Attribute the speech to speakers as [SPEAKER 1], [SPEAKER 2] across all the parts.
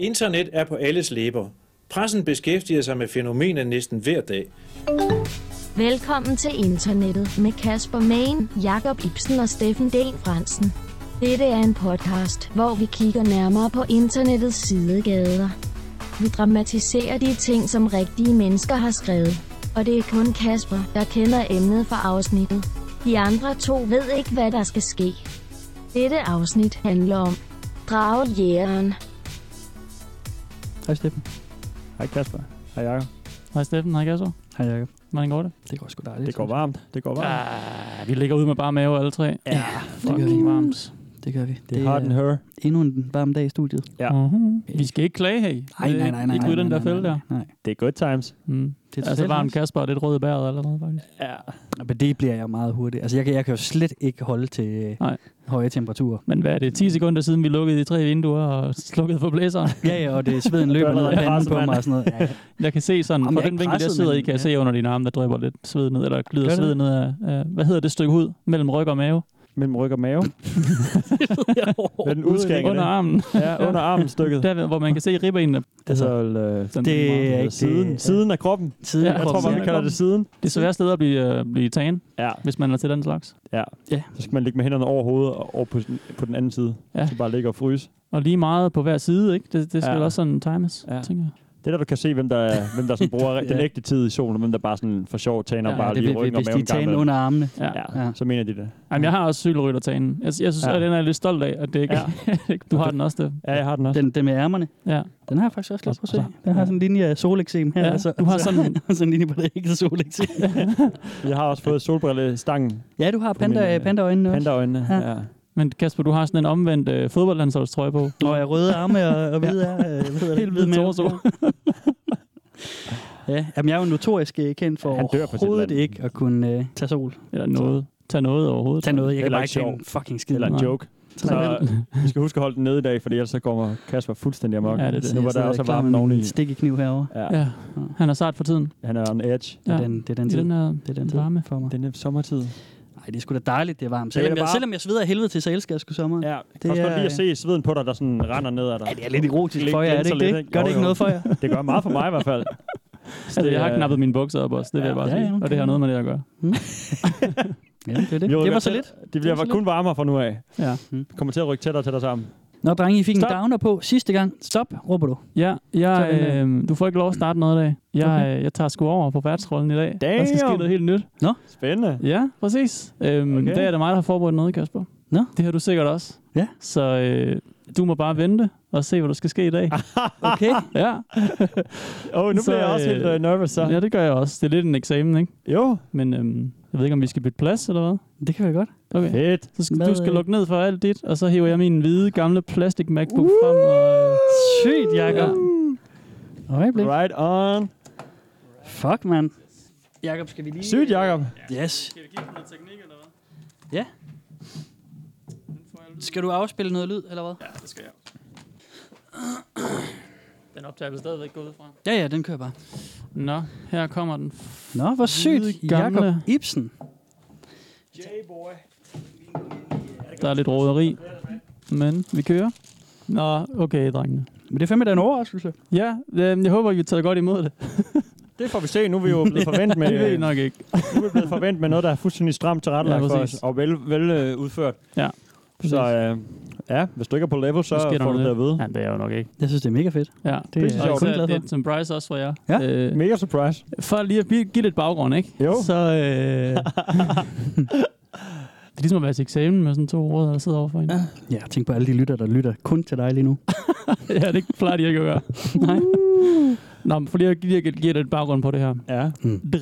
[SPEAKER 1] Internet er på alles læber. Pressen beskæftiger sig med fænomenet næsten hver dag.
[SPEAKER 2] Velkommen til internettet med Kasper Main, Jakob Ibsen og Steffen D. Fransen. Dette er en podcast, hvor vi kigger nærmere på internettets sidegader. Vi dramatiserer de ting, som rigtige mennesker har skrevet. Og det er kun Kasper, der kender emnet for afsnittet. De andre to ved ikke, hvad der skal ske. Dette afsnit handler om Dragjægeren.
[SPEAKER 3] Hej Steffen.
[SPEAKER 4] Hej Kasper. Hej Jakob.
[SPEAKER 3] Hej Steffen, hej Kasper.
[SPEAKER 4] Hej Jakob.
[SPEAKER 3] Hvordan går det?
[SPEAKER 4] Det går sgu dejligt.
[SPEAKER 3] Det går
[SPEAKER 4] varmt. Det går varmt.
[SPEAKER 3] Ah, vi ligger ude med bare mave alle tre.
[SPEAKER 4] Ja, det gør
[SPEAKER 3] Fucking
[SPEAKER 4] vi.
[SPEAKER 3] varmt.
[SPEAKER 4] Det gør vi.
[SPEAKER 3] Det er hard and
[SPEAKER 4] her. Endnu en varm dag i studiet.
[SPEAKER 3] Ja.
[SPEAKER 4] Ja.
[SPEAKER 3] Uh-huh. Vi skal ikke klage, hey.
[SPEAKER 4] Nej, nej, nej, nej. nej,
[SPEAKER 3] Ikke ud i den
[SPEAKER 4] nej,
[SPEAKER 3] der fælde
[SPEAKER 4] nej,
[SPEAKER 3] der.
[SPEAKER 4] Nej, nej.
[SPEAKER 5] Det er good times.
[SPEAKER 3] Mm.
[SPEAKER 4] Det
[SPEAKER 3] Det er altså
[SPEAKER 4] totalt
[SPEAKER 3] varmt
[SPEAKER 4] varmt.
[SPEAKER 3] Kasper, og det er et rød i bæret allerede, faktisk.
[SPEAKER 4] Ja. Nå, Men det bliver jeg meget hurtigt. Altså, jeg kan, jeg kan jo slet ikke holde til øh,
[SPEAKER 3] Nej.
[SPEAKER 4] høje temperaturer.
[SPEAKER 3] Men hvad er det, 10 sekunder siden vi lukkede de tre vinduer og slukkede for blæseren?
[SPEAKER 4] Ja, ja, og det sveden løber ned
[SPEAKER 5] allerede
[SPEAKER 4] ad panden
[SPEAKER 5] presset,
[SPEAKER 4] på
[SPEAKER 5] mand.
[SPEAKER 4] mig og sådan noget. Ja, ja.
[SPEAKER 3] Jeg kan se sådan,
[SPEAKER 4] Jamen,
[SPEAKER 3] fra
[SPEAKER 4] jeg er
[SPEAKER 3] den vinkel, jeg
[SPEAKER 4] presset,
[SPEAKER 3] sidder i,
[SPEAKER 4] men-
[SPEAKER 3] kan jeg se under dine arme, der drøber lidt sved ned, eller
[SPEAKER 4] Gør
[SPEAKER 3] glider
[SPEAKER 4] det?
[SPEAKER 3] sved ned af, af, hvad hedder det stykke hud, mellem ryg og mave?
[SPEAKER 5] Mellem ryg og mave. Med den udskæring af
[SPEAKER 3] Under
[SPEAKER 5] det.
[SPEAKER 3] armen,
[SPEAKER 5] Ja, under armen stykket.
[SPEAKER 3] der hvor man kan se ribbenene.
[SPEAKER 5] Altså, øh,
[SPEAKER 3] Sådan
[SPEAKER 4] Det
[SPEAKER 3] meget.
[SPEAKER 4] er ikke
[SPEAKER 5] siden,
[SPEAKER 4] det.
[SPEAKER 5] siden af kroppen.
[SPEAKER 4] Siden
[SPEAKER 3] Ja,
[SPEAKER 4] af
[SPEAKER 5] Jeg
[SPEAKER 4] kroppen.
[SPEAKER 5] tror, man
[SPEAKER 3] af
[SPEAKER 5] kalder det siden.
[SPEAKER 3] Det er svært sted at blive, øh, blive tagen,
[SPEAKER 5] Ja,
[SPEAKER 3] hvis man er til den slags.
[SPEAKER 5] ja.
[SPEAKER 4] Ja.
[SPEAKER 5] Så skal man ligge med hænderne over hovedet og over på, på den anden side.
[SPEAKER 3] Ja.
[SPEAKER 5] Ja. Så bare ligge og fryse.
[SPEAKER 3] Og lige meget på hver side, ikke? Det, det skal
[SPEAKER 5] Ja.
[SPEAKER 3] ja. også sådan times, ja.
[SPEAKER 5] Ja.
[SPEAKER 3] tænker jeg.
[SPEAKER 5] Det er der, du kan se, hvem der, er- hvem der sådan bruger
[SPEAKER 4] Ja.
[SPEAKER 5] den ægte tid i solen, og hvem der bare sådan for sjov tæner
[SPEAKER 3] Ja,
[SPEAKER 5] ja,
[SPEAKER 4] Ja,
[SPEAKER 5] bare
[SPEAKER 4] det,
[SPEAKER 5] lige
[SPEAKER 4] vil-
[SPEAKER 5] ryggen og
[SPEAKER 4] hvis
[SPEAKER 5] maven
[SPEAKER 4] de
[SPEAKER 5] en gang
[SPEAKER 4] tager
[SPEAKER 5] imellem.
[SPEAKER 4] under armene.
[SPEAKER 3] Ja. ja.
[SPEAKER 5] Ja,
[SPEAKER 4] Ja.
[SPEAKER 5] så mener de det.
[SPEAKER 3] Jamen, jeg har også cykelryttertagen. Jeg, jeg synes, ja.
[SPEAKER 5] Ja.
[SPEAKER 3] at den er jeg lidt stolt af, at det ikke... Ja. du har den også, det.
[SPEAKER 5] Ja, jeg har den også.
[SPEAKER 4] Den, den med ærmerne,
[SPEAKER 3] Ja.
[SPEAKER 4] den har jeg faktisk også lagt på at se.
[SPEAKER 5] Altså,
[SPEAKER 4] Den har sådan en linje af soleksem her.
[SPEAKER 3] Ja,
[SPEAKER 4] og så-
[SPEAKER 3] du har
[SPEAKER 4] så-
[SPEAKER 3] sådan-
[SPEAKER 4] og sådan en linje på det ikke soleksem.
[SPEAKER 5] Jeg har også fået solbrillestangen,
[SPEAKER 4] Ja, du har
[SPEAKER 3] øh,
[SPEAKER 4] panda,
[SPEAKER 5] mine-
[SPEAKER 4] pandaøjnene også.
[SPEAKER 5] pandaøjnene.
[SPEAKER 4] Ja.
[SPEAKER 5] Ja.
[SPEAKER 3] Men Kasper, du har sådan en omvendt øh, fodboldlandsholdstrøje på.
[SPEAKER 4] Nå, jeg røde arme og, og hvide er, øh, hvad hedder det?
[SPEAKER 3] Helt hvid
[SPEAKER 4] Hvide mave.
[SPEAKER 3] torso.
[SPEAKER 4] Ja, jamen jeg er jo notorisk øh, kendt for
[SPEAKER 5] Han dør på sit
[SPEAKER 4] overhovedet
[SPEAKER 5] land.
[SPEAKER 4] ikke at kunne øh, tage sol.
[SPEAKER 3] Eller noget. Tag noget overhovedet.
[SPEAKER 4] Tag noget, jeg kan
[SPEAKER 5] Heller
[SPEAKER 4] bare ikke
[SPEAKER 5] ikke
[SPEAKER 4] tage
[SPEAKER 5] sjov.
[SPEAKER 4] en fucking skid.
[SPEAKER 5] Eller en
[SPEAKER 3] Nej.
[SPEAKER 5] joke.
[SPEAKER 4] Så,
[SPEAKER 5] Så øh, vi skal huske at holde den nede i dag, for ellers så kommer Kasper fuldstændig amok.
[SPEAKER 3] Ja, det er det.
[SPEAKER 5] Nu var der også varmt oveni.
[SPEAKER 4] en stikke kniv herovre.
[SPEAKER 5] Ja,
[SPEAKER 3] Ja. Han er sart for tiden.
[SPEAKER 5] han er on edge.
[SPEAKER 4] Ja.
[SPEAKER 3] Ja.
[SPEAKER 4] Det er den, det er den
[SPEAKER 3] I
[SPEAKER 4] tid.
[SPEAKER 3] den her
[SPEAKER 4] det er den Altså, tid
[SPEAKER 3] varme.
[SPEAKER 4] for mig.
[SPEAKER 5] Den er sommertid.
[SPEAKER 4] Nej, det er sgu da dejligt, det er varmt.
[SPEAKER 5] Det er
[SPEAKER 4] Selvom,
[SPEAKER 5] da
[SPEAKER 4] jeg,
[SPEAKER 5] bare-
[SPEAKER 4] selvom jeg sveder af helvede til, så elsker jeg sgu sommeren.
[SPEAKER 5] Ja, det kan også
[SPEAKER 4] er-
[SPEAKER 5] godt lige at se sveden på dig, der sådan render ned ad dig.
[SPEAKER 4] Ja, det er lidt erotisk
[SPEAKER 5] Lidt-
[SPEAKER 4] for jer, er det
[SPEAKER 5] lidt så
[SPEAKER 4] ikke
[SPEAKER 5] lidt,
[SPEAKER 4] det?
[SPEAKER 5] ikke?
[SPEAKER 4] Gør det
[SPEAKER 5] Jo,
[SPEAKER 4] ikke
[SPEAKER 5] jo.
[SPEAKER 4] noget for jer?
[SPEAKER 5] Det gør meget for mig i hvert fald.
[SPEAKER 3] Altså, jeg har knappet mine bukser op også, det vil jeg bare
[SPEAKER 4] Ja, ja,
[SPEAKER 3] sige.
[SPEAKER 4] okay.
[SPEAKER 3] Og det har noget med det at gøre.
[SPEAKER 4] Ja, det, er det. det var så lidt. Mm.
[SPEAKER 5] Det bliver
[SPEAKER 4] var så
[SPEAKER 5] kun varmere fra nu af.
[SPEAKER 3] Ja.
[SPEAKER 5] Vi kommer til at rykke tættere og tættere sammen.
[SPEAKER 4] Nå, drenge, I fik en
[SPEAKER 3] Stop.
[SPEAKER 4] downer på sidste gang. Stop, råber du.
[SPEAKER 3] Ja, jeg,
[SPEAKER 4] Sådan
[SPEAKER 3] øh, du får ikke lov at starte noget i dag. Jeg,
[SPEAKER 4] Okay.
[SPEAKER 3] øh, jeg tager sgu over på værtsrollen i dag. Der skal ske
[SPEAKER 5] Damn.
[SPEAKER 3] noget helt nyt.
[SPEAKER 5] Spændende.
[SPEAKER 3] Ja, præcis. Øhm, okay.
[SPEAKER 5] Okay.
[SPEAKER 3] I dag er det mig, der har forberedt noget, Kasper.
[SPEAKER 4] Nå.
[SPEAKER 3] Det har du sikkert også.
[SPEAKER 4] Ja.
[SPEAKER 3] Så øh, du må bare vente og se, hvad der skal ske i dag.
[SPEAKER 4] Okay.
[SPEAKER 3] Ja.
[SPEAKER 5] Åh, oh, nu
[SPEAKER 3] Så,
[SPEAKER 5] bliver jeg også
[SPEAKER 3] øh,
[SPEAKER 5] helt øh, nervøs så.
[SPEAKER 3] ja, det gør jeg også. Det er lidt en eksamen, ikke?
[SPEAKER 5] Jo.
[SPEAKER 3] Men øhm, jeg ved ikke, om vi skal bytte plads eller hvad.
[SPEAKER 4] Det kan være godt.
[SPEAKER 3] Okay.
[SPEAKER 5] Fedt.
[SPEAKER 3] Så skal,
[SPEAKER 4] Hvad,
[SPEAKER 3] du skal
[SPEAKER 4] øh?
[SPEAKER 3] lukke ned for alt dit, og så hiver jeg min hvide, gamle plastik MacBook frem. Og, øh,
[SPEAKER 4] Sygt, Jakob.
[SPEAKER 3] Ja.
[SPEAKER 4] Øjeblik.
[SPEAKER 5] Right on.
[SPEAKER 4] Fuck, mand. Jakob, skal vi lige...
[SPEAKER 5] Sygt, Jacob.
[SPEAKER 4] Yes.
[SPEAKER 3] Skal vi give noget teknik eller hvad?
[SPEAKER 4] Ja. Skal du afspille noget lyd, eller hvad?
[SPEAKER 3] Ja, det skal jeg. Den optager vi stadigvæk ud fra.
[SPEAKER 4] Ja, ja, den kører bare.
[SPEAKER 3] Nå, her kommer den.
[SPEAKER 4] Nå, hvor sygt.
[SPEAKER 3] Hvide,
[SPEAKER 4] Jakob
[SPEAKER 3] gamle-
[SPEAKER 4] Ibsen.
[SPEAKER 3] Der er lidt råderi, men vi kører. Nå, okay, drengene.
[SPEAKER 4] Men det er fandme da en overraskelse.
[SPEAKER 3] Ja, øh, jeg håber, I vil tage godt imod det.
[SPEAKER 5] Det får vi se. Nu er vi jo blevet forventet med, øh,
[SPEAKER 3] Det ved I nok ikke.
[SPEAKER 5] nu er vi blevet forventet med noget, der er fuldstændig stramt tilrettelagt
[SPEAKER 3] Ja,
[SPEAKER 5] for os.
[SPEAKER 3] præcis.
[SPEAKER 5] Og vel, vel øh, udført.
[SPEAKER 3] Ja,
[SPEAKER 5] Så øh, ja, hvis du ikke er på level, så
[SPEAKER 3] Nu sker der
[SPEAKER 5] får du
[SPEAKER 3] noget.
[SPEAKER 5] det at vide.
[SPEAKER 3] Ja, det er jeg jo nok ikke.
[SPEAKER 4] Jeg synes, det er mega fedt.
[SPEAKER 3] Ja,
[SPEAKER 4] Det er
[SPEAKER 3] og
[SPEAKER 4] jeg kun
[SPEAKER 3] især
[SPEAKER 4] glad for.
[SPEAKER 3] Det, som Bryce også for jer.
[SPEAKER 4] Ja.
[SPEAKER 3] Øh,
[SPEAKER 5] Mega surprise.
[SPEAKER 3] for lige at bi- give lidt baggrund, ikke?
[SPEAKER 5] Jo.
[SPEAKER 3] Så, øh, det er ligesom at være til eksamen med sådan to råd, der sidder overfor en. Ja.
[SPEAKER 4] Ja, tænk på alle de lytter, der lytter kun til dig lige nu.
[SPEAKER 3] ja, det plejer de ikke at gøre. Nej. Nå, men for lige at give, give, give lidt baggrund på det her.
[SPEAKER 5] Ja.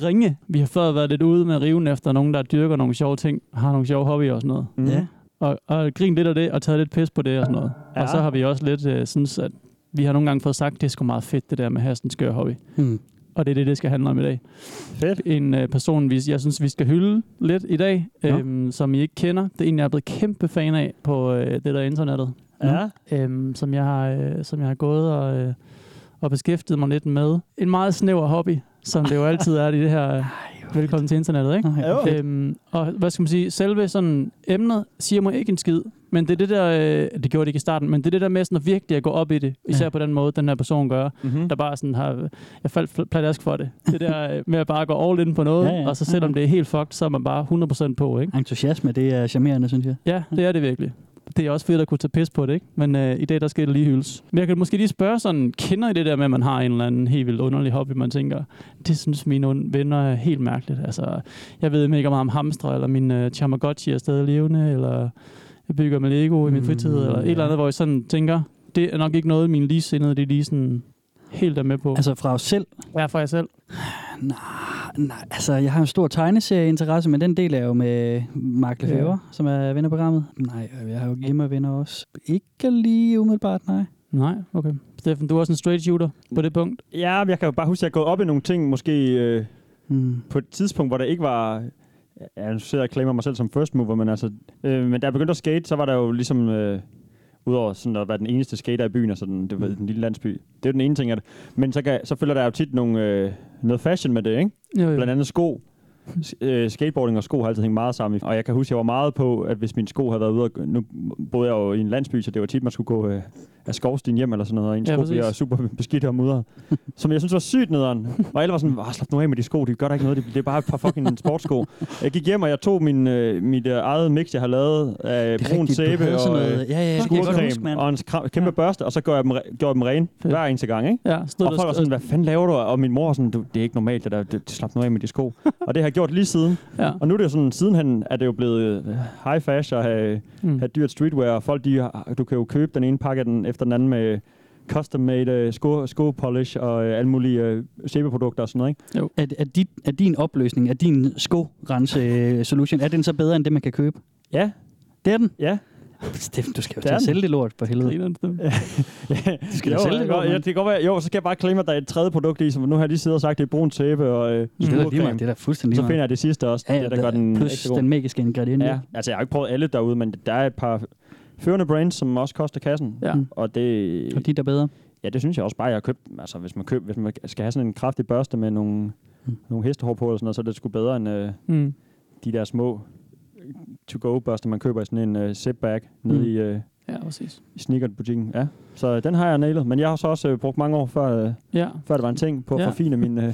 [SPEAKER 3] Drenge, vi har før været lidt ude med riven efter nogen, der dyrker nogle sjove ting, har nogle sjove hobbyer og sådan noget.
[SPEAKER 5] Mm.
[SPEAKER 4] Ja.
[SPEAKER 3] og, og grint lidt af det, og taget lidt pis på det og sådan noget. Ja.
[SPEAKER 5] Ja.
[SPEAKER 3] Og så har vi også lidt øh, synes, at vi har nogle gange fået sagt, det er sgu meget fedt, det der med at have sådan en skør hobby.
[SPEAKER 4] Mm.
[SPEAKER 3] Og det er det, det skal handle om i dag.
[SPEAKER 5] Fedt.
[SPEAKER 3] En øh, person, vi, jeg synes, vi skal hylde lidt i dag,
[SPEAKER 4] Nå.
[SPEAKER 3] øhm, som I ikke kender. Det er en, jeg er blevet kæmpe fan af på øh, det der internettet.
[SPEAKER 5] Ja.
[SPEAKER 3] Øhm, som, jeg har, øh, som jeg har gået og, øh, og beskæftiget mig lidt med. En meget snæver hobby, som det jo altid er i det her øh, Velkommen til internettet, ikke?
[SPEAKER 4] Nej, hvor
[SPEAKER 3] øhm, og hvad skal man sige, selve sådan emnet siger mig ikke en skid, men det er det der, øh, det gjorde det ikke i starten, men det er det der med sådan at virkelig at gå op i det, især
[SPEAKER 4] Ja.
[SPEAKER 3] ja. på den måde, den her person gør,
[SPEAKER 5] Mm-hmm.
[SPEAKER 3] Mhm. der bare sådan har, jeg faldt pladask for det. Det der øh, med at bare gå all in på noget,
[SPEAKER 4] Ja,
[SPEAKER 3] ja,
[SPEAKER 4] ja.
[SPEAKER 3] ja. og så selvom
[SPEAKER 4] Ja,
[SPEAKER 3] det er helt fucked, så er man bare 100% på, ikke?
[SPEAKER 4] Entusiasme, det er charmerende, synes jeg.
[SPEAKER 3] Ja, det er det virkelig. Det er også fedt at kunne tage pis på det, ikke? Men øh, i dag, der skal det lige hyldes. Men jeg kan måske lige spørge sådan, kender I det der med, at man har en eller anden helt vildt underlig hobby, man tænker, det synes mine un- venner er helt mærkeligt. Altså, jeg ved mega meget om hamstre, eller min øh, Tamagotchi er stadig levende, eller jeg bygger med Lego i min
[SPEAKER 4] Mm,
[SPEAKER 3] fritid, eller et
[SPEAKER 4] ja.
[SPEAKER 3] eller andet, hvor jeg sådan tænker, det er nok ikke noget, mine ligesindede, de lige sådan helt er med på. Altså,
[SPEAKER 4] Altså fra os selv,
[SPEAKER 3] jeg er for jer selv.
[SPEAKER 4] Nej, altså, jeg har en stor tegneserieinteresse, men den del er jo med Mark Lefebvre,
[SPEAKER 3] Ja.
[SPEAKER 4] som er venner af programmet. Nej, og jeg har jo gamervenner også. Ikke lige umiddelbart, nej.
[SPEAKER 3] Nej, okay. Steffen, du er også en straight shooter på det punkt.
[SPEAKER 5] Ja, men jeg kan jo bare huske, at jeg er gået op i nogle ting, måske øh,
[SPEAKER 4] Mm.
[SPEAKER 5] på et tidspunkt, hvor der ikke var... Ja, nu sidder jeg og claimer mig selv som first mover, men altså... Øh, men da jeg begyndte at skate, så var der jo ligesom... Øh, Udover sådan at være den eneste skater i byen og sådan, det var
[SPEAKER 3] Mm.
[SPEAKER 5] den lille landsby. Det er den ene ting af det. Men så, kan, så følger der jo tit nogle, øh, noget fashion med det, ikke?
[SPEAKER 3] Jo, jo.
[SPEAKER 5] Blandt andet sko. S- øh, skateboarding og sko har altid hængt meget sammen. Og jeg kan huske, at jeg var meget på, at hvis mine sko havde været ude... og- Nu boede jeg jo i en landsby, så det var tit, man skulle gå øh, af skovstien hjem eller sådan noget. Og ens
[SPEAKER 3] Ja,
[SPEAKER 5] ja, sko
[SPEAKER 3] præcis.
[SPEAKER 5] bliver super beskidte og mudret. som jeg synes var sygt nederen. Og alle var sådan, "Åh, slap nu af med de sko, de gør da ikke noget. Det er bare et par fucking sportssko. Jeg gik hjem, og jeg tog min, øh, mit øh, eget mix, jeg har lavet af brun sæbe og øh,
[SPEAKER 4] ja, ja,
[SPEAKER 5] skurcreme og en skra- kæmpe
[SPEAKER 3] Ja.
[SPEAKER 5] børste, og så gjorde jeg dem, re- gjorde dem rene
[SPEAKER 3] Fedt.
[SPEAKER 5] hver eneste gang, ikke?
[SPEAKER 3] Ja, stod
[SPEAKER 5] Og
[SPEAKER 3] der-
[SPEAKER 5] folk var sådan, hvad fanden laver du? Og min mor var sådan, du, det er ikke normalt, det der, det, det slap nu af med de sko. og det har jeg gjort lige siden.
[SPEAKER 3] Ja.
[SPEAKER 5] Og nu er det jo sådan, sidenhen er det jo blevet øh, high fashion at have,
[SPEAKER 3] Mm.
[SPEAKER 5] have dyrt streetwear. Og folk, de, har- du kan jo købe den ene pakke af den efter den anden med custom made øh, sko, sko polish og øh, alle mulige øh, sæbeprodukter og sådan noget, ikke?
[SPEAKER 4] Er, er, dit, er din opløsning, er din sko-rense-solution, er den så bedre end det, man kan købe?
[SPEAKER 5] Ja,
[SPEAKER 4] Det er den.
[SPEAKER 5] ja.
[SPEAKER 4] Steffen, du skal jo
[SPEAKER 5] Det er
[SPEAKER 4] til at
[SPEAKER 5] den.
[SPEAKER 4] sælge det lort, for helvede.
[SPEAKER 3] Grineren, Steffen.
[SPEAKER 5] Du
[SPEAKER 4] skal da
[SPEAKER 5] jo,
[SPEAKER 4] sælge
[SPEAKER 5] det,
[SPEAKER 4] det,
[SPEAKER 5] kan godt-
[SPEAKER 4] mand.
[SPEAKER 5] ja, det kan godt være, jo, så kan jeg bare claim, at der er et tredje produkt i, som nu har jeg lige siddet og sagt, det er brun sæbe og øh,
[SPEAKER 4] Mm. Det er da lige
[SPEAKER 5] skurcreme.
[SPEAKER 4] meget, det er da fuldstændig
[SPEAKER 5] Så
[SPEAKER 4] lige
[SPEAKER 5] finder
[SPEAKER 4] meget.
[SPEAKER 5] jeg det sidste også, ja, det, der gør den
[SPEAKER 4] plus
[SPEAKER 5] ekstra god.
[SPEAKER 4] den magiske ingrediens.
[SPEAKER 5] Ja, altså jeg har ikke prøvet alle derude, men der er et par førende brands, som også koster kassen.
[SPEAKER 3] Ja.
[SPEAKER 5] Og det,
[SPEAKER 4] Og de der er bedre.
[SPEAKER 5] ja, det synes jeg også bare, jeg har købt. Altså hvis man, køb, hvis man skal have sådan en kraftig børste med nogle,
[SPEAKER 4] Mm.
[SPEAKER 5] mm. nogle hestehår på, eller sådan noget, så er det sgu bedre end øh,
[SPEAKER 3] Mm.
[SPEAKER 5] de der små to-go-børster, man køber i sådan en øh, zip-bag nede
[SPEAKER 3] Mm.
[SPEAKER 5] i, øh,
[SPEAKER 3] Ja, præcis.
[SPEAKER 5] i sneakerbutikken. Ja. Så øh, den har jeg nailet, men jeg har så også øh, brugt mange år, før, øh,
[SPEAKER 3] Ja.
[SPEAKER 5] før det var en ting, på at
[SPEAKER 3] Ja.
[SPEAKER 5] forfine min... Øh,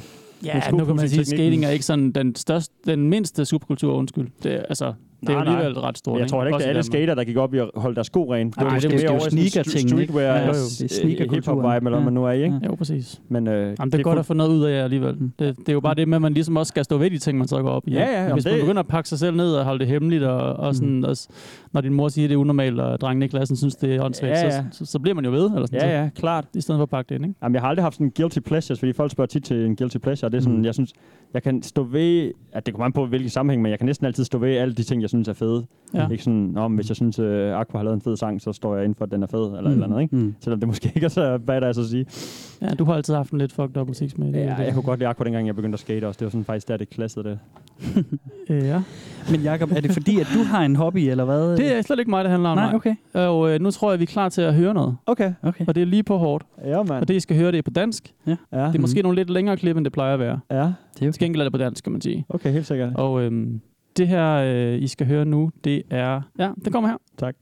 [SPEAKER 3] Ja,
[SPEAKER 5] Men
[SPEAKER 3] nu kan man sige, at
[SPEAKER 5] skopudsningsteknikken-
[SPEAKER 3] skating er ikke sådan den, største, den mindste subkultur, undskyld. Det, er- altså, det er jo
[SPEAKER 5] Nej, nej.
[SPEAKER 3] alligevel ret stort.
[SPEAKER 5] jeg tror heller ikke,
[SPEAKER 3] Også
[SPEAKER 5] det
[SPEAKER 3] i
[SPEAKER 5] er alle
[SPEAKER 3] Danmark.
[SPEAKER 5] skater, der gik op i at holde deres sko rene.
[SPEAKER 4] Ej,
[SPEAKER 5] var
[SPEAKER 4] det
[SPEAKER 5] sådan
[SPEAKER 4] er jo
[SPEAKER 5] mere over i sådan en
[SPEAKER 4] sneaker-ting,
[SPEAKER 5] st-
[SPEAKER 4] ikke?
[SPEAKER 5] streetwear,
[SPEAKER 4] Ja,
[SPEAKER 5] ja,
[SPEAKER 4] jo, jo. Det er
[SPEAKER 5] hip-hop
[SPEAKER 4] sneakerkulturen.
[SPEAKER 5] vibe, eller hvad man nu er i, ikke?
[SPEAKER 3] Jo, præcis.
[SPEAKER 5] Men, øh,
[SPEAKER 3] Jamen, det er godt at få noget ud af jer alligevel.
[SPEAKER 4] Mm.
[SPEAKER 3] Det, det er jo bare det med, at man ligesom også skal stå ved de ting, man så går op i.
[SPEAKER 5] Ja,
[SPEAKER 3] ikke?
[SPEAKER 5] ja, jamen,
[SPEAKER 3] Hvis man
[SPEAKER 5] det- Mm.
[SPEAKER 3] begynder at pakke sig selv ned og holde det hemmeligt, og, og sådan, også, når din mor siger, at det er unormalt, og drengen i klassen synes, det er åndssvagt,
[SPEAKER 5] Ja,
[SPEAKER 3] ja,
[SPEAKER 5] ja.
[SPEAKER 3] ja. Så, så, så, bliver man jo ved, eller sådan,
[SPEAKER 5] Ja, ja, klart.
[SPEAKER 3] Så, i stedet for at pakke det ind. Ikke?
[SPEAKER 5] Jamen, jeg har aldrig haft sådan en guilty pleasures, fordi folk spørger tit til en guilty pleasure, og det er sådan,
[SPEAKER 4] Mm.
[SPEAKER 5] mm. jeg synes, jeg kan stå ved, at det kommer an på, hvilken sammenhæng, men jeg kan næsten altid stå ved alle de ting, jeg synes er fede.
[SPEAKER 3] Ja.
[SPEAKER 5] Ja. Ikke sådan, Nå, men hvis jeg synes, uh, Aqua har lavet en fed sang, så står jeg inden for, at den er fed, eller mm.
[SPEAKER 3] Mm.
[SPEAKER 5] et eller andet, ikke?
[SPEAKER 4] Mm.
[SPEAKER 5] Selvom det måske ikke er så badass at sige.
[SPEAKER 3] Ja, du har altid haft en lidt fucked up butik med det.
[SPEAKER 5] Ja, jeg
[SPEAKER 3] det.
[SPEAKER 5] kunne godt lide Aqua, dengang jeg begyndte at skate også. Det var sådan faktisk der, det klassede det.
[SPEAKER 3] Ja.
[SPEAKER 4] Men Jacob, er det fordi, at du har en hobby, eller hvad?
[SPEAKER 3] det er slet ikke mig, der handler om
[SPEAKER 4] Nej,
[SPEAKER 3] mig.
[SPEAKER 4] okay.
[SPEAKER 3] Og øh, nu tror jeg, vi er klar til at høre noget.
[SPEAKER 5] Okay.
[SPEAKER 4] okay.
[SPEAKER 3] Og det er lige på hårdt.
[SPEAKER 5] Ja, mand.
[SPEAKER 3] Og det, I skal høre, det er på dansk. Det
[SPEAKER 5] Ja.
[SPEAKER 3] er måske nogle lidt længere klip, end det plejer at være.
[SPEAKER 5] ja.
[SPEAKER 4] Det er
[SPEAKER 3] Til gengæld er det på dansk, kan man sige.
[SPEAKER 5] Okay, helt sikkert.
[SPEAKER 3] Og øhm, det her, øh, I skal høre nu, det er... Ja, det kommer her.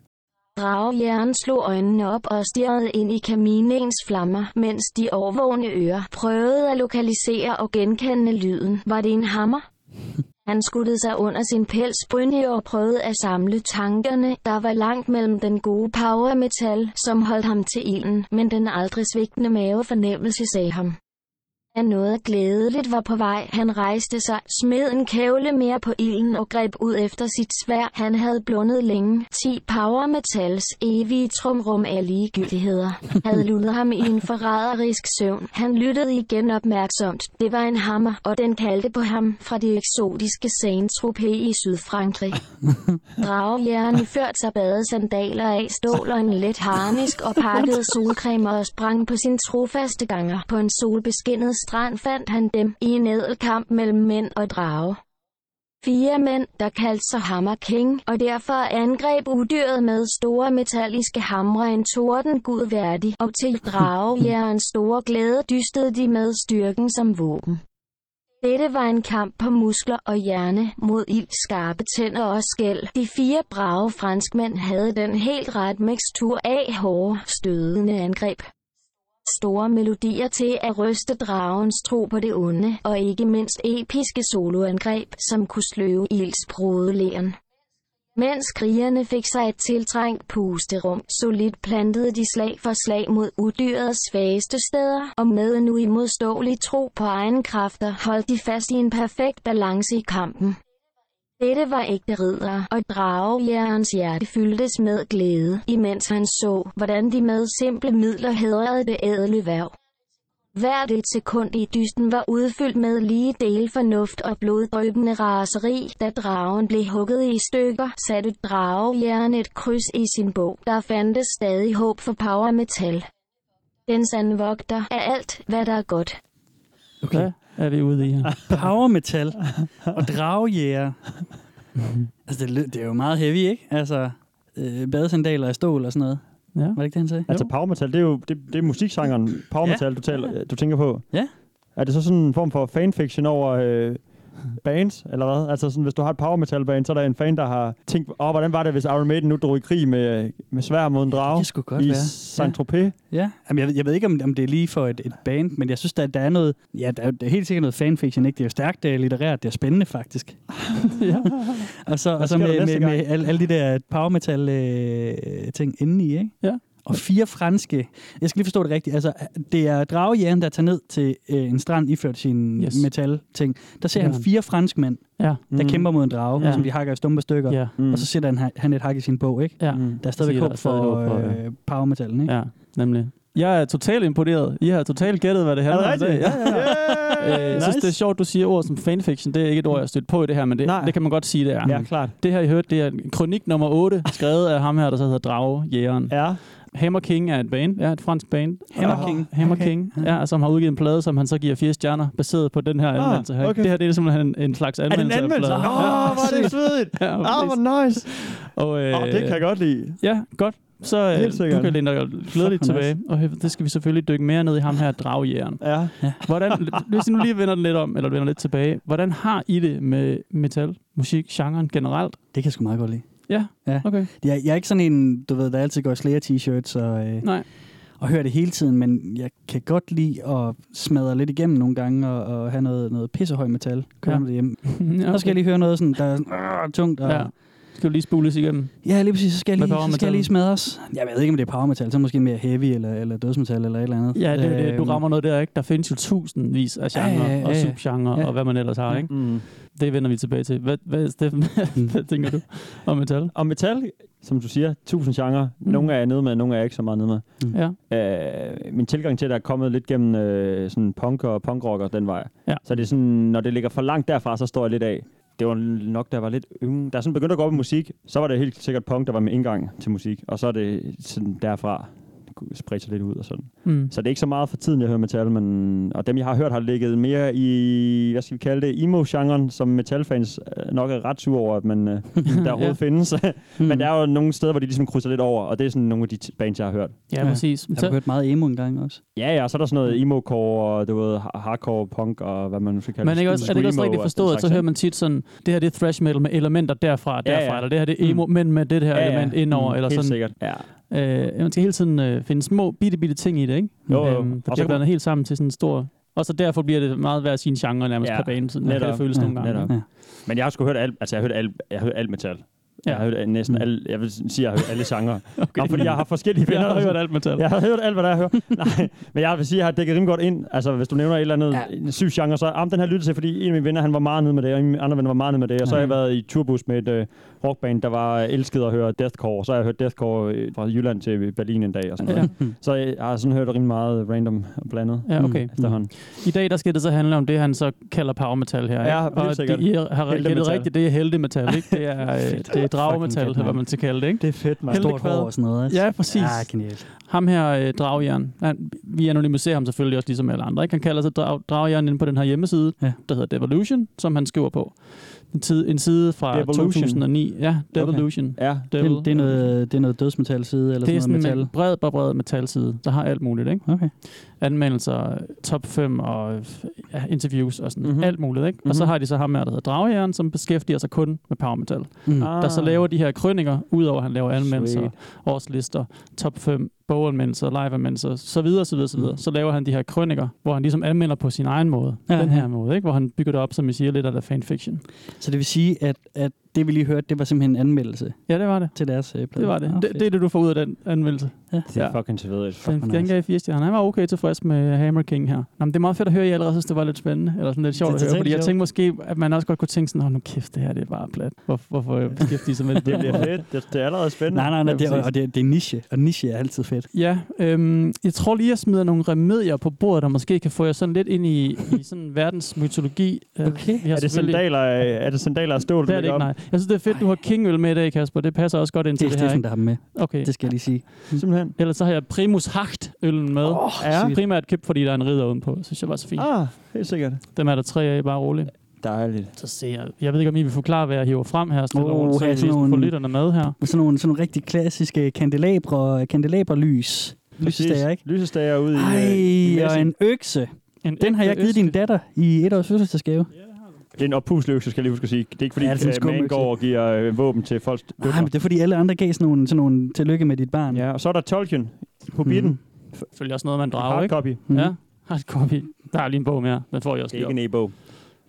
[SPEAKER 2] Draghjernen slog øjnene op og stirrede ind i kaminens flammer, mens de overvågne ører prøvede at lokalisere og genkende lyden. Var det en hammer? Han skuttede sig under sin pels brynje og prøvede at samle tankerne, der var langt mellem den gode power metal, som holdt ham til ilden, men den aldrig svigtende mavefornemmelse sagde ham. At noget glædeligt var på vej, han rejste sig, smed en kævle mere på ilden og greb ud efter sit svær. Han havde blundet længe. 10 power metals evige trumrum af ligegyldigheder havde lullet ham i en forræderisk søvn. Han lyttede igen opmærksomt. Det var en hammer, og den kaldte på ham fra det eksotiske Saint-Tropez i Sydfrankrig. Draghjernen førte sig badesandaler af stål og en let harnisk og pakkede solcreme og sprang på sin trofaste ganger. På en solbeskinnet strand fandt han dem i en ædel kamp mellem mænd og drage. Fire mænd, der kaldte sig Hammer King, og derfor angreb udyret med store metalliske hamre en torden gud værdig, og til dragejærens store glæde dystede de med styrken som våben. Dette var en kamp på muskler og hjerne mod ild, skarpe tænder og skæld. De fire brave franskmænd havde den helt ret mixtur af hårde, stødende angreb. Store melodier til at ryste dragens tro på det onde, og ikke mindst episke soloangreb, som kunne sløve ildsprodeleren. Mens krigerne fik sig et tiltrængt pusterum, solidt plantede de slag for slag mod udyrets svageste steder, og med en uimodståelig tro på egen kræfter holdt de fast i en perfekt balance i kampen. Dette var ægte ridder, og dragejærens hjerte fyldtes med glæde, imens han så, hvordan de med simple midler hædrede det ædle værv. Hvert et sekund i dysten var udfyldt med lige dele fornuft og bloddrøbende raseri, da dragen blev hugget i stykker, satte dragejern et kryds i sin bog. Der fandtes stadig håb for power metal. Den sande vogter er alt, hvad der er godt.
[SPEAKER 4] Okay.
[SPEAKER 3] Hvad er vi ude i her?
[SPEAKER 4] Power metal og dragejæger. altså, det, lød- det er jo meget heavy, ikke? Altså, øh, badesandaler af stål og sådan noget.
[SPEAKER 3] Ja.
[SPEAKER 4] Var det ikke det, han sagde?
[SPEAKER 5] Altså power metal, det er jo det, det er musiksangeren power
[SPEAKER 4] Ja.
[SPEAKER 5] metal, du, taler, du tænker på.
[SPEAKER 4] Ja.
[SPEAKER 5] Er det så sådan en form for fanfiction over øh, bands, eller hvad? Altså sådan, hvis du har et power metal band, så er der en fan, der har tænkt, åh, oh, hvordan var det, hvis Iron Maiden nu drog i krig med, med svær mod en
[SPEAKER 4] Det
[SPEAKER 5] drage
[SPEAKER 4] kan sgu godt
[SPEAKER 5] i
[SPEAKER 4] være.
[SPEAKER 5] Saint-Tropez?
[SPEAKER 4] Ja, Jamen, jeg, ved- jeg ved ikke, om, om det er lige for et, et band, men jeg synes, der, der er noget... Ja, der er, der er helt sikkert noget fanfiction, ikke? Det er jo stærkt, det er litterært, det er spændende, faktisk.
[SPEAKER 3] Ja.
[SPEAKER 4] Og så, og så
[SPEAKER 5] sker der
[SPEAKER 4] med, med,
[SPEAKER 5] næste
[SPEAKER 4] med
[SPEAKER 5] gang?
[SPEAKER 4] alle, alle de der power metal øh, ting indeni, ikke?
[SPEAKER 3] Ja.
[SPEAKER 4] Og fire franske. Jeg skal lige forstå det rigtigt. Altså, det er dragejæren, der tager ned til øh, en strand iført sine
[SPEAKER 3] Yes.
[SPEAKER 4] yes. metal-ting. Der ser
[SPEAKER 3] Det gør
[SPEAKER 4] han
[SPEAKER 3] han.
[SPEAKER 4] fire franskmænd,
[SPEAKER 3] Ja.
[SPEAKER 4] der
[SPEAKER 5] Mm.
[SPEAKER 4] kæmper mod en drage,
[SPEAKER 3] Ja.
[SPEAKER 4] ja. som de hakker i stumpe stykker.
[SPEAKER 3] Ja.
[SPEAKER 5] Mm.
[SPEAKER 4] Og så sætter han, han et hak i sin bog, ikke?
[SPEAKER 3] Ja.
[SPEAKER 5] Mm.
[SPEAKER 4] Der er stadigvæk
[SPEAKER 3] Siger, der
[SPEAKER 4] håb
[SPEAKER 3] er stadig
[SPEAKER 4] for,
[SPEAKER 3] håb for,
[SPEAKER 4] øh, power metal'en, ikke?
[SPEAKER 3] Ja, nemlig. Jeg er totalt imponeret. I har totalt gættet, hvad det handler om. i dag. Ja, ja, ja. Øh,
[SPEAKER 5] ja.
[SPEAKER 3] Jeg synes, det er sjovt, du siger ord som fanfiction. Det er ikke et ord, jeg har stødt på i det her, men det,
[SPEAKER 5] Nej.
[SPEAKER 3] det kan man godt sige, det er.
[SPEAKER 5] Ja, klart.
[SPEAKER 3] Det her, I hørte, det er kronik nummer 8, skrevet af ham her, der så hedder Dragejægeren.
[SPEAKER 5] Ja.
[SPEAKER 3] Hammer King er et band, ja, et fransk band.
[SPEAKER 4] Hammer
[SPEAKER 3] Og-
[SPEAKER 4] King.
[SPEAKER 3] Hammer
[SPEAKER 4] Okay.
[SPEAKER 3] King, ja, som har udgivet en plade, som han så giver fire stjerner, baseret på den her anmeldelse her.
[SPEAKER 5] Ah, okay.
[SPEAKER 3] Det her det er simpelthen en, en slags
[SPEAKER 5] Er det en
[SPEAKER 3] anmeldelse.
[SPEAKER 5] anmeldelse?
[SPEAKER 3] af
[SPEAKER 5] Åh,
[SPEAKER 3] pladen.
[SPEAKER 5] oh, hvor er det svedigt.
[SPEAKER 3] Ja, ja,
[SPEAKER 5] Åh, oh,
[SPEAKER 3] præcis.
[SPEAKER 5] hvor nice.
[SPEAKER 3] og, øh,
[SPEAKER 5] Åh, oh, det kan jeg godt lide.
[SPEAKER 3] Ja, godt. Så øh,
[SPEAKER 5] Helt sikkert.
[SPEAKER 3] du kan læne dig glædeligt
[SPEAKER 4] Fuck, hvor nice.
[SPEAKER 3] tilbage. Og øh, det skal vi selvfølgelig dykke mere ned i ham her, dragjægeren.
[SPEAKER 5] Ja.
[SPEAKER 3] Hvordan, hvis I nu lige vender den lidt om, eller vender lidt tilbage, hvordan har I det med metal, musik, genren generelt?
[SPEAKER 4] Det kan jeg sgu meget godt lide.
[SPEAKER 3] Ja,
[SPEAKER 4] Ja.
[SPEAKER 3] okay.
[SPEAKER 4] Jeg, jeg er ikke sådan en, du ved, der altid går i Slayer-t-shirts og, øh,
[SPEAKER 3] Nej.
[SPEAKER 4] og hører det hele tiden, men jeg kan godt lide at smadre lidt igennem nogle gange og, og have noget, noget pissehøj metal
[SPEAKER 3] Ja.
[SPEAKER 4] kørende ja. derhjemme. Okay.
[SPEAKER 3] ja,
[SPEAKER 4] Så skal jeg lige høre noget, sådan, der er sådan, "Argh", tungt. Og,
[SPEAKER 3] Ja.
[SPEAKER 4] ja.
[SPEAKER 3] Skal du lige spules igennem?
[SPEAKER 4] ja, lige præcis. Så skal
[SPEAKER 3] Med
[SPEAKER 4] jeg lige,
[SPEAKER 3] power
[SPEAKER 4] så skal jeg
[SPEAKER 3] metal.
[SPEAKER 4] lige smadres. Jeg ved ikke, om det er power metal, så måske mere heavy eller, eller dødsmetal eller et eller andet.
[SPEAKER 3] Ja, det, øh, det, du
[SPEAKER 4] Øhm,
[SPEAKER 3] rammer noget der, ikke? Der findes jo tusindvis af
[SPEAKER 4] Ja, ja,
[SPEAKER 3] genrer ja, ja,
[SPEAKER 4] ja,
[SPEAKER 3] og
[SPEAKER 4] ja.
[SPEAKER 3] subgenrer ja.
[SPEAKER 4] Ja.
[SPEAKER 3] og hvad man ellers har, ikke?
[SPEAKER 5] Mm.
[SPEAKER 3] Det vender vi tilbage til. Hvad, hvad Steffen, hvad tænker du om metal?
[SPEAKER 5] Og metal, som du siger, tusind genre.
[SPEAKER 3] Mm.
[SPEAKER 5] Nogle er jeg nede med, nogle er jeg ikke så meget nede med.
[SPEAKER 3] Ja,
[SPEAKER 5] øh, min tilgang til det er kommet lidt gennem øh, sådan punk og punkrocker den vej.
[SPEAKER 3] Ja.
[SPEAKER 5] Så det er sådan, når det ligger for langt derfra, så står jeg lidt af. Det var nok, der var lidt yngre. Da jeg sådan begyndte at gå op i musik, så var det helt sikkert punk, der var min indgang til musik. Og så er det sådan derfra spredt sig lidt ud og sådan.
[SPEAKER 3] mm.
[SPEAKER 5] Så det er ikke så meget for tiden, jeg hører metal, men... Og dem, jeg har hørt, har ligget mere i, hvad skal vi kalde det, emo-genren, som metalfans øh, nok er ret sure over, at man, øh, der overhovedet findes.
[SPEAKER 4] hmm.
[SPEAKER 5] men
[SPEAKER 3] Mm.
[SPEAKER 5] der er jo nogle steder, hvor de ligesom krydser lidt over, og det er sådan nogle af de t- bands, jeg har hørt.
[SPEAKER 3] ja,
[SPEAKER 4] Ja.
[SPEAKER 3] præcis.
[SPEAKER 4] Jeg har hørt meget emo engang også.
[SPEAKER 5] Ja, ja, og så er der sådan
[SPEAKER 3] Mm.
[SPEAKER 5] noget emo-core, og du ved, ha- hardcore punk, og hvad man nu skal kalde
[SPEAKER 3] Men ikke også, er det ikke også
[SPEAKER 5] Screamo
[SPEAKER 3] rigtigt
[SPEAKER 5] og
[SPEAKER 3] forstået,
[SPEAKER 5] den
[SPEAKER 3] at så
[SPEAKER 5] slags,
[SPEAKER 3] hører man tit sådan, det her det er thrash metal med elementer derfra og
[SPEAKER 5] Ja, ja.
[SPEAKER 3] derfra, ja, ja. eller det her det er emo, mm. men med det her ja,
[SPEAKER 5] Ja,
[SPEAKER 3] ja.
[SPEAKER 5] ja.
[SPEAKER 3] element indover, mm. eller
[SPEAKER 5] Helt
[SPEAKER 3] sådan.
[SPEAKER 5] sikkert, ja.
[SPEAKER 3] Øh, man skal hele tiden øh, finde små, bitte, bitte ting i det, ikke?
[SPEAKER 5] Jo, jo.
[SPEAKER 3] Øhm, der
[SPEAKER 5] Og
[SPEAKER 3] bliver
[SPEAKER 5] så-
[SPEAKER 3] blandet helt sammen til sådan en stor... Og så derfor bliver det meget hver sin genre nærmest ja,
[SPEAKER 5] Ja,
[SPEAKER 3] per bane, sådan netop,
[SPEAKER 5] netop.
[SPEAKER 3] det føles
[SPEAKER 4] Ja,
[SPEAKER 3] nogle gange.
[SPEAKER 5] netop.
[SPEAKER 4] Ja.
[SPEAKER 5] Men jeg har sgu hørt alt, altså jeg har hørt alt, jeg har hørt alt metal.
[SPEAKER 3] Ja.
[SPEAKER 5] Ja. Jeg har hørt næsten
[SPEAKER 4] Mm.
[SPEAKER 5] alle, jeg vil sige, jeg har hørt alle genrer.
[SPEAKER 3] Okay.
[SPEAKER 5] Nå, fordi jeg har forskellige
[SPEAKER 3] jeg
[SPEAKER 5] venner.
[SPEAKER 3] har
[SPEAKER 5] der-
[SPEAKER 3] hørt alt metal.
[SPEAKER 5] Jeg har hørt alt, hvad der er hørt. Nej, men jeg vil sige, at jeg har dækket rimelig godt ind. Altså, hvis du nævner et eller andet ja. syv genre, så om den her lyttet til, fordi en af mine venner, han var meget nede med det, og en af mine andre venner var meget nede med det. Og så har
[SPEAKER 3] Mhm.
[SPEAKER 5] jeg været i turbus med et øh, rockband, der var øh, elsket at høre deathcore. Så har jeg hørt deathcore øh, fra Jylland til Berlin en dag og sådan noget. Ja. Så øh, jeg har sådan hørt rimelig meget random og blandet
[SPEAKER 3] Ja,
[SPEAKER 4] Mm,
[SPEAKER 3] Mm. okay.
[SPEAKER 5] efterhånden.
[SPEAKER 3] I dag der skal det så handle om det, han så kalder power metal her.
[SPEAKER 5] Ja,
[SPEAKER 3] ikke?
[SPEAKER 5] helt
[SPEAKER 3] og
[SPEAKER 5] sikkert.
[SPEAKER 3] I har gættet
[SPEAKER 5] Heltemetal.
[SPEAKER 3] rigtigt, det er heldemetal, ikke? Det er, øh, det til dragemetal,
[SPEAKER 4] Fucking
[SPEAKER 3] eller hvad man skal kalde det, ikke?
[SPEAKER 5] Det er fedt,
[SPEAKER 3] Helt-
[SPEAKER 5] mand.
[SPEAKER 4] Stort
[SPEAKER 3] Heltekvad.
[SPEAKER 4] hår og sådan noget. ikke?
[SPEAKER 3] Ja, præcis.
[SPEAKER 4] Ah, genialt.
[SPEAKER 3] Ham her, øh, Dragjern, han, vi anonymiserer ham selvfølgelig også ligesom alle andre. Ikke? Han kalder sig drag, Dragjern inde på den her hjemmeside,
[SPEAKER 4] Ja.
[SPEAKER 3] ja. der hedder Devolution, som han skriver på. En, tid, en side fra
[SPEAKER 5] Devolution.
[SPEAKER 3] 2009. Ja, Devolution. Okay.
[SPEAKER 5] Ja,
[SPEAKER 4] Det, det, er noget, det er noget dødsmetal side, eller
[SPEAKER 3] det
[SPEAKER 4] sådan
[SPEAKER 3] er sådan
[SPEAKER 4] noget metal.
[SPEAKER 3] en bred, bred, bred metalside, der har alt muligt. Ikke?
[SPEAKER 4] Okay.
[SPEAKER 3] Anmeldelser, top 5 og øh, ja, interviews og sådan
[SPEAKER 5] Mhm.
[SPEAKER 3] mm-hmm. alt muligt. Ikke? Mm-hmm. Og så
[SPEAKER 5] Mhm.
[SPEAKER 3] har de så ham her, der hedder Dragjern, som beskæftiger sig kun med power metal.
[SPEAKER 4] Mm.
[SPEAKER 5] Ah.
[SPEAKER 3] der så laver de her krønninger, udover at han laver anmeldelser,
[SPEAKER 5] Sweet.
[SPEAKER 3] årslister, top 5 boganmeldelser, liveanmeldelser, så videre, så videre, så videre.
[SPEAKER 4] Mm.
[SPEAKER 3] Så laver han de her krønninger, hvor han ligesom anmelder på sin egen måde.
[SPEAKER 4] Ja,
[SPEAKER 3] Ja, den her
[SPEAKER 4] ja.
[SPEAKER 3] måde, ikke? Hvor han bygger det op, som I siger, lidt af det fanfiction.
[SPEAKER 4] Så det vil sige, at, at det vi lige hørte, det var simpelthen en anmeldelse
[SPEAKER 3] Ja, det var det.
[SPEAKER 4] til deres øh, plade.
[SPEAKER 3] Det var det.
[SPEAKER 4] Ah,
[SPEAKER 3] Det,
[SPEAKER 4] fedt.
[SPEAKER 3] det er det, du får ud af den anmeldelse.
[SPEAKER 5] Det er
[SPEAKER 3] Ja.
[SPEAKER 5] fucking svedigt.
[SPEAKER 3] Den,
[SPEAKER 4] hvor
[SPEAKER 3] den
[SPEAKER 4] nice.
[SPEAKER 3] gav 4 stjerner. Han var okay tilfreds med uh, Hammer King her. Nå, men det er meget fedt at høre, I allerede synes, det var lidt spændende. Eller sådan lidt sjovt
[SPEAKER 4] Det er
[SPEAKER 3] at høre,
[SPEAKER 4] totalt
[SPEAKER 3] fordi jeg
[SPEAKER 4] sjovt.
[SPEAKER 3] tænkte måske, at man også godt kunne tænke sådan, "Nå, nu kæft, det her det er bare plat. Hvor, hvorfor beskæftige sig med det? på
[SPEAKER 5] Det
[SPEAKER 3] den
[SPEAKER 5] bliver
[SPEAKER 3] måde?"
[SPEAKER 5] fedt. Det, det er allerede spændende.
[SPEAKER 4] Nej, nej, nej,
[SPEAKER 3] Ja,
[SPEAKER 4] det, er-
[SPEAKER 3] præcis.
[SPEAKER 4] og det, er- det er niche, og niche er altid fedt.
[SPEAKER 3] Ja, øhm, jeg tror lige, jeg smider nogle remedier på bordet, der måske kan få jer sådan lidt ind i, i sådan verdens mytologi. Øh,
[SPEAKER 4] Okay.
[SPEAKER 3] vi har
[SPEAKER 5] Er det
[SPEAKER 3] selvfølgelig-
[SPEAKER 5] sandaler, af- er det sandaler af stål, du
[SPEAKER 3] Det er det
[SPEAKER 5] lægger
[SPEAKER 3] ikke,
[SPEAKER 5] op?
[SPEAKER 3] nej. Jeg synes, det er fedt, du har kingøl med i dag, Kasper. Det passer også godt ind
[SPEAKER 4] Det
[SPEAKER 3] til
[SPEAKER 4] er
[SPEAKER 3] det, her,
[SPEAKER 4] Steffen,
[SPEAKER 3] ikke?
[SPEAKER 4] der har dem med.
[SPEAKER 3] Okay.
[SPEAKER 4] Det skal jeg lige sige.
[SPEAKER 5] Simpelthen.
[SPEAKER 3] Ellers så har jeg Primus Hacht-øllen med.
[SPEAKER 5] Åh,
[SPEAKER 3] ja.
[SPEAKER 5] sygt.
[SPEAKER 3] Primært købt, fordi der er en ridder udenpå. Synes jeg var så fint. Ah.
[SPEAKER 5] Ah, helt sikkert.
[SPEAKER 3] Dem er der tre af, bare roligt.
[SPEAKER 5] Dejligt.
[SPEAKER 3] Så ser jeg. Jeg ved ikke, om I vil forklare, hvad jeg hiver frem her. Stille
[SPEAKER 4] Åh,
[SPEAKER 3] oh, roligt, så
[SPEAKER 4] her
[SPEAKER 3] jeg
[SPEAKER 4] er sådan
[SPEAKER 3] lige får
[SPEAKER 4] nogle-
[SPEAKER 3] lytterne med her.
[SPEAKER 4] Med sådan nogle, sådan nogle rigtig klassiske kandelabre, kandelabrelys. Lysestager, ikke?
[SPEAKER 5] Lysestager ude i... øh, i
[SPEAKER 4] Ej, og
[SPEAKER 5] messen.
[SPEAKER 4] en økse.
[SPEAKER 3] En
[SPEAKER 4] Den har jeg givet din datter i et års fødselsdagsgave.
[SPEAKER 5] Det er en oppuslig økse, skal jeg lige huske at sige. Det er ikke fordi,
[SPEAKER 4] Ja, det er sådan en
[SPEAKER 5] at man
[SPEAKER 4] skumøkse.
[SPEAKER 5] går og giver øh, våben til folks
[SPEAKER 4] Nej, men
[SPEAKER 5] døtre.
[SPEAKER 4] det er fordi alle andre gav sådan nogle, sådan nogle tillykke med dit barn.
[SPEAKER 5] Ja, og så er der Tolkien. Hobbiten. Mm.
[SPEAKER 3] Selvfølgelig også noget, man drager,
[SPEAKER 5] Hard
[SPEAKER 3] ikke?
[SPEAKER 5] copy.
[SPEAKER 4] Mhm.
[SPEAKER 3] Ja, hardcopy. Der er lige en bog mere. Den får jeg også
[SPEAKER 5] Det er
[SPEAKER 3] lige op.
[SPEAKER 5] ikke en e-bog.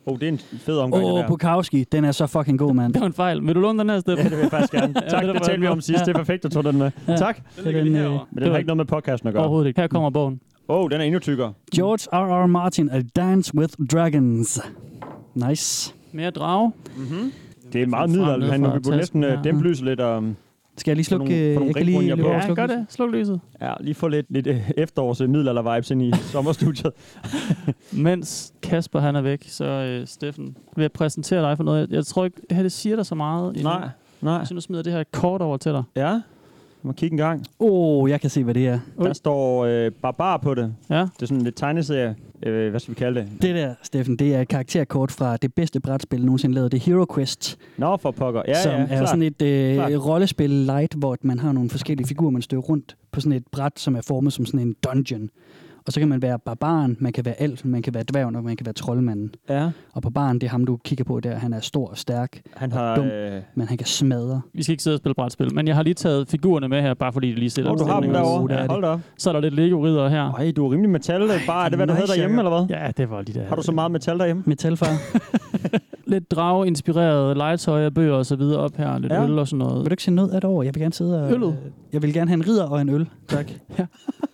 [SPEAKER 5] Åh, oh, det er en fed omgang, oh, det
[SPEAKER 4] Åh,
[SPEAKER 5] der.
[SPEAKER 4] Bukowski, den er så fucking god, mand.
[SPEAKER 3] Det var en fejl. Vil du låne den her, Steffen?
[SPEAKER 5] Ja, det vil jeg faktisk gerne.
[SPEAKER 3] Ja,
[SPEAKER 5] tak,
[SPEAKER 3] det
[SPEAKER 5] det
[SPEAKER 3] var
[SPEAKER 5] talte vi om
[SPEAKER 3] godt.
[SPEAKER 5] sidst. Det er perfekt, at tage den med.
[SPEAKER 4] Ja.
[SPEAKER 5] Tak.
[SPEAKER 4] Den øh, ligger lige herovre.
[SPEAKER 5] Men den har ikke noget med podcasten at gøre. Åh,
[SPEAKER 3] Overhovedet ikke. Her kommer bogen.
[SPEAKER 5] oh, den er endnu tykkere.
[SPEAKER 4] George R. R. Martin, A Dance with Dragons. Nice.
[SPEAKER 3] Mere drage.
[SPEAKER 5] Det er meget
[SPEAKER 3] Frem
[SPEAKER 5] middelalderligt.
[SPEAKER 3] ned
[SPEAKER 5] Han
[SPEAKER 3] fra
[SPEAKER 5] vi burde næsten
[SPEAKER 3] tasken
[SPEAKER 5] øh,
[SPEAKER 3] her.
[SPEAKER 5] dæmpe lyset lidt. og
[SPEAKER 4] Skal jeg lige
[SPEAKER 5] For
[SPEAKER 4] slukke? øh,
[SPEAKER 5] nogle- for nogle
[SPEAKER 4] jeg kan lige
[SPEAKER 5] ringrunde, jeg
[SPEAKER 4] løbe over
[SPEAKER 5] bor.
[SPEAKER 4] og
[SPEAKER 3] Ja,
[SPEAKER 4] slukke
[SPEAKER 3] gør
[SPEAKER 4] lyset?
[SPEAKER 3] det. Sluk lyset.
[SPEAKER 5] ja, lige få lidt, lidt øh, efterårs øh, middelalder-vibes ind i sommerstudiet.
[SPEAKER 3] Mens Kasper han er væk, så øh, Steffen vil jeg præsentere dig for noget. Jeg, jeg tror ikke, at det siger dig så meget. endnu.
[SPEAKER 5] nej, nej.
[SPEAKER 3] Så nu smider jeg det her kort over til dig.
[SPEAKER 5] Ja, må kigge en gang.
[SPEAKER 4] Åh, oh, jeg kan se, hvad det er.
[SPEAKER 5] Der står øh, barbar på det.
[SPEAKER 3] Ja,
[SPEAKER 5] Det er sådan lidt tegneserie. Øh, hvad skal vi kalde det?
[SPEAKER 4] Det der, Steffen, det er et karakterkort fra det bedste brætspil nogensinde lavet, det er Hero Quest,
[SPEAKER 5] Nå, for pokker. Ja,
[SPEAKER 4] som
[SPEAKER 5] ja,
[SPEAKER 4] er
[SPEAKER 5] klart.
[SPEAKER 4] sådan et øh,
[SPEAKER 5] Klart.
[SPEAKER 4] rollespil light, hvor man har nogle forskellige figurer, man støver rundt på sådan et bræt, som er formet som sådan en dungeon. Og så kan man være barbaren, man kan være alfen, man kan være dværgen, og man kan være troldmanden.
[SPEAKER 5] Ja.
[SPEAKER 4] Og barbaren, det er ham, du kigger på der. Han er stor og stærk,
[SPEAKER 5] Han har...
[SPEAKER 4] Dum.
[SPEAKER 5] Øh,
[SPEAKER 4] men han kan smadre.
[SPEAKER 3] vi skal ikke sidde og spille brætspil, men jeg har lige taget figurerne med her, bare fordi det lige sætter
[SPEAKER 5] oh, du har dem
[SPEAKER 3] stemningen.
[SPEAKER 5] derovre.
[SPEAKER 4] Oh, der er
[SPEAKER 5] Ja,
[SPEAKER 4] de.
[SPEAKER 5] hold da op.
[SPEAKER 3] Så er der lidt lego her.
[SPEAKER 5] Ej, du er rimelig metal. øh, Bare, er det, hvad der
[SPEAKER 4] nice,
[SPEAKER 5] hedder derhjemme,
[SPEAKER 4] Jacob.
[SPEAKER 5] eller hvad?
[SPEAKER 3] Ja, det var de der.
[SPEAKER 5] Har du så meget metal derhjemme?
[SPEAKER 4] Metalfar,
[SPEAKER 3] Lidt drage-inspireret legetøj og bøger og så videre op her. Lidt
[SPEAKER 5] Ja.
[SPEAKER 3] ja. øl og sådan noget.
[SPEAKER 4] vil du ikke se noget af det over? Jeg vil gerne sidde og...
[SPEAKER 3] Øllet?
[SPEAKER 4] øh, Jeg vil gerne have en ridder og en øl. Tak.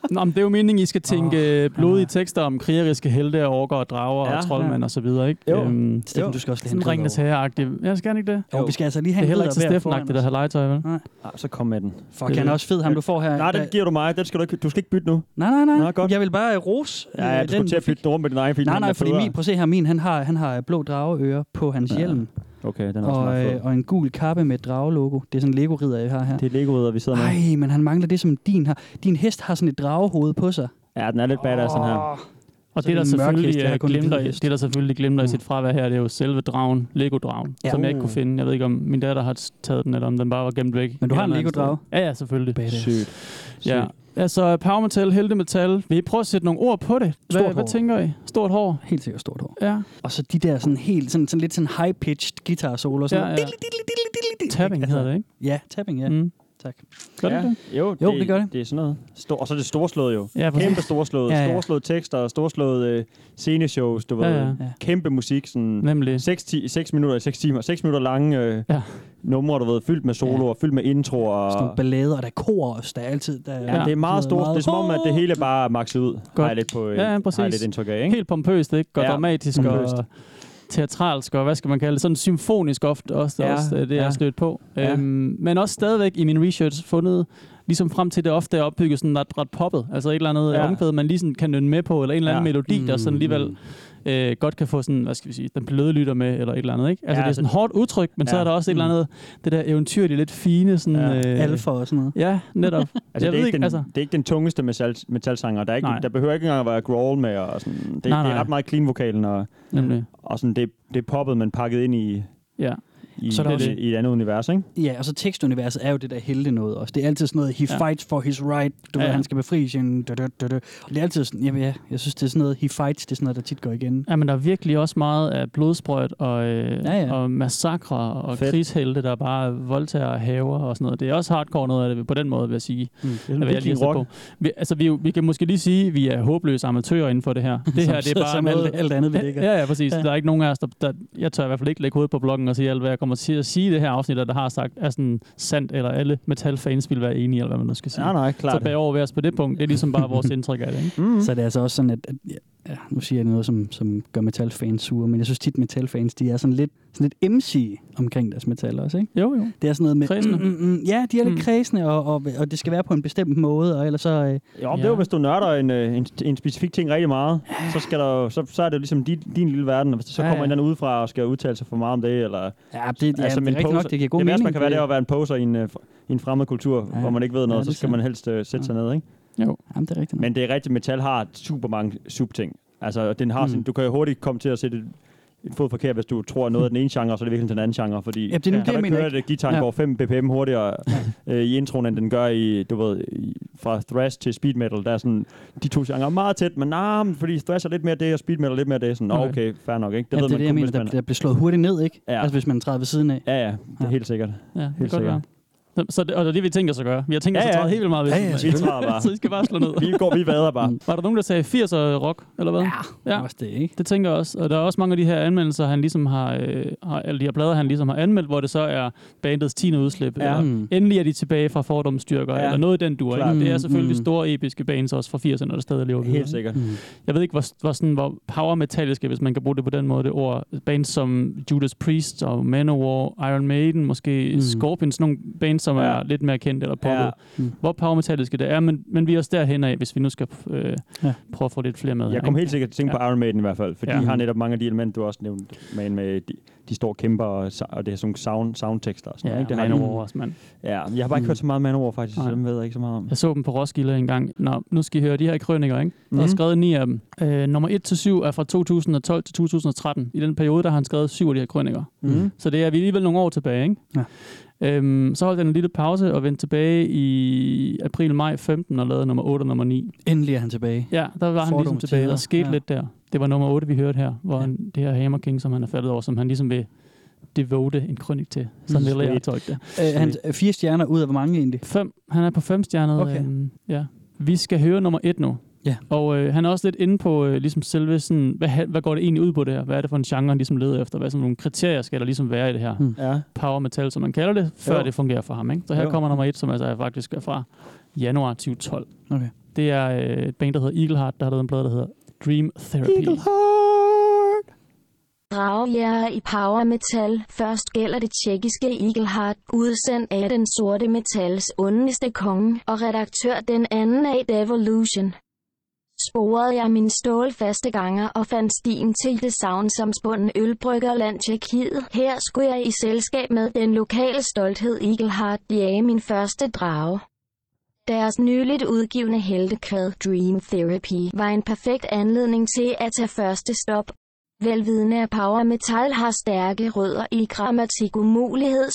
[SPEAKER 3] Nå, men det er jo meningen, I skal tænke oh, blodige tekster om krigeriske helte og orker og drager
[SPEAKER 5] Ja,
[SPEAKER 3] ja, og troldmænd
[SPEAKER 4] ja.
[SPEAKER 3] og så videre, ikke?
[SPEAKER 5] Jo.
[SPEAKER 3] Øhm,
[SPEAKER 4] Steffen,
[SPEAKER 5] Jo.
[SPEAKER 4] du skal også lige have en
[SPEAKER 3] sådan
[SPEAKER 4] ridder
[SPEAKER 3] ringenes herre-agtigt. Ja, skal han ikke det?
[SPEAKER 4] over. Jo, vi skal altså lige
[SPEAKER 3] Det
[SPEAKER 4] have
[SPEAKER 3] er
[SPEAKER 4] en
[SPEAKER 3] heller
[SPEAKER 4] ridder
[SPEAKER 3] ikke så
[SPEAKER 4] hver
[SPEAKER 3] Steffen-agtigt at
[SPEAKER 4] foran os.
[SPEAKER 3] have legetøj, vel?
[SPEAKER 5] Ah, så kom med den.
[SPEAKER 4] Fuck, han er også fed, ham du får her. Øh,
[SPEAKER 5] Nej, den giver du mig. Den skal du ikke, du skal ikke bytte nu.
[SPEAKER 4] Nej, nej, nej.
[SPEAKER 5] Nå, godt.
[SPEAKER 4] Jeg vil bare øh, rose.
[SPEAKER 5] Ja, jeg
[SPEAKER 4] øh,
[SPEAKER 5] skulle til
[SPEAKER 4] vi
[SPEAKER 5] at bytte
[SPEAKER 4] fik.
[SPEAKER 5] den rundt med din egen, fordi
[SPEAKER 4] Nej,
[SPEAKER 5] den
[SPEAKER 4] nej,
[SPEAKER 5] er
[SPEAKER 4] fordi
[SPEAKER 5] federe.
[SPEAKER 4] min, prøv at se her, min, han har, han har øh, blå drageører på hans
[SPEAKER 5] Ja,
[SPEAKER 4] ja, hjelm,
[SPEAKER 5] Okay, den er også
[SPEAKER 4] og,
[SPEAKER 5] meget fed.
[SPEAKER 4] øh, og en gul kappe med et dragelogo. Det er sådan en Lego-ridder, jeg har her.
[SPEAKER 5] Det er Lego-ridder, vi sidder med.
[SPEAKER 4] Nej, men han mangler det, som din har. Din hest har sådan et dragehoved på sig.
[SPEAKER 5] Ja, den er lidt badass, den her.
[SPEAKER 3] Og
[SPEAKER 4] Så
[SPEAKER 3] det,
[SPEAKER 4] det
[SPEAKER 3] der
[SPEAKER 4] er en mørk hest,
[SPEAKER 3] selvfølgelig
[SPEAKER 4] jeg har
[SPEAKER 3] øh,
[SPEAKER 4] kun en
[SPEAKER 3] glemter,
[SPEAKER 4] hvid
[SPEAKER 3] i-
[SPEAKER 4] hest.
[SPEAKER 3] det, der selvfølgelig glemter i
[SPEAKER 4] Mm.
[SPEAKER 3] sit fravær her, det er jo selve dragen, Lego-dragen,
[SPEAKER 4] Ja.
[SPEAKER 3] ja. som jeg ikke
[SPEAKER 5] Uh.
[SPEAKER 3] kunne finde. Jeg ved ikke, om min datter har taget den, eller om den bare var gemt væk.
[SPEAKER 4] Men du har
[SPEAKER 3] Et
[SPEAKER 4] en
[SPEAKER 3] eller andet
[SPEAKER 4] Lego-drage?
[SPEAKER 3] sted. Ja, ja, selvfølgelig.
[SPEAKER 4] Badass.
[SPEAKER 5] Sygt.
[SPEAKER 3] Ja.
[SPEAKER 5] Sygt.
[SPEAKER 3] Altså, power metal, heldemetal. Vil I prøve at sætte nogle ord på det? Hvad,
[SPEAKER 4] Stort
[SPEAKER 3] hvad
[SPEAKER 4] hår.
[SPEAKER 3] tænker I? Stort hår?
[SPEAKER 4] Helt sikkert stort hår.
[SPEAKER 3] Ja.
[SPEAKER 4] Og så de der sådan helt, sådan, sådan lidt sådan high-pitched guitar-solo. Sådan
[SPEAKER 3] Ja,
[SPEAKER 4] noget.
[SPEAKER 3] ja.
[SPEAKER 4] Diddly, diddly, diddly, diddly, diddly.
[SPEAKER 3] Tapping
[SPEAKER 4] Altså,
[SPEAKER 3] hedder det, ikke?
[SPEAKER 4] Ja, tapping, ja.
[SPEAKER 3] Mm.
[SPEAKER 4] Tak.
[SPEAKER 3] Gør det
[SPEAKER 5] Ja.
[SPEAKER 3] det?
[SPEAKER 5] Jo,
[SPEAKER 4] Jo, det gør det.
[SPEAKER 5] Det er sådan noget. Stor, og så er det storslået jo.
[SPEAKER 3] Ja, præcis.
[SPEAKER 5] Kæmpe storslået.
[SPEAKER 4] Ja,
[SPEAKER 5] Ja,
[SPEAKER 4] ja.
[SPEAKER 5] ja. Storslået tekster og storslået øh, sceneshows, du ved.
[SPEAKER 3] Ja, ja.
[SPEAKER 4] Ja.
[SPEAKER 5] Kæmpe musik, sådan
[SPEAKER 3] Nemlig.
[SPEAKER 5] 6, ti- 6 minutter i 6 timer. 6 minutter lange øh,
[SPEAKER 3] Ja.
[SPEAKER 5] ja. numre, du ved, fyldt med soloer, ja. fyldt med introer.
[SPEAKER 4] Sådan nogle
[SPEAKER 5] Og,
[SPEAKER 4] ballader, og der er kor også. Der er altid... Der,
[SPEAKER 5] ja, det er meget
[SPEAKER 4] sådan
[SPEAKER 5] stort.
[SPEAKER 4] noget
[SPEAKER 5] Det er som om, at det hele bare er maxet ud. Har jeg
[SPEAKER 3] Godt.
[SPEAKER 5] lidt, på, øh,
[SPEAKER 3] Ja, ja,
[SPEAKER 5] har jeg
[SPEAKER 3] præcis.
[SPEAKER 5] lidt indtryk af, ikke?
[SPEAKER 3] Helt pompøst, ikke? Og
[SPEAKER 5] Ja.
[SPEAKER 3] ja. dramatisk
[SPEAKER 5] Pompøst.
[SPEAKER 3] og teatralsk, og hvad skal man kalde det? Sådan symfonisk ofte også, ja.
[SPEAKER 5] Ja,
[SPEAKER 3] også øh, det, jeg
[SPEAKER 5] ja.
[SPEAKER 3] har stødt på.
[SPEAKER 5] Ja.
[SPEAKER 3] Ja. Øhm, men også stadigvæk i min research fundet, ligesom frem til det ofte er opbygget sådan ret, ret poppet. Altså et eller andet
[SPEAKER 5] Ja.
[SPEAKER 3] ja. omkvæd, man lige sådan kan nynne med på, eller en eller anden
[SPEAKER 5] Ja.
[SPEAKER 4] Mm.
[SPEAKER 5] Mm.
[SPEAKER 3] melodi, der sådan alligevel øh, godt kan få sådan, hvad skal vi sige, den bløde lytter med, eller et eller andet, ikke? Altså,
[SPEAKER 5] Ja,
[SPEAKER 3] ja, det er sådan et hårdt udtryk, men ja. så
[SPEAKER 5] Ja.
[SPEAKER 3] er der også et eller
[SPEAKER 5] Mm.
[SPEAKER 3] andet, det der eventyrlige, lidt fine, sådan...
[SPEAKER 5] Ja.
[SPEAKER 3] Øh,
[SPEAKER 4] Alfa og sådan noget.
[SPEAKER 3] Ja, netop.
[SPEAKER 5] Altså,
[SPEAKER 3] Jeg
[SPEAKER 5] det, er
[SPEAKER 3] ved
[SPEAKER 5] ikke
[SPEAKER 3] ikke,
[SPEAKER 5] den,
[SPEAKER 3] altså-
[SPEAKER 5] det er ikke den tungeste metal, metalsanger. Der, er ikke,
[SPEAKER 3] Nej.
[SPEAKER 5] der behøver ikke engang at være growl med. Og sådan. Det,
[SPEAKER 3] Nej,
[SPEAKER 5] det
[SPEAKER 3] nej.
[SPEAKER 5] er ret meget clean-vokalen, og,
[SPEAKER 3] Nemlig.
[SPEAKER 5] og sådan, det, det er poppet, men pakket ind i,
[SPEAKER 3] Ja.
[SPEAKER 5] i,
[SPEAKER 4] Så er der
[SPEAKER 5] i,
[SPEAKER 4] også-
[SPEAKER 5] i et andet univers. Ikke?
[SPEAKER 4] Ja, og så tekstuniverset er jo det der helte noget også. Det er altid sådan noget, he
[SPEAKER 3] Ja.
[SPEAKER 4] fights for his right, du
[SPEAKER 3] Ja,
[SPEAKER 4] ja, ved,
[SPEAKER 3] ja.
[SPEAKER 4] han skal befri sin... Da, da, da, da. Og det er altid sådan, jamen ja, jeg synes, det er sådan noget, he fights, det er sådan noget, der tit går igen.
[SPEAKER 3] Ja, men der er virkelig også meget af blodsprøjt og, øh, ja,
[SPEAKER 4] Ja,
[SPEAKER 3] ja.
[SPEAKER 4] ja.
[SPEAKER 3] og massakre og
[SPEAKER 5] Fedt.
[SPEAKER 3] krigshelte, der bare voldtager og haver og sådan noget. Det er også hardcore noget af det, på den måde vil jeg sige.
[SPEAKER 5] Det er
[SPEAKER 3] Hvad jeg lige har sat på. Vi, altså, vi, er jo- vi kan måske lige sige, at vi er håbløse amatører inden for det her. Det her det er bare
[SPEAKER 4] som
[SPEAKER 3] noget,
[SPEAKER 4] alt, alt andet, vi ligger.
[SPEAKER 3] Ja, ja, præcis. Ja.
[SPEAKER 4] Ja.
[SPEAKER 3] Der er ikke nogen af os, der, der... Jeg tør i hvert fald ikke lægge hovedet på bloggen og sige alt, hvad jeg kommer til at sige i det her afsnit, og der har sagt, er sådan sandt, eller alle metalfans vil være enige, eller hvad man nu skal sige.
[SPEAKER 5] Nej, nej,
[SPEAKER 3] så
[SPEAKER 5] klart.
[SPEAKER 3] bag over ved os på det punkt. Det er ligesom bare vores indtryk af det. Ikke?
[SPEAKER 5] Mm.
[SPEAKER 4] Så er det er altså også sådan, at, at ja, ja, nu siger jeg noget, som, som gør metalfans sure, men jeg synes tit, metalfans, de er sådan lidt, sådan lidt MC omkring deres metal også, ikke?
[SPEAKER 3] Jo, jo.
[SPEAKER 4] Det er sådan noget med...
[SPEAKER 3] Kredsende.
[SPEAKER 4] Mm, mm, mm, ja, de er lidt
[SPEAKER 3] Mm.
[SPEAKER 4] mm. kredsende, og, og, og det skal være på en bestemt måde, og ellers så... Øh,
[SPEAKER 5] Jo, men
[SPEAKER 3] Ja.
[SPEAKER 5] det er jo, hvis du nørder en, øh, en, en specifik ting rigtig meget, så, skal der, jo- så, så er det jo ligesom din, din lille verden, og hvis der så
[SPEAKER 3] Ja,
[SPEAKER 5] kommer
[SPEAKER 3] ja.
[SPEAKER 5] en eller anden udefra og skal udtale sig for meget om det, eller...
[SPEAKER 4] ja, det, ja,
[SPEAKER 5] Altså,
[SPEAKER 4] altså,
[SPEAKER 5] men
[SPEAKER 4] det er rigtigt
[SPEAKER 5] poser-
[SPEAKER 4] nok, det giver god
[SPEAKER 5] det
[SPEAKER 4] mening.
[SPEAKER 5] værste, man kan være, det er at være en poser i en, øh, fr- i en fremmed kultur,
[SPEAKER 4] Ja.
[SPEAKER 5] hvor man ikke ved noget,
[SPEAKER 4] Ja,
[SPEAKER 5] så
[SPEAKER 4] det er
[SPEAKER 5] skal man helst øh, sætte sig ned, ikke?
[SPEAKER 4] Jamen, det er rigtigt nok.
[SPEAKER 5] Men det er rigtigt, metal har super mange subting. Altså, den har
[SPEAKER 4] Mm.
[SPEAKER 5] sin, du kan jo hurtigt komme til at sætte en fod forkert, hvis du tror, at noget er den ene genre, så er det virkelig den anden genre, fordi
[SPEAKER 4] Ja, det er nu
[SPEAKER 3] Ja.
[SPEAKER 4] ja.
[SPEAKER 5] kan
[SPEAKER 4] det, jeg
[SPEAKER 5] du ikke
[SPEAKER 4] mener.
[SPEAKER 5] høre, at gitaren
[SPEAKER 4] Ja.
[SPEAKER 5] går 5 bpm hurtigere øh, i introen, end den gør i, du ved, i, fra thrash til speed metal. Der er sådan, de to genrer er meget tæt, men nej, nah, fordi thrash er lidt mere det, og speed metal er lidt mere det. Sådan,
[SPEAKER 3] Okay.
[SPEAKER 5] okay, okay fair nok, ikke? Det
[SPEAKER 4] Det ja,
[SPEAKER 5] ved
[SPEAKER 4] det er
[SPEAKER 5] man
[SPEAKER 4] det, jeg
[SPEAKER 5] kun,
[SPEAKER 4] mener,
[SPEAKER 5] hvis
[SPEAKER 4] der,
[SPEAKER 5] man...
[SPEAKER 4] der bliver slået hurtigt ned, ikke?
[SPEAKER 5] Ja.
[SPEAKER 4] Ja. Altså, hvis man træder ved siden af.
[SPEAKER 5] Ja, ja, det er
[SPEAKER 4] Ja.
[SPEAKER 5] helt sikkert.
[SPEAKER 3] Ja, det kan
[SPEAKER 5] Helt
[SPEAKER 3] godt være.
[SPEAKER 5] sikkert.
[SPEAKER 3] Så- Så det, og det er det, vi tænker os at gøre. Vi har tænkt os
[SPEAKER 5] Ja,
[SPEAKER 3] at
[SPEAKER 5] ja.
[SPEAKER 3] træde helt vildt meget ved.
[SPEAKER 4] Ja,
[SPEAKER 3] siden
[SPEAKER 4] ja,
[SPEAKER 3] af.
[SPEAKER 5] Vi træder bare.
[SPEAKER 3] Så I skal bare slå ned.
[SPEAKER 5] Vi går, vi vader bare.
[SPEAKER 4] Mm.
[SPEAKER 3] Var der nogen, der sagde 80'er rock, eller hvad? Ja.
[SPEAKER 4] Også det, ikke?
[SPEAKER 3] Det tænker jeg også. Og der er også mange af de her anmeldelser, han ligesom har, øh, har eller de her plader, han ligesom har anmeldt, hvor det så er bandets 10. udslip.
[SPEAKER 5] Ja.
[SPEAKER 3] Ja. Eller,
[SPEAKER 4] Mm.
[SPEAKER 3] endelig er de tilbage fra fordomsstyrker, ja.
[SPEAKER 5] Ja.
[SPEAKER 3] eller noget i den dur.
[SPEAKER 5] Klart.
[SPEAKER 3] Ikke? Det er selvfølgelig
[SPEAKER 4] Mm.
[SPEAKER 3] store episke bands også fra 80'erne, der stadig lever videre.
[SPEAKER 5] Helt
[SPEAKER 3] ikke?
[SPEAKER 5] sikkert.
[SPEAKER 4] Mm.
[SPEAKER 3] Jeg ved ikke, hvor, hvor, sådan, hvor powermetalliske, hvis man kan bruge det på den måde, det ord. Bands som Judas Priest og Manowar, Iron Maiden, måske mm.
[SPEAKER 4] Mm.
[SPEAKER 3] Scorpions, nogle bands, som ja.
[SPEAKER 5] Ja.
[SPEAKER 3] er lidt mere kendte eller poppet. Ja.
[SPEAKER 5] Ja.
[SPEAKER 4] Mm.
[SPEAKER 3] Hvor powermetalliske det er, men, men vi er også derhen af, hvis vi nu skal øh, ja.
[SPEAKER 4] Ja.
[SPEAKER 3] prøve at få lidt flere med. her,
[SPEAKER 5] Jeg kom
[SPEAKER 3] ikke?
[SPEAKER 5] helt sikkert til at tænke på Iron Maiden i hvert fald, for
[SPEAKER 3] Ja.
[SPEAKER 5] de har netop mange af de elementer, du også nævnte, man med de, de store kæmper og, sa- og det er sådan nogle sound, soundtekster og sådan
[SPEAKER 3] Ja,
[SPEAKER 5] noget.
[SPEAKER 3] det
[SPEAKER 5] ikke? Det har
[SPEAKER 3] Manowar også, mand.
[SPEAKER 5] de- ja, jeg har bare ikke
[SPEAKER 4] Mm.
[SPEAKER 5] hørt så meget Manowar faktisk, så
[SPEAKER 3] Nej.
[SPEAKER 5] dem ved jeg ikke så meget om.
[SPEAKER 3] Jeg så dem på Roskilde en gang. Nå, nu skal I høre de her krøniker, ikke? Der er
[SPEAKER 5] Mhm.
[SPEAKER 3] skrevet ni af dem. Øh, nummer 1 til 7 er fra 2012 til 2013. I den periode, der har han skrevet syv af de her krøniker.
[SPEAKER 5] Mm.
[SPEAKER 3] Så det er vi er alligevel nogle år tilbage, ikke?
[SPEAKER 4] Ja.
[SPEAKER 3] Øhm, så holdt han en lille pause og vendte tilbage i april-maj 15 og lavede nummer 8 og nummer 9.
[SPEAKER 4] Endelig er han tilbage.
[SPEAKER 3] Ja, der var han
[SPEAKER 4] Fordom
[SPEAKER 3] ligesom tilbage. Der
[SPEAKER 4] tider,
[SPEAKER 3] skete ja.
[SPEAKER 4] ja.
[SPEAKER 3] lidt der. Det var nummer 8, vi hørte her, hvor ja.
[SPEAKER 4] Ja.
[SPEAKER 3] han, det her Hammer King, som han er faldet over, som han ligesom vil devote en krønik til. Sådan
[SPEAKER 4] Mm,
[SPEAKER 3] vil jeg
[SPEAKER 5] sweet.
[SPEAKER 3] tolke det.
[SPEAKER 4] Øh, han er fire stjerner ud af hvor mange egentlig?
[SPEAKER 3] Fem. Han er på femstjernet.
[SPEAKER 4] Okay.
[SPEAKER 3] Øhm, ja. Vi skal høre nummer et nu.
[SPEAKER 4] Ja.
[SPEAKER 3] Og øh, han er også lidt inde på øh, ligesom selve sådan, hvad, han- hvad går det egentlig ud på det her? Hvad er det for en genre, han ligesom leder efter? Hvad er sådan nogle kriterier skal der ligesom være i det her?
[SPEAKER 4] Mm.
[SPEAKER 5] Ja.
[SPEAKER 3] Power metal, som man kalder det, før jo.
[SPEAKER 5] Jo.
[SPEAKER 3] det fungerer for ham. Ikke? Så her jo.
[SPEAKER 5] Jo.
[SPEAKER 3] kommer nummer et, som altså er faktisk er fra januar 2012.
[SPEAKER 4] Okay.
[SPEAKER 3] Det er øh, et band, der hedder Eagleheart, der har lavet en plade, der hedder Dream Therapy.
[SPEAKER 5] Eagleheart!
[SPEAKER 2] Dragjæger i power metal. Først gælder det tjekkiske Eagleheart, udsendt af den sorte metals ondeste konge og redaktør den anden af Devolution. Sporede jeg min stålfaste ganger og fandt stien til det savnsomsbunden ølbryggerland Tjekkiet. Her skulle jeg i selskab med den lokale stolthed Eagleheart jage min første drage. Deres nyligt udgivende heltekvad Dream Therapy var en perfekt anledning til at tage første stop Velvidende af power metal har stærke rødder i grammatik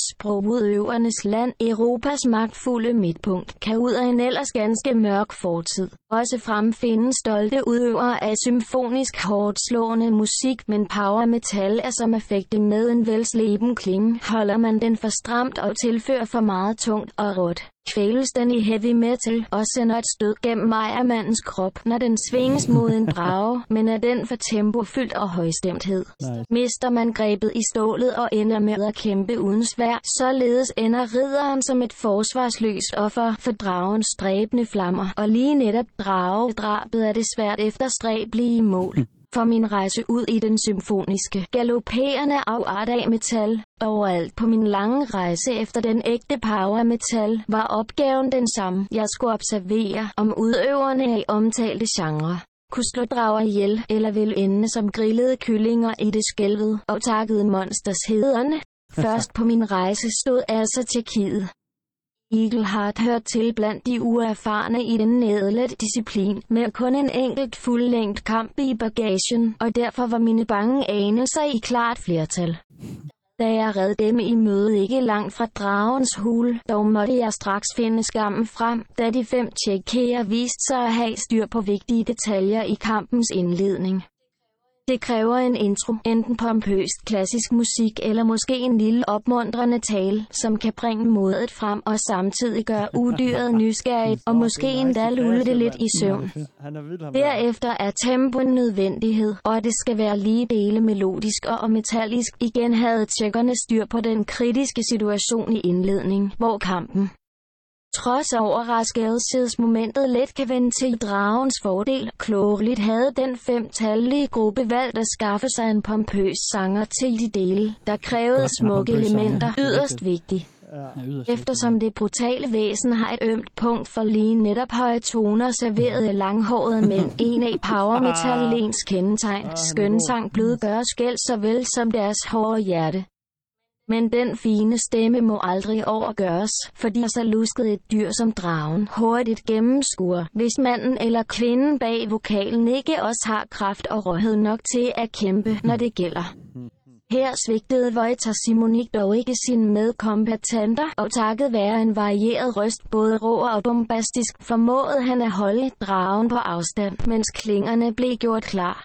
[SPEAKER 2] umulighedssprogudøvernes land, Europas magtfulde midtpunkt, kan ud af en ellers ganske mørk fortid. Også fremfinde stolte udøvere af symfonisk hårdt slående musik, men power metal er som affekte med en velsleben klinge. Holder man den for stramt og tilfører for meget tungt og råt, kvæles den i heavy metal og sender et stød gennem ejermandens krop, når den svinges mod en drage, men er den for tempofyldt og højstemthed.
[SPEAKER 5] Nice.
[SPEAKER 2] Mister man grebet i stålet og ender med at kæmpe uden svær, således ender ridderen som et forsvarsløst offer for dragens stræbende flammer, og lige netop dragedrabet er det svært efterstræbelige mål. For min rejse ud i den symfoniske, galopperende afart af metal, overalt på min lange rejse efter den ægte power metal, var opgaven den samme. Jeg skulle observere, om udøverne af omtalte genre kunne slå drager ihjel, eller ville ende som grillede kyllinger i det skælvede og takkede monsters hederne. Først på min rejse stod altså Tjekkiet. Eagle Heart hørt til blandt de uerfarne i den nedlet disciplin, med kun en enkelt fuldlængt kamp i bagagen, og derfor var mine bange anelser i klart flertal. Da jeg red dem i møde ikke langt fra dragens hul, dog måtte jeg straks finde skammen frem, da de fem tjekkere viste sig at have styr på vigtige detaljer i kampens indledning. Det kræver en intro, enten pompøst klassisk musik eller måske en lille opmuntrende tale, som kan bringe modet frem og samtidig gøre udyret nysgerrigt, og måske endda lulle det altså lidt i søvn.
[SPEAKER 5] Han er vild, ham der.
[SPEAKER 2] Derefter er tempo en nødvendighed, og det skal være lige dele melodisk og metallisk. Igen havde tjekkerne styr på den kritiske situation i indledning, hvor kampen Trods overraskelsesmomentet let kan vende til dragens fordel, klogeligt havde den femtallige gruppe valgt at skaffe sig en pompøs sanger til de dele, der krævede
[SPEAKER 4] Godt med
[SPEAKER 2] smukke
[SPEAKER 4] pompøs sanger.
[SPEAKER 2] elementer,
[SPEAKER 4] Ja,
[SPEAKER 2] yderst vigtigt.
[SPEAKER 4] Ja, yderst
[SPEAKER 2] Eftersom det brutale væsen har et ømt punkt for lige netop høje toner serveret af langhårede mænd, en af power metalens kendetegn, skønsang blødgør skæld såvel som deres hårde hjerte. Men den fine stemme må aldrig overgøres, fordi så luskede et dyr som dragen hurtigt gennemskuer, hvis manden eller kvinden bag vokalen ikke også har kraft og råhed nok til at kæmpe, når det gælder. Her svigtede Wojtar Simonik dog ikke sine medkompetenter, og takket være en varieret røst, både rå og bombastisk, formåede han at holde dragen på afstand, mens klingerne blev gjort klar.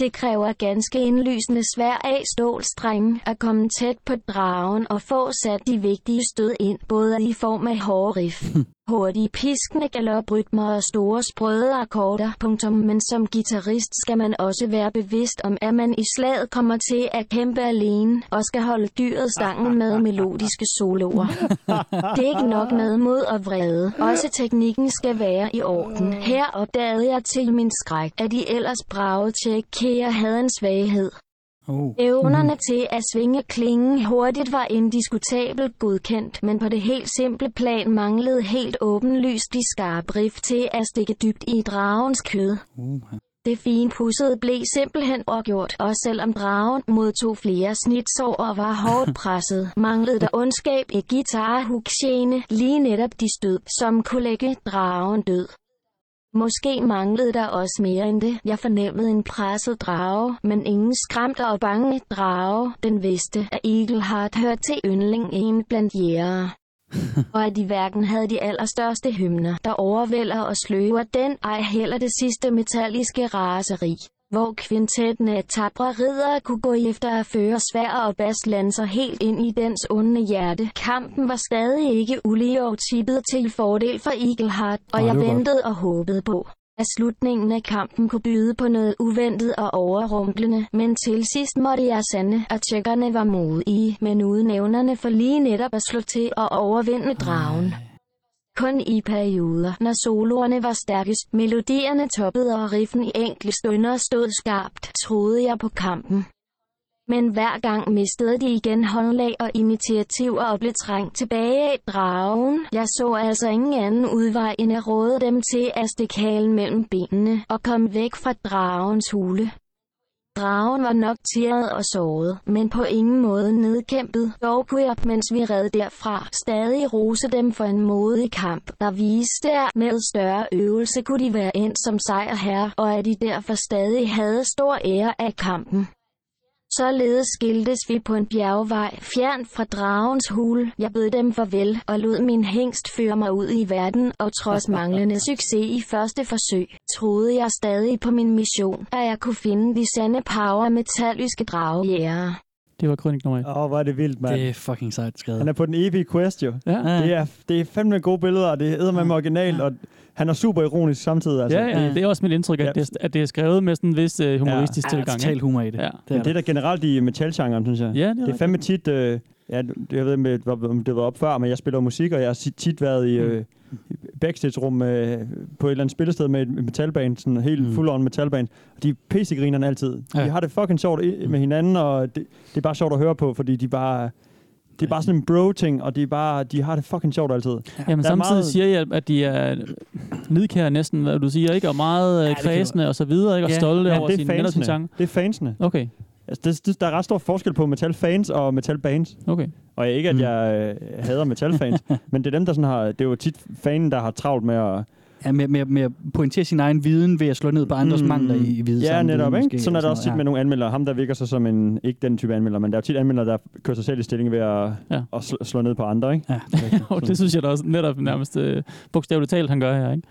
[SPEAKER 2] Det kræver ganske indlysende svær af stålstrenge at komme tæt på dragen og få sat de vigtige stød ind, både i form af hårde riff, hurtige piskende galoprytmer og store sprøde akkorder. Punktum. Men som guitarist skal man også være bevidst om, at man i slaget kommer til at kæmpe alene og skal holde dyret stangen med melodiske soloer. Det er ikke nok med mod og vrede. Også teknikken skal være i orden. Her opdagede jeg til min skræk, at de ellers brave tjekkere havde en svaghed.
[SPEAKER 4] Oh.
[SPEAKER 2] Evnerne til at svinge klingen hurtigt var indiskutabelt godkendt, men på det helt simple plan manglede helt åbenlyst de skarpe riff til at stikke dybt i dragens kød.
[SPEAKER 4] Uh,
[SPEAKER 2] Det fine pudsede blev simpelthen opgjort, og selvom dragen modtog flere snitsår og var hårdt presset, manglede der ondskab i guitarhugsjene, lige netop de stød, som kunne lægge dragen død. Måske manglede der også mere end det. Jeg fornemmede en presset drage, men ingen skræmt og bange drage. Den vidste, at Eagle Heart hørte til yndling en blandt jægere og at de hverken havde de allerstørste hymner, der overvælder og sløver den, ej heller det sidste metalliske raseri, hvor kvintetten af tabre riddere kunne gå efter at føre svær og baslanser helt ind i dens onde hjerte. Kampen var stadig ikke ulige og tippet til fordel for Eagleheart, og
[SPEAKER 4] Nå,
[SPEAKER 2] jeg
[SPEAKER 4] det var godt.
[SPEAKER 2] ventede og håbede på at slutningen af kampen kunne byde på noget uventet og overrumplende, men til sidst måtte jeg sande, at tjekkerne var modige, men uden evnerne for lige netop at slå til og overvinde dragen. Kun i perioder, når soloerne var stærkest, melodierne toppede og riffen i enkle stunder stod skarpt, troede jeg på kampen. Men hver gang mistede de igen håndlag og initiativer og blev trængt tilbage af dragen. Jeg så altså ingen anden udvej end at råde dem til at stikke halen mellem benene og komme væk fra dragens hule. Dragen var nok tirret og såret, men på ingen måde nedkæmpet. Dog kunne jeg, mens vi red derfra, stadig rose dem for en modig kamp, der viste, at med større øvelse kunne de være endt som sejrherre, og at de derfor stadig havde stor ære af kampen. Således skiltes vi på en bjergvej, fjern fra dragens hule. Jeg bød dem farvel og lod min hængst føre mig ud i verden, og trods manglende succes i første forsøg, troede jeg stadig på min mission, at jeg kunne finde de sande power metalliske dragejæger.
[SPEAKER 3] Det var kronik nummer et.
[SPEAKER 5] Åh, oh, hvor er det vildt, mand.
[SPEAKER 4] det er fucking sejt skrevet.
[SPEAKER 5] Han er på den evige quest, jo.
[SPEAKER 3] Ja.
[SPEAKER 4] Ja.
[SPEAKER 5] Det er, det er fandme gode billeder, og det er med originalt, og han er super ironisk samtidig. Altså.
[SPEAKER 3] Ja, ja,
[SPEAKER 4] ja.
[SPEAKER 3] det er også mit indtryk,
[SPEAKER 5] Ja.
[SPEAKER 3] at, det, er- at det er skrevet med sådan en vis øh, humoristisk
[SPEAKER 4] Ja,
[SPEAKER 3] ja.
[SPEAKER 4] der er
[SPEAKER 3] tilgang.
[SPEAKER 4] totalt
[SPEAKER 3] ikke?
[SPEAKER 4] humor i det.
[SPEAKER 3] Ja.
[SPEAKER 4] Det er
[SPEAKER 5] Det er
[SPEAKER 4] der.
[SPEAKER 5] da generelt i metalgenren, synes jeg.
[SPEAKER 3] ja, det er
[SPEAKER 5] Det er
[SPEAKER 3] rigtigt.
[SPEAKER 5] fandme tit, øh, ja, det- jeg ved ikke, om det var- om det var op før, men jeg spiller musik, og jeg har si- tit været i øh, i backstage-rum øh, på et eller andet spillested med et metalband, sådan en helt
[SPEAKER 4] Mm.
[SPEAKER 5] mm. full-on metalband, og de er pissegrinerne altid.
[SPEAKER 4] Ja.
[SPEAKER 3] Mm.
[SPEAKER 5] Ja. De har det fucking sjovt i- med hinanden, og det, det er bare sjovt at høre på, fordi de bare Det er bare sådan en bro-ting, og de, er bare, de har det fucking sjovt altid.
[SPEAKER 3] Jamen
[SPEAKER 5] Der er
[SPEAKER 3] samtidig
[SPEAKER 5] meget-
[SPEAKER 3] meget... siger jeg, at de er nidkære næsten, hvad du siger, ikke? Og meget
[SPEAKER 4] Ja,
[SPEAKER 3] ja,
[SPEAKER 4] det kan
[SPEAKER 3] kredsende og så videre, ikke? Og
[SPEAKER 4] Ja,
[SPEAKER 3] stolte
[SPEAKER 5] Ja,
[SPEAKER 3] over
[SPEAKER 5] det
[SPEAKER 3] sin
[SPEAKER 5] er
[SPEAKER 3] venner og sin sang.
[SPEAKER 5] fansene. Det er fansene.
[SPEAKER 3] Okay,
[SPEAKER 5] Altså, det, det, der er ret stor forskel på metal-fans og metal-bands.
[SPEAKER 3] okay.
[SPEAKER 5] Og ikke, at
[SPEAKER 4] Mm.
[SPEAKER 5] jeg øh, hader metal-fans, men det er dem, der sådan har... Det er jo tit fanen, der har travlt med at...
[SPEAKER 4] Ja, med, med, med at pointere sin egen viden ved at slå ned på andres mm. mangler i, i viden.
[SPEAKER 5] Ja, netop, ikke? Sådan er det også tit
[SPEAKER 4] ja.
[SPEAKER 5] med nogle anmeldere. Ham, der virker sig som en... Ikke den type anmelder, men der er jo tit anmeldere, der kører sig selv i stilling ved at,
[SPEAKER 3] Ja.
[SPEAKER 5] ja. at sl- slå ned på andre, ikke?
[SPEAKER 4] Ja.
[SPEAKER 3] Og det synes jeg da også netop nærmest øh, bogstaveligt talt, han gør her, ikke?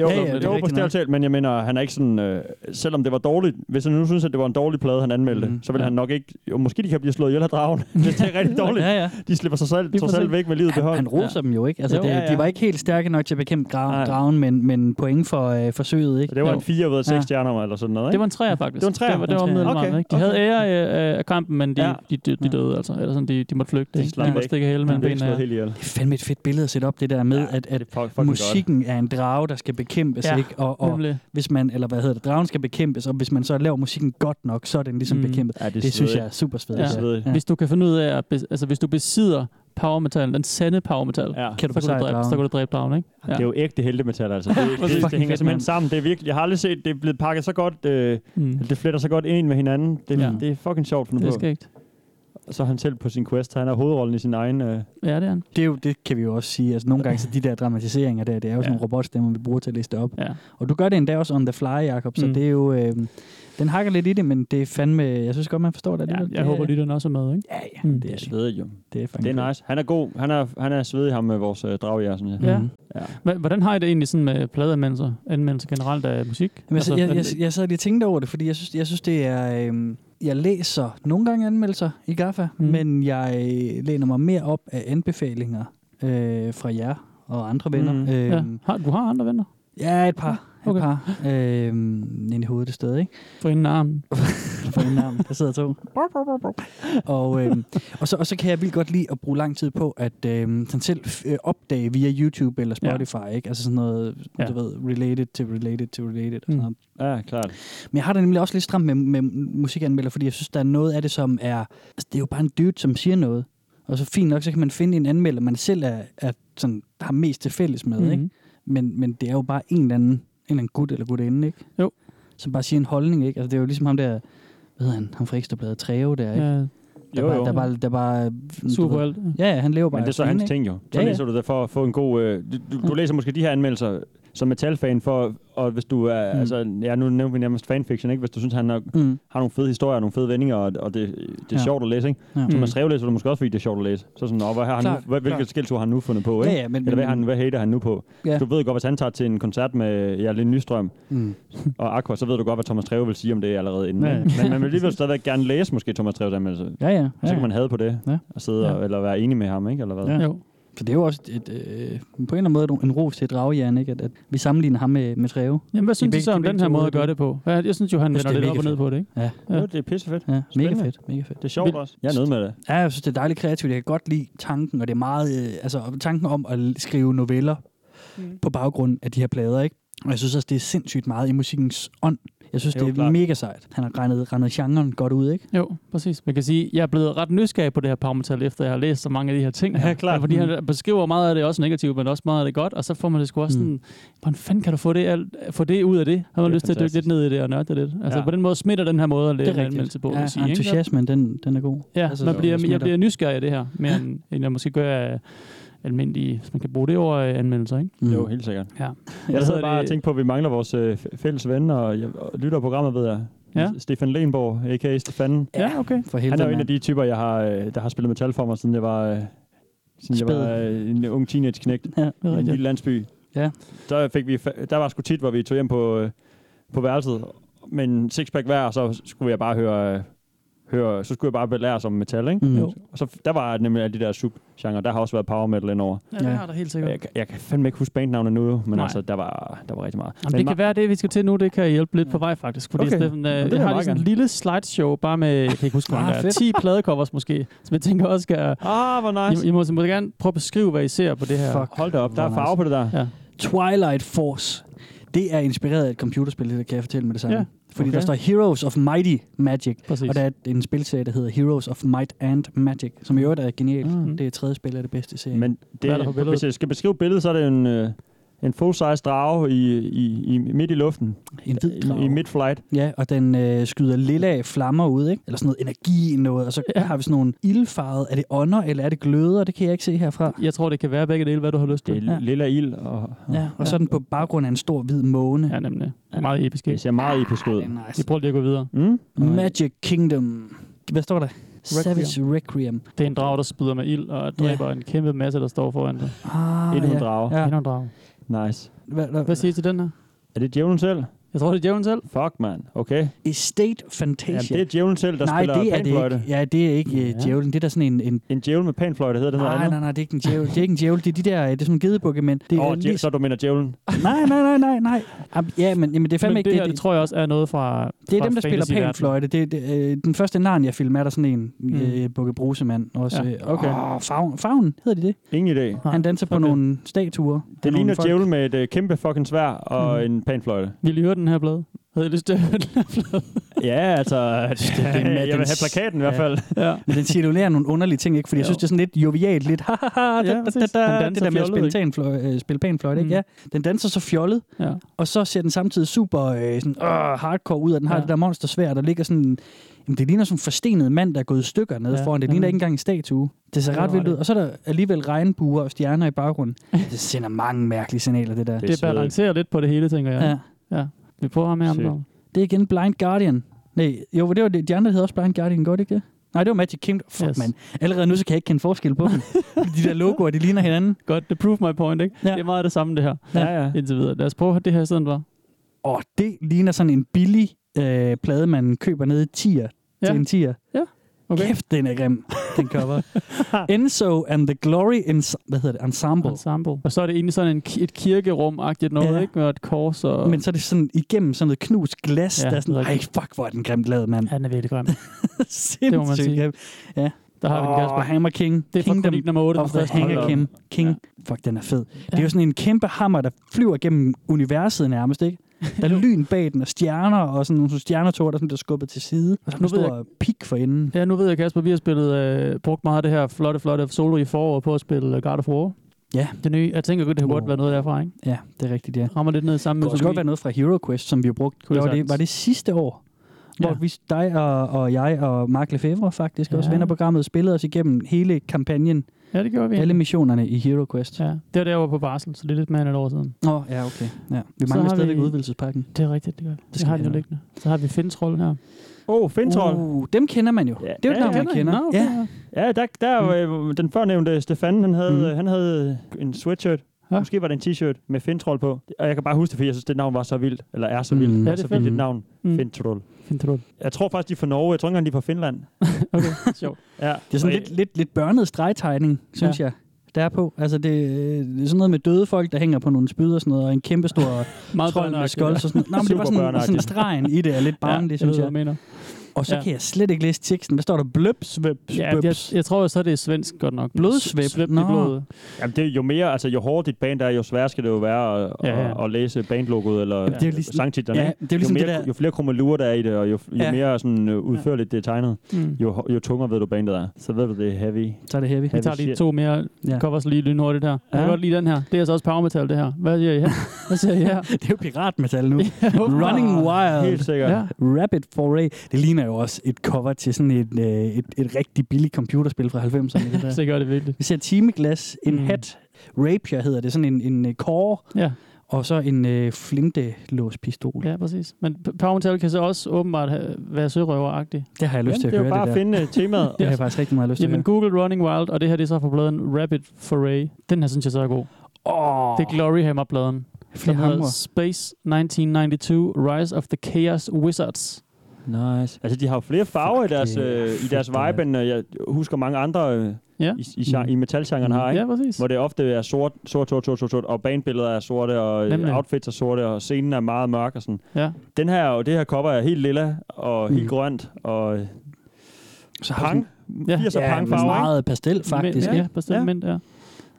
[SPEAKER 5] Jo,
[SPEAKER 4] Ja,
[SPEAKER 5] ja,
[SPEAKER 4] ja, det er
[SPEAKER 5] ja, det, det var
[SPEAKER 4] rigtigt nok.
[SPEAKER 5] bestemt talt, men jeg mener, han er ikke sådan... Øh, selvom det var dårligt... Hvis han nu synes, at det var en dårlig plade, han anmeldte,
[SPEAKER 4] Mm.
[SPEAKER 5] mm. så ville
[SPEAKER 3] Ja.
[SPEAKER 5] han nok ikke... Jo, måske de kan blive slået ihjel af dragen, hvis det er rigtig dårligt.
[SPEAKER 3] Ja, ja.
[SPEAKER 5] De slipper sig selv,
[SPEAKER 3] Lige
[SPEAKER 5] sig selv
[SPEAKER 3] præcis.
[SPEAKER 5] væk med livet beholdt.
[SPEAKER 4] Han roser ja. dem jo, ikke? Altså,
[SPEAKER 3] Jo.
[SPEAKER 4] det,
[SPEAKER 5] Ja, ja.
[SPEAKER 4] de var ikke helt stærke nok til at bekæmpe
[SPEAKER 5] Nej.
[SPEAKER 4] dragen, dragen men, men point for øh, forsøget,
[SPEAKER 5] Så
[SPEAKER 4] ikke?
[SPEAKER 5] det var
[SPEAKER 3] Jo.
[SPEAKER 5] en 4 ud af 6
[SPEAKER 4] Ja.
[SPEAKER 5] ja. stjerner eller sådan noget, ikke?
[SPEAKER 3] Det var en træer, faktisk.
[SPEAKER 5] Det var en træer.
[SPEAKER 3] Det var, det var
[SPEAKER 4] Okay.
[SPEAKER 3] middelmarken,
[SPEAKER 5] Okay.
[SPEAKER 3] ikke? De havde ære øh, af kampen, men de,
[SPEAKER 5] Ja.
[SPEAKER 3] de, de, de døde altså. Eller sådan, de, de måtte flygte.
[SPEAKER 5] De
[SPEAKER 3] ikke?
[SPEAKER 5] slap
[SPEAKER 3] de måtte
[SPEAKER 5] væk.
[SPEAKER 3] stikke hele mellem
[SPEAKER 5] blev
[SPEAKER 3] benene.
[SPEAKER 5] slået
[SPEAKER 3] af.
[SPEAKER 5] helt ihjel.
[SPEAKER 4] Det er fandme et fedt billede at sætte op, det der med, ja, at, at
[SPEAKER 5] Det er fuck- fucking godt.
[SPEAKER 4] musikken er en drage, der skal bekæmpes,
[SPEAKER 3] Ja.
[SPEAKER 4] ja. ikke? Og, og
[SPEAKER 3] Nemlig.
[SPEAKER 4] hvis man, eller hvad hedder det, dragen skal bekæmpes, og hvis man så laver musikken godt nok, så er den ligesom
[SPEAKER 3] Mm.
[SPEAKER 4] mm. bekæmpet.
[SPEAKER 5] Ja,
[SPEAKER 4] Det, det synes jeg er super svedigt.
[SPEAKER 3] Ja.
[SPEAKER 4] Ja.
[SPEAKER 5] Svedigt.
[SPEAKER 4] Ja.
[SPEAKER 3] Hvis du kan finde ud af, at, bes- altså hvis du besidder power metal, den sande power metal,
[SPEAKER 5] Ja.
[SPEAKER 4] Kan du
[SPEAKER 3] så, kan
[SPEAKER 4] besejre
[SPEAKER 3] du dræbe, så
[SPEAKER 4] dragen?
[SPEAKER 3] kan du dræbe dragen, ikke?
[SPEAKER 5] Det er jo ægte heltemetal, altså. Det,
[SPEAKER 3] Hvor
[SPEAKER 5] det, det,
[SPEAKER 3] fucking
[SPEAKER 5] det hænger
[SPEAKER 3] fedt,
[SPEAKER 5] simpelthen
[SPEAKER 3] mand.
[SPEAKER 5] sammen. Det er virkelig, jeg har aldrig set, det er blevet pakket så godt, øh,
[SPEAKER 3] Mm.
[SPEAKER 5] det fletter så godt ind med hinanden. Det,
[SPEAKER 3] Ja.
[SPEAKER 5] ja. det er fucking sjovt for
[SPEAKER 3] Det er
[SPEAKER 5] på.
[SPEAKER 3] skægt.
[SPEAKER 5] Og Så er han selv på sin quest, han er hovedrollen i sin egen... Øh,
[SPEAKER 3] Ja, det er han.
[SPEAKER 4] Det, er jo, det kan vi jo også sige. Altså, nogle gange så de der dramatiseringer der, det er jo sådan
[SPEAKER 3] Ja.
[SPEAKER 4] nogle robotstemmer, vi bruger til at liste op.
[SPEAKER 3] Ja.
[SPEAKER 4] Og du gør det endda også on the fly, Jacob, så
[SPEAKER 3] Mm.
[SPEAKER 4] mm. det er jo... Øh, den hakker lidt i det, men det er fandme... Jeg synes godt, man forstår det
[SPEAKER 3] Ja,
[SPEAKER 4] alligevel.
[SPEAKER 3] jeg
[SPEAKER 4] det,
[SPEAKER 3] håber,
[SPEAKER 4] det.
[SPEAKER 3] lytteren også er med, ikke?
[SPEAKER 4] Ja, ja.
[SPEAKER 3] Mm.
[SPEAKER 4] Det, er,
[SPEAKER 5] svedigt, jo.
[SPEAKER 4] det er fandme
[SPEAKER 5] Det er nice. Han er god. Han er, han er svedig, ham med vores øh, drage, synes jeg.
[SPEAKER 4] Ja.
[SPEAKER 3] Ja.
[SPEAKER 4] Mm.
[SPEAKER 5] Ja.
[SPEAKER 3] Hva- Hvordan har I det egentlig sådan med pladeanmeldelser anmeldelser generelt af musik?
[SPEAKER 4] Jamen, altså, jeg,
[SPEAKER 3] hvordan-
[SPEAKER 4] jeg, jeg sad lige og tænkte over det, fordi jeg synes, jeg synes det er... Øh, jeg læser nogle gange anmeldelser i GAFA,
[SPEAKER 3] Mm.
[SPEAKER 4] mm. men jeg øh, læner mig mere op af anbefalinger øh, fra jer og andre venner.
[SPEAKER 5] Mm.
[SPEAKER 4] Mm. Øh,
[SPEAKER 3] ja.
[SPEAKER 4] ja.
[SPEAKER 3] Har, du har andre venner?
[SPEAKER 4] ja, et par. Okay.
[SPEAKER 3] Okay.
[SPEAKER 4] Et par. Øh, ind i hovedet et sted, ikke?
[SPEAKER 3] For inden af armen?
[SPEAKER 4] for en navn. Der sidder to. og, øhm, og, så, og så kan jeg vildt godt lide at bruge lang tid på at øhm, sådan selv øh, opdage via YouTube eller
[SPEAKER 3] Ja.
[SPEAKER 4] Spotify. Ja. Ikke? Altså sådan noget,
[SPEAKER 3] Ja.
[SPEAKER 4] ja. du ved, related to related to related. Og sådan
[SPEAKER 3] Mm.
[SPEAKER 4] noget.
[SPEAKER 5] ja, klart.
[SPEAKER 4] Men jeg har det nemlig også lidt stramt med, med musikanmelder, fordi jeg synes, der er noget af det, som er... Altså, det er jo bare en dude, som siger noget. Og så fint nok, så kan man finde en anmelder, man selv er, er sådan, har mest til fælles med.
[SPEAKER 3] Mhm.
[SPEAKER 4] Mm. Ikke? Men, men det er jo bare en eller anden, en eller anden gut eller gutinde, ikke?
[SPEAKER 3] Jo.
[SPEAKER 4] Som bare siger en holdning, ikke? Altså, det er jo ligesom ham der, hvad hedder han, ham fra Ekstrabladet Treo der, ikke? Ja,
[SPEAKER 3] Ja,
[SPEAKER 4] der,
[SPEAKER 5] Jo,
[SPEAKER 4] bare,
[SPEAKER 5] jo.
[SPEAKER 4] der bare, der bare...
[SPEAKER 3] super Mm.
[SPEAKER 4] du ved-
[SPEAKER 3] alt.
[SPEAKER 4] Ja, ja, han lever bare
[SPEAKER 5] Men det er
[SPEAKER 4] af
[SPEAKER 5] så
[SPEAKER 4] at
[SPEAKER 5] hans
[SPEAKER 4] grine,
[SPEAKER 5] ting jo. Så
[SPEAKER 4] Ja, Mm. ja.
[SPEAKER 5] læser du det for at få en god... Øh, du, du, du læser måske de her anmeldelser som metalfan for, og hvis du er,
[SPEAKER 4] Mm.
[SPEAKER 5] mm. altså, ja, nu nævner vi nærmest fanfiction, ikke? Hvis du synes, han har,
[SPEAKER 4] ikke? Mm.
[SPEAKER 5] har nogle fede historier, nogle fede vendinger, og, og det, det er
[SPEAKER 4] Ja.
[SPEAKER 5] ja. sjovt at læse, ikke?
[SPEAKER 4] Ja.
[SPEAKER 5] Som mm. læser du måske også, fordi det er sjovt at læse. Så sådan, "Nå, hvad har han
[SPEAKER 4] Klart,
[SPEAKER 5] nu, hvad, hvilket
[SPEAKER 4] klart.
[SPEAKER 5] skiltur har han nu fundet på, ikke?
[SPEAKER 4] Ja, ja, men...
[SPEAKER 5] Eller hvad, har han, hvad hater han nu på?
[SPEAKER 4] Ja.
[SPEAKER 5] Ja. Du ved godt, hvis han tager til en koncert med Jarlin Nystrøm
[SPEAKER 4] Mm.
[SPEAKER 5] og Aqua, så ved du godt, hvad Thomas Treve vil sige om det allerede inden.
[SPEAKER 4] Ja,
[SPEAKER 5] Ja,
[SPEAKER 4] ja.
[SPEAKER 5] ja. Men man vil alligevel stadigvæk gerne læse måske Thomas Treves anmeldelse.
[SPEAKER 4] Ja, ja.
[SPEAKER 5] Og så
[SPEAKER 4] ja.
[SPEAKER 5] kan man have på det,
[SPEAKER 4] Ja.
[SPEAKER 5] ja. og sidde
[SPEAKER 3] Ja.
[SPEAKER 5] ja. og, eller være enig med ham, ikke? Eller hvad?
[SPEAKER 4] Ja.
[SPEAKER 3] Jo.
[SPEAKER 4] Så det er jo også et, øh, på en eller anden måde er det en ros til Dragejern, ikke? At, at vi sammenligner ham med, med Treo.
[SPEAKER 3] Jamen, hvad
[SPEAKER 4] I
[SPEAKER 3] synes du
[SPEAKER 4] begge-
[SPEAKER 3] så om
[SPEAKER 4] I begge
[SPEAKER 3] den her
[SPEAKER 4] to
[SPEAKER 3] måde
[SPEAKER 4] ude
[SPEAKER 3] at
[SPEAKER 4] i
[SPEAKER 3] gøre det på? Hvad- Jeg synes jo, han
[SPEAKER 4] Jeg synes,
[SPEAKER 3] vender
[SPEAKER 4] det er
[SPEAKER 3] lidt op
[SPEAKER 4] mega
[SPEAKER 3] og ned
[SPEAKER 4] fedt.
[SPEAKER 3] på det, ikke?
[SPEAKER 4] Ja,
[SPEAKER 5] Jo, det er pissefedt.
[SPEAKER 4] ja. mega
[SPEAKER 5] Spændende.
[SPEAKER 4] fedt, mega fedt.
[SPEAKER 5] Det er sjovt
[SPEAKER 3] Vil-
[SPEAKER 5] også. Jeg er nede med det.
[SPEAKER 4] Ja, jeg synes, det er dejligt kreativt. Jeg kan godt lide tanken, og det er meget... Øh, altså, tanken om at l- skrive noveller mm. på baggrund af de her plader, ikke? Og jeg synes også, det er sindssygt meget i musikkens ånd. Jeg synes,
[SPEAKER 5] Jo,
[SPEAKER 4] det er
[SPEAKER 5] klart.
[SPEAKER 4] mega sejt. Han har regnet, regnet genren godt ud, ikke?
[SPEAKER 3] Jo, præcis. Man kan sige, jeg er blevet ret nysgerrig på det her powermetal, efter jeg har læst så mange af de her ting. her.
[SPEAKER 5] Ja, klart.
[SPEAKER 3] Fordi han beskriver meget af det også negativt, men også meget af det godt, og så får man det sgu også
[SPEAKER 4] Mm.
[SPEAKER 3] sådan, hvordan fanden kan du få det, alt, få det ud af det? Har man
[SPEAKER 5] Det er
[SPEAKER 3] lyst til at dykke lidt
[SPEAKER 5] fantastisk.
[SPEAKER 3] ned i det og nørde det lidt. Altså
[SPEAKER 5] Ja.
[SPEAKER 3] på den måde smitter den her måde at læse en anmeldelse på. vil jeg
[SPEAKER 4] ja,
[SPEAKER 3] sige, ikke?
[SPEAKER 4] entusiasmen, den, den er god.
[SPEAKER 3] Ja,
[SPEAKER 4] Altså,
[SPEAKER 3] man
[SPEAKER 4] så-
[SPEAKER 3] bliver,
[SPEAKER 4] smitter.
[SPEAKER 3] jeg bliver nysgerrig af det her, mere end, end jeg måske gør af almindelige, hvis man kan bruge det over anmeldelser, ikke?
[SPEAKER 4] Mm.
[SPEAKER 5] Jo, helt sikkert.
[SPEAKER 3] Ja.
[SPEAKER 5] Jeg sad
[SPEAKER 3] hedder
[SPEAKER 5] bare
[SPEAKER 3] det-
[SPEAKER 5] og tænkte på, at vi mangler vores øh, f- fælles ven og, jeg- og lytter af programmet, ved jeg.
[SPEAKER 3] Ja.
[SPEAKER 5] Stefan Lenborg, a.k.a. Stefan.
[SPEAKER 3] Ja, okay.
[SPEAKER 4] For helvede,
[SPEAKER 5] Han er jo en
[SPEAKER 4] mand.
[SPEAKER 5] af de typer, jeg har, øh, der har spillet metal for mig, siden jeg var, øh, siden jeg
[SPEAKER 4] Spæd.
[SPEAKER 5] var øh, en ung teenage-knægt
[SPEAKER 4] Ja.
[SPEAKER 3] Det er
[SPEAKER 5] i en
[SPEAKER 3] rigtigt.
[SPEAKER 5] lille landsby.
[SPEAKER 4] Ja.
[SPEAKER 5] Der, fik vi, fa- der var sgu tit, hvor vi tog hjem på, øh, på værelset, men sixpack hver, og så skulle jeg bare høre, øh, høre så skulle jeg bare belære som metal, ikke?
[SPEAKER 4] Mm.
[SPEAKER 3] Jo.
[SPEAKER 5] Og så, der var nemlig alle de der subgenre, der har også været power metal indover.
[SPEAKER 3] Ja,
[SPEAKER 4] Ja.
[SPEAKER 3] det har der helt sikkert.
[SPEAKER 5] Jeg, kan- jeg kan fandme ikke huske bandnavnet nu, jo, men
[SPEAKER 3] Nej.
[SPEAKER 5] Nej. altså, der var, der var rigtig meget.
[SPEAKER 3] Jamen,
[SPEAKER 5] men
[SPEAKER 3] det kan være, at det, vi skal til nu, det kan hjælpe lidt
[SPEAKER 4] Ja.
[SPEAKER 3] på vej, faktisk. Fordi okay.
[SPEAKER 5] Okay.
[SPEAKER 3] Steffen, øh,
[SPEAKER 5] det vil
[SPEAKER 3] jeg
[SPEAKER 5] jeg
[SPEAKER 3] har lige
[SPEAKER 5] meget
[SPEAKER 3] sådan en lille slideshow, bare med, jeg kan ikke huske, hvor mange
[SPEAKER 4] Ah,
[SPEAKER 3] der er,
[SPEAKER 4] fedt.
[SPEAKER 3] 10 pladecovers måske, som jeg tænker også skal...
[SPEAKER 5] Ah, hvor nice.
[SPEAKER 3] I, I, må, I må gerne prøve at beskrive, hvad I ser på det her.
[SPEAKER 4] Fuck.
[SPEAKER 5] Hold da op, der
[SPEAKER 4] Hvor
[SPEAKER 5] er farve på det der.
[SPEAKER 3] Ja.
[SPEAKER 4] Twilight Force. Det er inspireret af et computerspil, det der kan jeg fortælle med det samme.
[SPEAKER 3] Ja,
[SPEAKER 4] Ja, Fordi
[SPEAKER 3] okay.
[SPEAKER 4] der står Heroes of Mighty Magic,
[SPEAKER 3] Præcis.
[SPEAKER 4] og der er en spilserie, der hedder Heroes of Might and Magic, som i øvrigt er genial.
[SPEAKER 5] Mm.
[SPEAKER 4] Mm. Det er tredje spil af det bedste serie.
[SPEAKER 5] Men det,
[SPEAKER 3] Hvad er der på billedet?
[SPEAKER 5] hvis jeg skal beskrive billedet, så er det en, øh, en full-size drage i, i, i, midt i luften.
[SPEAKER 4] en hvid
[SPEAKER 5] I, i
[SPEAKER 4] drage.
[SPEAKER 5] mid-flight.
[SPEAKER 4] Ja, og den øh, skyder lilla flammer ud, ikke? Eller sådan noget energi i noget, og så
[SPEAKER 3] Ja.
[SPEAKER 4] ja. har vi sådan nogle ildfarvede. Er det ånder, eller er det gløder? Det kan jeg ikke se herfra.
[SPEAKER 3] Jeg tror, det kan være begge dele, hvad du har lyst til.
[SPEAKER 5] Det er
[SPEAKER 4] Ja.
[SPEAKER 5] lilla ild. Og,
[SPEAKER 4] Ja, og så er den på baggrund af en stor hvid måne.
[SPEAKER 3] Ja, nemlig. Meget episk.
[SPEAKER 5] Det
[SPEAKER 3] ikke?
[SPEAKER 5] ser meget episk ud.
[SPEAKER 4] Ah, Det er
[SPEAKER 3] Vi
[SPEAKER 4] nice.
[SPEAKER 3] prøver lige at gå videre.
[SPEAKER 5] Mm?
[SPEAKER 4] Magic Kingdom. Hvad står der? Savage Requiem.
[SPEAKER 3] Det er en drag, der spyder med ild og dræber en kæmpe masse, der står foran dig.
[SPEAKER 4] Ah,
[SPEAKER 5] Endnu en
[SPEAKER 4] ja.
[SPEAKER 5] drage.
[SPEAKER 4] ja.
[SPEAKER 3] Endnu en drag.
[SPEAKER 5] Nice.
[SPEAKER 4] Hvad, hvad,
[SPEAKER 3] Hvad siger I til den her?
[SPEAKER 5] Er det djævlen selv?
[SPEAKER 3] Jeg tror, det er djævlen selv.
[SPEAKER 5] Fuck, mand. Okay.
[SPEAKER 4] Estate
[SPEAKER 5] Jamen,
[SPEAKER 4] Fantasia.
[SPEAKER 5] det er djævlen selv, der
[SPEAKER 4] nej,
[SPEAKER 5] spiller
[SPEAKER 4] det er det
[SPEAKER 5] panfløjte.
[SPEAKER 4] ikke. Ja, det er ikke
[SPEAKER 3] Ja.
[SPEAKER 4] ja. djævlen. Det er da sådan en... en
[SPEAKER 5] En djævel med panfløjte hedder det noget
[SPEAKER 4] nej,
[SPEAKER 5] andet.
[SPEAKER 4] nej, nej, det er ikke en djævel. Det er ikke en djævel. Det er de der... øh, Det er sådan en gedebukke, men... Det er
[SPEAKER 5] Åh, djæ- så du mener djævlen.
[SPEAKER 4] Nej, nej, nej, nej, nej. Am- Ja, men jamen, det er fandme
[SPEAKER 3] Men
[SPEAKER 4] ikke
[SPEAKER 3] det her, det
[SPEAKER 4] det,
[SPEAKER 3] tror jeg også er noget fra
[SPEAKER 4] det er
[SPEAKER 3] fra
[SPEAKER 4] dem, der spiller
[SPEAKER 3] fantasyverdenen.
[SPEAKER 4] panfløjte. Det, det, øh, den første Narnia-film er der sådan en
[SPEAKER 3] Mm.
[SPEAKER 4] øh, bukke brusemand også.
[SPEAKER 3] Ja,
[SPEAKER 4] Ja,
[SPEAKER 5] okay.
[SPEAKER 4] Åh, Favn, Favn hedder de det?
[SPEAKER 5] Ingen idé.
[SPEAKER 3] Nej,
[SPEAKER 4] Han danser på
[SPEAKER 3] okay.
[SPEAKER 4] nogle statuer. af
[SPEAKER 5] Det
[SPEAKER 4] nogle
[SPEAKER 5] ligner
[SPEAKER 4] folk. Mm.
[SPEAKER 5] djævlen med et øh, kæmpe fucking svær og en panfløjte.
[SPEAKER 3] Vil I høre den her blad? Havde I lyst til at høre den her blad?
[SPEAKER 5] Ja, altså, det,
[SPEAKER 4] det er med
[SPEAKER 5] jeg vil
[SPEAKER 4] den
[SPEAKER 5] have
[SPEAKER 4] s-
[SPEAKER 5] plakaten i hvert
[SPEAKER 4] ja.
[SPEAKER 5] fald.
[SPEAKER 3] ja.
[SPEAKER 4] Men den cirkulerer nogle underlige ting, ikke? Fordi jeg
[SPEAKER 3] Jo.
[SPEAKER 4] synes, det er sådan lidt jovialt, lidt ha, ha, ha, da,
[SPEAKER 3] Ja,
[SPEAKER 4] da,
[SPEAKER 3] præcis.
[SPEAKER 4] da, da,
[SPEAKER 3] Han
[SPEAKER 4] det
[SPEAKER 3] danser
[SPEAKER 4] der med at
[SPEAKER 3] fjollet,
[SPEAKER 4] spille,
[SPEAKER 3] ikke?
[SPEAKER 4] tanfløj, øh, spille panfløjt, ikke?
[SPEAKER 3] Mm.
[SPEAKER 4] Ja, den danser så fjollet,
[SPEAKER 3] ja.
[SPEAKER 4] og så ser den samtidig super øh, sådan, øh, hardcore ud, og den har
[SPEAKER 3] Ja.
[SPEAKER 4] ja. det der monstersvær, der ligger sådan... Jamen, det ligner sådan en forstenet mand, der er gået i stykker nede
[SPEAKER 3] Ja,
[SPEAKER 4] ja, foran. Det ligner
[SPEAKER 3] nemlig.
[SPEAKER 4] ikke engang en statue. Det ser
[SPEAKER 3] Ja, det
[SPEAKER 4] ret
[SPEAKER 3] var
[SPEAKER 4] vildt ud.
[SPEAKER 3] det.
[SPEAKER 4] Og så er der alligevel regnbuer og stjerner i baggrunden. Det sender mange mærkelige signaler, det der.
[SPEAKER 5] Det er
[SPEAKER 3] Det
[SPEAKER 5] svedigt.
[SPEAKER 3] balancerer lidt på det hele, tænker jeg.
[SPEAKER 4] Ja.
[SPEAKER 3] Ja. Vi prøver med
[SPEAKER 5] Sygt.
[SPEAKER 3] andre.
[SPEAKER 4] Det er igen Blind Guardian. Nej, jo, det var det. De andre hedder også Blind Guardian, godt ikke det? Nej, det var Magic Kingdom. Fuck,
[SPEAKER 3] Yes.
[SPEAKER 4] yes. mand. Allerede nu, så kan jeg ikke kende forskel på dem. de der logoer, de ligner hinanden.
[SPEAKER 3] Godt, det prove my point, ikke? Ja.
[SPEAKER 4] Ja.
[SPEAKER 3] Det er meget det samme, det her,
[SPEAKER 5] Ja, ja.
[SPEAKER 3] indtil videre. Lad os prøve det her i stedet for.
[SPEAKER 4] Og det ligner sådan en billig øh, plade, man køber nede i tier. Ja.
[SPEAKER 3] Ja.
[SPEAKER 4] Til en tier.
[SPEAKER 3] Okay.
[SPEAKER 4] Okay. Kæft, den er grim, den cover. Enzo and the Glory ens- hvad hedder det? Ensemble.
[SPEAKER 3] Ensemble. Og så er det egentlig sådan en, ki- et kirkerum-agtigt noget,
[SPEAKER 4] Ja.
[SPEAKER 3] ikke? Med et kors og...
[SPEAKER 4] Men så er det sådan igennem sådan noget knust glas,
[SPEAKER 3] Ja,
[SPEAKER 4] ja, der er sådan,
[SPEAKER 3] det er
[SPEAKER 4] ej
[SPEAKER 3] rigtigt.
[SPEAKER 4] fuck, hvor er den grimt lavet, mand.
[SPEAKER 3] han er virkelig grim.
[SPEAKER 4] Sindssygt
[SPEAKER 3] sige.
[SPEAKER 4] grim.
[SPEAKER 3] Der har vi den
[SPEAKER 4] Åh,
[SPEAKER 3] Kasper.
[SPEAKER 4] Hammer King.
[SPEAKER 3] Det er fra
[SPEAKER 4] Kingdom
[SPEAKER 3] kronik nummer 8.
[SPEAKER 4] Of the Hanger Kim. King. Ja. Fuck, den er fed. Ja. Det er jo sådan en kæmpe hammer, der flyver gennem universet nærmest, ikke? Der er lyn bag den, og stjerner, og sådan nogle stjernetårer, der sådan bliver skubbet til side. Og så
[SPEAKER 3] Nu
[SPEAKER 4] en
[SPEAKER 3] ved
[SPEAKER 4] stor pik for enden.
[SPEAKER 3] Ja, nu ved jeg, Kasper, vi har spillet, øh, brugt meget af det her flotte, flotte solo i foråret på at spille øh, God of War.
[SPEAKER 4] Ja.
[SPEAKER 3] Det nye. Jeg tænker godt, det kunne godt
[SPEAKER 4] Wow.
[SPEAKER 3] være noget derfra, ikke?
[SPEAKER 4] Ja, det er rigtigt, ja.
[SPEAKER 3] Rammer lidt ned i samme
[SPEAKER 4] Det kunne også godt være noget fra Hero Quest, som vi har brugt.
[SPEAKER 3] Kunne
[SPEAKER 4] Det
[SPEAKER 3] det
[SPEAKER 4] var, det,
[SPEAKER 3] sagtens.
[SPEAKER 4] var det sidste år,
[SPEAKER 3] Ja.
[SPEAKER 4] hvor vi, dig og, og jeg og Mark Lefebvre faktisk ja. også
[SPEAKER 3] Ja.
[SPEAKER 4] venner programmet spillede os igennem hele kampagnen,
[SPEAKER 3] Ja, det gjorde vi.
[SPEAKER 4] ja. alle missionerne i Hero Quest. Ja.
[SPEAKER 3] Ja, det var der, jeg var på barsel, så det er lidt mere end et år siden.
[SPEAKER 4] Nå, ja, okay. Ja. Vi
[SPEAKER 3] Så
[SPEAKER 4] mangler
[SPEAKER 3] har
[SPEAKER 4] stadigvæk
[SPEAKER 3] vi-
[SPEAKER 4] udvidelsespakken.
[SPEAKER 3] Det er rigtigt, det gør vi. Det
[SPEAKER 4] skal
[SPEAKER 3] har
[SPEAKER 4] vi
[SPEAKER 3] den jo
[SPEAKER 4] have.
[SPEAKER 3] liggende. Så har vi Fintroll her.
[SPEAKER 5] Oh, Fintroll.
[SPEAKER 4] Uh, dem kender man jo.
[SPEAKER 5] Ja,
[SPEAKER 4] Ja. Det er jo
[SPEAKER 5] ja,
[SPEAKER 4] ja,
[SPEAKER 5] ja,
[SPEAKER 4] man kender.
[SPEAKER 3] Nå, okay.
[SPEAKER 4] Ja.
[SPEAKER 3] ja.
[SPEAKER 5] Ja, der, der mm. øh, den førnævnte Stefan, han havde,
[SPEAKER 4] Mm.
[SPEAKER 5] mm. han havde en sweatshirt.
[SPEAKER 3] Ja.
[SPEAKER 5] Ja. Måske var det en t-shirt med Fintroll på. Og jeg kan bare huske det, fordi jeg synes, det navn var så vildt. Eller er så
[SPEAKER 4] Mm.
[SPEAKER 5] vildt.
[SPEAKER 4] Ja,
[SPEAKER 5] Mm.
[SPEAKER 4] det
[SPEAKER 5] Er
[SPEAKER 4] er
[SPEAKER 5] så
[SPEAKER 3] fedt.
[SPEAKER 5] vildt et navn.
[SPEAKER 3] Mm.
[SPEAKER 5] Mm. Fintroll.
[SPEAKER 3] Fintroll.
[SPEAKER 5] Jeg tror faktisk, de er fra Norge. Jeg tror ikke engang, de er fra Finland.
[SPEAKER 3] Okay, sjovt.
[SPEAKER 5] Ja.
[SPEAKER 4] Det er sådan
[SPEAKER 5] Og,
[SPEAKER 4] lidt, lidt, lidt børnet stregtegning, synes ja. jeg, der er på. Altså, det, øh, det er sådan noget med døde folk, der hænger på nogle spyd og sådan noget, og en kæmpe stor
[SPEAKER 3] Meget
[SPEAKER 4] trold med
[SPEAKER 3] børneagtigt.
[SPEAKER 4] skjold og sådan noget. Nå, men det var sådan,
[SPEAKER 5] Superbørneagtigt.
[SPEAKER 4] sådan stregen i det, er lidt barnligt,
[SPEAKER 3] ligesom jeg
[SPEAKER 4] ja, synes
[SPEAKER 3] ved,
[SPEAKER 4] jeg.
[SPEAKER 3] hvad du mener.
[SPEAKER 4] Og så
[SPEAKER 3] Ja.
[SPEAKER 4] ja. kan jeg slet ikke læse teksten. Der står der bløps, vøps,
[SPEAKER 3] Ja,
[SPEAKER 4] ja,
[SPEAKER 3] jeg,
[SPEAKER 4] bøps.
[SPEAKER 3] jeg tror så, det er svensk godt nok.
[SPEAKER 4] Blodsvæb.
[SPEAKER 3] Svæb i
[SPEAKER 4] Nå.
[SPEAKER 3] blodet.
[SPEAKER 5] øh, jamen, det er jo mere, altså jo hårdere dit band er, jo sværere skal det jo være at,
[SPEAKER 3] Ja,
[SPEAKER 5] ja,
[SPEAKER 3] ja.
[SPEAKER 5] ja. at, at læse bandlogoet eller
[SPEAKER 4] det er jo
[SPEAKER 5] ja.
[SPEAKER 4] ligesom-
[SPEAKER 5] sangtitlerne.
[SPEAKER 4] Ja,
[SPEAKER 5] Ja.
[SPEAKER 4] det er jo
[SPEAKER 5] Jo,
[SPEAKER 4] ligesom
[SPEAKER 5] mere,
[SPEAKER 4] det der...
[SPEAKER 5] jo flere krummelurer der er i det, og jo, jo
[SPEAKER 4] Ja.
[SPEAKER 5] ja. mere sådan, øh, udførligt det er tegnet,
[SPEAKER 3] Mm.
[SPEAKER 5] jo, hår- jo tungere ved du bandet er. Så ved du, det er heavy.
[SPEAKER 4] Så er det heavy.
[SPEAKER 3] Vi
[SPEAKER 5] Ja,
[SPEAKER 3] tager
[SPEAKER 5] vi
[SPEAKER 3] lige
[SPEAKER 5] siger-
[SPEAKER 3] to mere
[SPEAKER 4] Ja.
[SPEAKER 3] covers lige lynhurtigt her. Jeg kan
[SPEAKER 5] Ja.
[SPEAKER 3] godt lide den her. Det er altså også power metal, det her. Hvad siger I her? Hvad siger I her?
[SPEAKER 4] Det er jo piratmetal nu. Running Wild.
[SPEAKER 5] Helt sikkert.
[SPEAKER 3] Ja.
[SPEAKER 5] Ja.
[SPEAKER 4] Rapid Foray. Det ligner jo også et cover til sådan et, øh, et, et rigtig billigt computerspil fra 90'erne. det der.
[SPEAKER 3] Så gør det virkelig.
[SPEAKER 4] Vi ser timeglas, en
[SPEAKER 3] Mm.
[SPEAKER 4] mm. hat, rapier hedder det, sådan en, en øh, kåre,
[SPEAKER 3] Ja,
[SPEAKER 4] og så en øh, flintelåspistol. Ja.
[SPEAKER 3] ja, præcis. Men p- power metal kan så også åbenbart have, være sørøveragtig.
[SPEAKER 4] Det har jeg lyst
[SPEAKER 5] Jamen,
[SPEAKER 4] til
[SPEAKER 5] det
[SPEAKER 4] at
[SPEAKER 5] er
[SPEAKER 4] høre
[SPEAKER 5] jo
[SPEAKER 4] det
[SPEAKER 5] bare
[SPEAKER 4] der.
[SPEAKER 5] at finde øh, temaet.
[SPEAKER 4] Det har jeg faktisk rigtig meget lyst til
[SPEAKER 3] Jamen,
[SPEAKER 4] at
[SPEAKER 3] Google Running Wild, og det her det er så fra pladen Rapid Foray. Den her synes jeg så er god.
[SPEAKER 4] høre. Åh,
[SPEAKER 3] Det er Glory Hammer-pladen.
[SPEAKER 4] flere
[SPEAKER 3] Den hedder
[SPEAKER 4] hamre.
[SPEAKER 3] Space 1992 Rise of the Chaos Wizards.
[SPEAKER 5] Nice. Altså, de har jo flere farver i
[SPEAKER 4] Fuck,
[SPEAKER 5] deres,
[SPEAKER 4] det er
[SPEAKER 5] øh, i
[SPEAKER 4] fedt,
[SPEAKER 5] deres
[SPEAKER 4] det der.
[SPEAKER 5] vibe, end øh, jeg husker mange andre øh,
[SPEAKER 3] Ja.
[SPEAKER 5] ja. i, i, genre-
[SPEAKER 4] Mm.
[SPEAKER 5] i metalgenren har, ikke?
[SPEAKER 3] Ja, præcis.
[SPEAKER 5] Hvor det ofte er sort, sort, sort, sort, sort, sort og banebilleder er sorte, og
[SPEAKER 3] Nemlig.
[SPEAKER 5] Nemlig. outfits er sorte, og scenen er meget mørk og sådan.
[SPEAKER 3] Ja.
[SPEAKER 5] Den her, og det her cover er helt lilla, og mm.
[SPEAKER 4] Mm.
[SPEAKER 5] helt grønt, og øh,
[SPEAKER 4] Så har vi
[SPEAKER 5] pang.
[SPEAKER 4] sådan-
[SPEAKER 5] Ja.
[SPEAKER 3] Ja.
[SPEAKER 5] 80'er
[SPEAKER 4] Ja,
[SPEAKER 5] pang
[SPEAKER 4] men
[SPEAKER 5] farver, ikke?
[SPEAKER 4] meget pastel, faktisk.
[SPEAKER 3] Men,
[SPEAKER 4] Ja.
[SPEAKER 3] ja, bestemt ja.
[SPEAKER 5] Ja.
[SPEAKER 3] Mint, ja.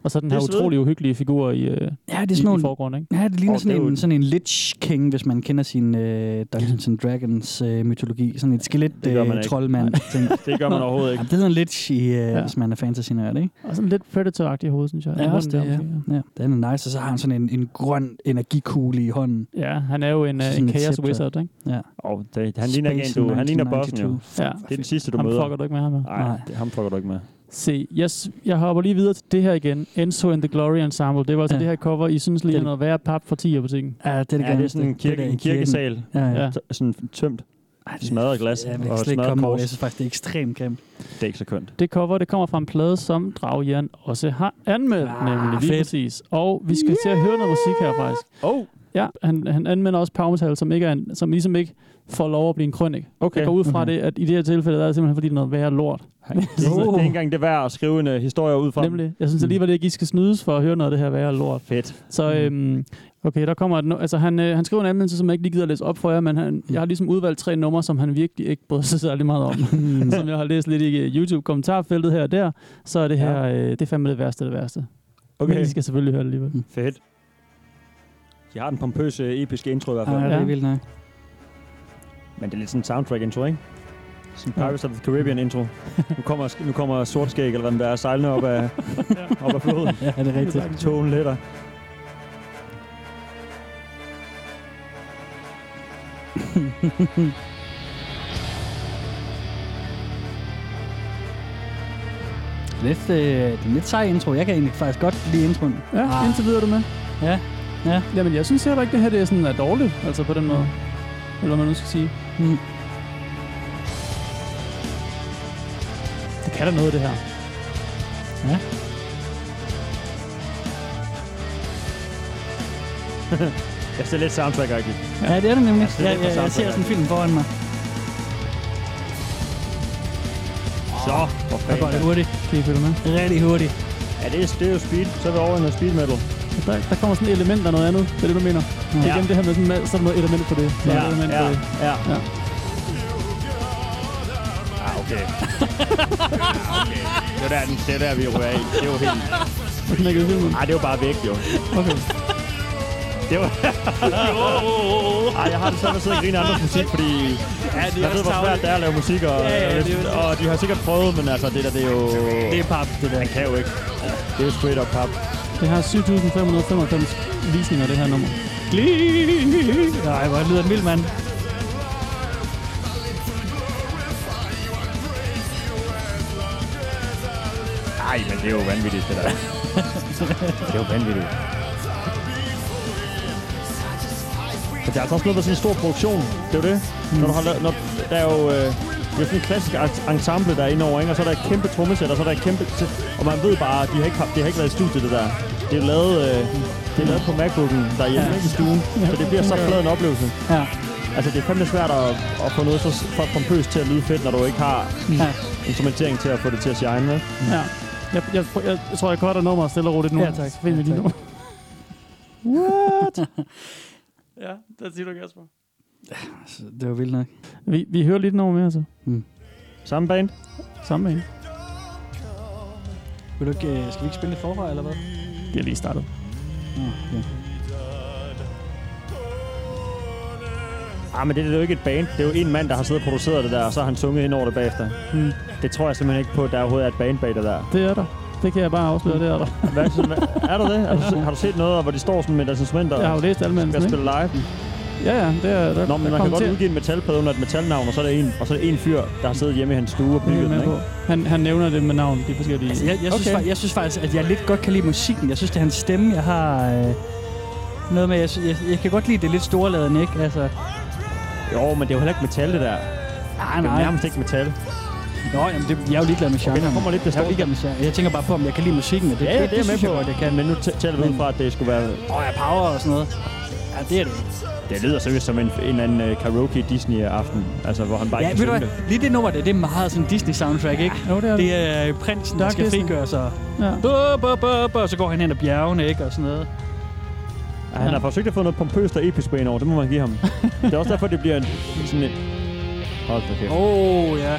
[SPEAKER 3] Og så den
[SPEAKER 5] Det
[SPEAKER 3] her
[SPEAKER 5] er svedigt.
[SPEAKER 3] utrolig uhyggelige figur i, øh,
[SPEAKER 4] Ja, det
[SPEAKER 3] i,
[SPEAKER 4] er sådan
[SPEAKER 3] i
[SPEAKER 4] nogle,
[SPEAKER 3] forgrunden, ikke?
[SPEAKER 4] Ja, det ligner
[SPEAKER 5] Og
[SPEAKER 4] oh, sådan,
[SPEAKER 5] det er jo
[SPEAKER 4] en,
[SPEAKER 5] et-
[SPEAKER 4] sådan en Lich King, hvis man kender sin øh, Dungeons and Dragons øh, mytologi. Sådan et skelet
[SPEAKER 5] Det gør man
[SPEAKER 4] øh,
[SPEAKER 5] ikke.
[SPEAKER 4] troldmand. ting.
[SPEAKER 5] Det gør man overhovedet
[SPEAKER 4] Ja,
[SPEAKER 5] ikke.
[SPEAKER 4] det hedder en Lich, i, øh,
[SPEAKER 3] Ja.
[SPEAKER 4] ja. hvis man er fantasy nørd, ikke?
[SPEAKER 3] Og sådan lidt predator i hovedet, synes jeg. I munden der, måske,
[SPEAKER 4] ja. Den er nice, og så har han sådan en, en grøn energikugle i hånden.
[SPEAKER 3] ja. ja, han er jo en, øh,
[SPEAKER 4] Sådan
[SPEAKER 3] en
[SPEAKER 4] et
[SPEAKER 3] chaos
[SPEAKER 4] scepter.
[SPEAKER 3] wizard, ikke?
[SPEAKER 5] Oh, det, han ligner ikke
[SPEAKER 4] Space
[SPEAKER 5] en, du. Han ligner bossen jo.
[SPEAKER 4] 1992.
[SPEAKER 3] Ja.
[SPEAKER 5] Det er den sidste, du
[SPEAKER 3] Ham
[SPEAKER 5] møder.
[SPEAKER 3] fucker du ikke med ham her.
[SPEAKER 5] Nej,
[SPEAKER 4] Nej.
[SPEAKER 5] det- ham fucker du ikke med.
[SPEAKER 3] Se, jeg, s- jeg hopper lige videre til det her igen. Enzo and the Glory Ensemble. Det var altså ja.
[SPEAKER 4] Ja.
[SPEAKER 3] det her cover, I synes lige
[SPEAKER 4] Det
[SPEAKER 3] er
[SPEAKER 4] er-
[SPEAKER 3] noget værre pap fra 10 butikken.
[SPEAKER 4] Ja, det er det
[SPEAKER 5] Ja, det er sådan en, kirke,
[SPEAKER 4] der i
[SPEAKER 5] en kirkesal,
[SPEAKER 4] Ja, ja.
[SPEAKER 3] Ja.
[SPEAKER 4] ja.
[SPEAKER 5] t- sådan tømt.
[SPEAKER 4] Ej,
[SPEAKER 5] Smadret glas
[SPEAKER 4] Ja, men jeg
[SPEAKER 5] og
[SPEAKER 4] kan slet ikke
[SPEAKER 5] smadret
[SPEAKER 4] komme over
[SPEAKER 5] kors.
[SPEAKER 4] det. Jeg synes faktisk, det er ekstremt grimt.
[SPEAKER 5] Det er ikke så kønt.
[SPEAKER 3] Det cover, det kommer fra en plade, som Dragjern også har anmeldt, ah,
[SPEAKER 4] Ah,
[SPEAKER 3] nemlig lige
[SPEAKER 4] fedt.
[SPEAKER 3] præcis. Og vi skal yeah! til at høre noget musik her, faktisk.
[SPEAKER 5] Oh,
[SPEAKER 3] Ja, han, han anmelder også Powermetal, som, ikke er en, som ligesom ikke får lov at blive en krønik.
[SPEAKER 5] okay.
[SPEAKER 3] Jeg går ud fra
[SPEAKER 4] Mhm.
[SPEAKER 3] det, at i det her tilfælde, der er det simpelthen fordi, det er noget værre lort.
[SPEAKER 5] Det er, det er ikke engang det værd at skrive en uh, historie ud fra.
[SPEAKER 3] Nemlig, jeg synes alligevel ikke, I skal snydes for at høre noget af det her værre lort.
[SPEAKER 5] Fedt.
[SPEAKER 3] Så øhm, okay, der kommer et nu- altså han, øh, han skriver en anmeldelse, som jeg ikke lige gider at læse op for jer, men han, jeg har ligesom udvalgt tre numre, som han virkelig ikke bryder sig særlig meget om. som jeg har læst lidt i øh, YouTube-kommentarfeltet her og der, så er det her, ja. øh, det er fandme det værste af det værste. Okay. Men
[SPEAKER 5] Okay,
[SPEAKER 3] I skal selvfølgelig høre det alligevel.
[SPEAKER 5] fedt. De har den pompøse, episke intro i hvert fald.
[SPEAKER 4] Ja, det er vildt nok.
[SPEAKER 5] Men det er lidt sådan en soundtrack-intro, ikke? Sådan
[SPEAKER 3] Ja.
[SPEAKER 5] Pirates of the Caribbean-intro. Nu kommer, nu kommer Sortskæg, eller hvad den der er, sejlende op af, op af floden.
[SPEAKER 4] Ja, det er rigtigt.
[SPEAKER 5] Togen letter.
[SPEAKER 4] Lidt, øh, det er en lidt sej intro. Jeg kan egentlig faktisk godt lide introen.
[SPEAKER 3] Ja, ah.
[SPEAKER 4] Ah.
[SPEAKER 3] indtil videre er du med.
[SPEAKER 4] Ja, ja.
[SPEAKER 3] Jamen, jeg synes heller ikke, det her det er sådan er dårligt, altså på den måde. Eller hvad man nu skal sige.
[SPEAKER 4] Mm.
[SPEAKER 3] Det kan da noget, det her.
[SPEAKER 4] Ja.
[SPEAKER 5] Jeg ser lidt soundtrack -agtigt.
[SPEAKER 4] Ja, det er det nemlig.
[SPEAKER 5] det er
[SPEAKER 4] Ja,
[SPEAKER 5] lidt
[SPEAKER 4] ja,
[SPEAKER 5] for
[SPEAKER 4] jeg ser
[SPEAKER 5] soundtrack,
[SPEAKER 4] sådan en film foran mig.
[SPEAKER 5] Så, for
[SPEAKER 4] Der går det
[SPEAKER 5] fanden.
[SPEAKER 4] hurtigt.
[SPEAKER 3] Kan I følge med?
[SPEAKER 4] Rigtig hurtigt.
[SPEAKER 5] Ja, det er, det er jo speed. Så er vi over i noget speed metal.
[SPEAKER 3] Der, der kommer sådan et element af noget andet. Det er det, du mener. Ja. Det er igen det her med sådan, sådan noget element på det. Så er
[SPEAKER 5] Ja,
[SPEAKER 3] der et element
[SPEAKER 5] ja,
[SPEAKER 3] på det.
[SPEAKER 5] ja.
[SPEAKER 3] Ja.
[SPEAKER 5] Ah, okay. Ah, okay. Det er der, den- det er der vi rører i. Det er jo helt...
[SPEAKER 3] Og knækkede filmen.
[SPEAKER 5] Ej, det er jo bare væk, jo.
[SPEAKER 3] Okay.
[SPEAKER 5] Det var... Ej, jeg har det sådan at sidde og grine af andres musik, fordi... Ja, det er jeg ved, hvor svært det er at lave musik, og, ja, ja, det er og de har sikkert prøvet, men altså, det der, det er jo... Det er pap, det der. Man kan jo ikke. Det er jo straight up pap.
[SPEAKER 3] Det har 7.595 visninger, det her nummer.
[SPEAKER 4] Nej, hvor lyder den vild, mand.
[SPEAKER 5] Ej, men det er jo vanvittigt, det der. det er jo vanvittigt. Men der er altså også noget med sådan en stor produktion. Det er jo det. Mm. Når du har lavet, når, der er jo... Øh, det er sådan en klassisk en- ensemble, der er inde over, ikke? og så er der et kæmpe trommesæt, og så er der et kæmpe... t- Og man ved bare, at de har ikke, haft, det har ikke været i studiet, det der. Det er lavet, øh, det er lavet på MacBook'en derhjemme, ikke i stuen. Så det bliver så flad en oplevelse.
[SPEAKER 4] Ja.
[SPEAKER 5] Altså, det er fandme svært at, at få noget så s- for pompøst til at lyde fedt, når du ikke har
[SPEAKER 4] Ja.
[SPEAKER 5] instrumentering til at få det til at shine, vel?
[SPEAKER 3] Ja. Jeg, jeg, jeg, jeg tror, jeg cutter nummeret stille og roligt nu.
[SPEAKER 4] Ja, tak.
[SPEAKER 3] Så finder vi
[SPEAKER 4] Ja,
[SPEAKER 3] lige
[SPEAKER 4] tak.
[SPEAKER 3] nummer. What? ja, det siger du, Kasper.
[SPEAKER 4] Altså, Det var vildt nok.
[SPEAKER 3] Vi, vi hører lidt nummer mere, så.
[SPEAKER 5] Samme band?
[SPEAKER 3] Samme en.
[SPEAKER 4] Vil du ikke, øh, skal vi ikke spille det forfra, eller hvad?
[SPEAKER 3] Det er lige startet.
[SPEAKER 4] Okay.
[SPEAKER 5] Ah, men det, er jo ikke et band. Det er jo en mand, der har siddet og produceret det der, og så har han sunget hen over det bagefter.
[SPEAKER 3] Mm.
[SPEAKER 5] Det tror jeg simpelthen ikke på, at der overhovedet er et band bag det der.
[SPEAKER 3] Det er der. Det kan jeg bare afsløre, det er der.
[SPEAKER 5] Hvad, så- hvad- er der det? Er du, se- har du set noget, hvor de står sådan med deres instrumenter
[SPEAKER 3] Jeg har jo læst
[SPEAKER 5] og
[SPEAKER 3] anmeldelsen,
[SPEAKER 5] spiller
[SPEAKER 3] ikke?
[SPEAKER 5] live?
[SPEAKER 3] Ja, ja, det
[SPEAKER 5] Nå,
[SPEAKER 3] er der.
[SPEAKER 5] men
[SPEAKER 3] der
[SPEAKER 5] man kan
[SPEAKER 3] kommer
[SPEAKER 5] godt
[SPEAKER 3] til-
[SPEAKER 5] udgive en metalplade under et metalnavn, og så er der en, og så er der en fyr, der har siddet hjemme i hans stue og
[SPEAKER 3] Det er jeg
[SPEAKER 5] bygget den,
[SPEAKER 3] med på.
[SPEAKER 5] ikke?
[SPEAKER 3] Han, han nævner det med navn, de forskellige...
[SPEAKER 4] Altså, jeg, jeg, synes,
[SPEAKER 5] Okay.
[SPEAKER 4] okay. jeg synes faktisk, at jeg lidt godt kan lide musikken. Jeg synes, det er hans stemme, jeg har... Øh, noget med, jeg, sy- jeg, jeg, kan godt lide det lidt storladende, ikke? Altså,
[SPEAKER 5] Jo, men det er jo heller ikke metal, det der.
[SPEAKER 4] nej,
[SPEAKER 5] Det er
[SPEAKER 4] nej.
[SPEAKER 5] jo nærmest ikke metal.
[SPEAKER 4] Nå, jamen, det, jeg er jo ligeglad med genren.
[SPEAKER 5] der kommer lidt det
[SPEAKER 4] jeg er jo ligeglad med genren. Jeg tænker bare på, om jeg kan lide musikken, og det, det, det, synes jeg godt, jeg kan.
[SPEAKER 5] Men nu tæ- tæller vi ud fra, at det skulle være...
[SPEAKER 4] Åh, jeg power og sådan noget. Ja, det er det.
[SPEAKER 5] Det lyder seriøst som en, en eller anden uh, karaoke Disney-aften, altså, hvor han bare
[SPEAKER 4] Ja,
[SPEAKER 5] ikke
[SPEAKER 4] ved du
[SPEAKER 5] kan synge
[SPEAKER 4] hvad?
[SPEAKER 5] det.
[SPEAKER 4] Lige det nummer der, det er meget sådan Disney-soundtrack, ikke?
[SPEAKER 3] Jo, det er det.
[SPEAKER 4] Det er øh, prinsen, der
[SPEAKER 3] Dark
[SPEAKER 4] skal
[SPEAKER 3] Disney.
[SPEAKER 4] frigøre sig.
[SPEAKER 3] Ja.
[SPEAKER 4] Bup, bup, bup, og så går han hen ad bjergene, ikke? Og sådan noget.
[SPEAKER 5] Ja, han har forsøgt at få noget pompøst og episk på en over, det må man give ham. det er også derfor, det bliver en, sådan en... Hold da kæft.
[SPEAKER 4] Åh, oh, ja.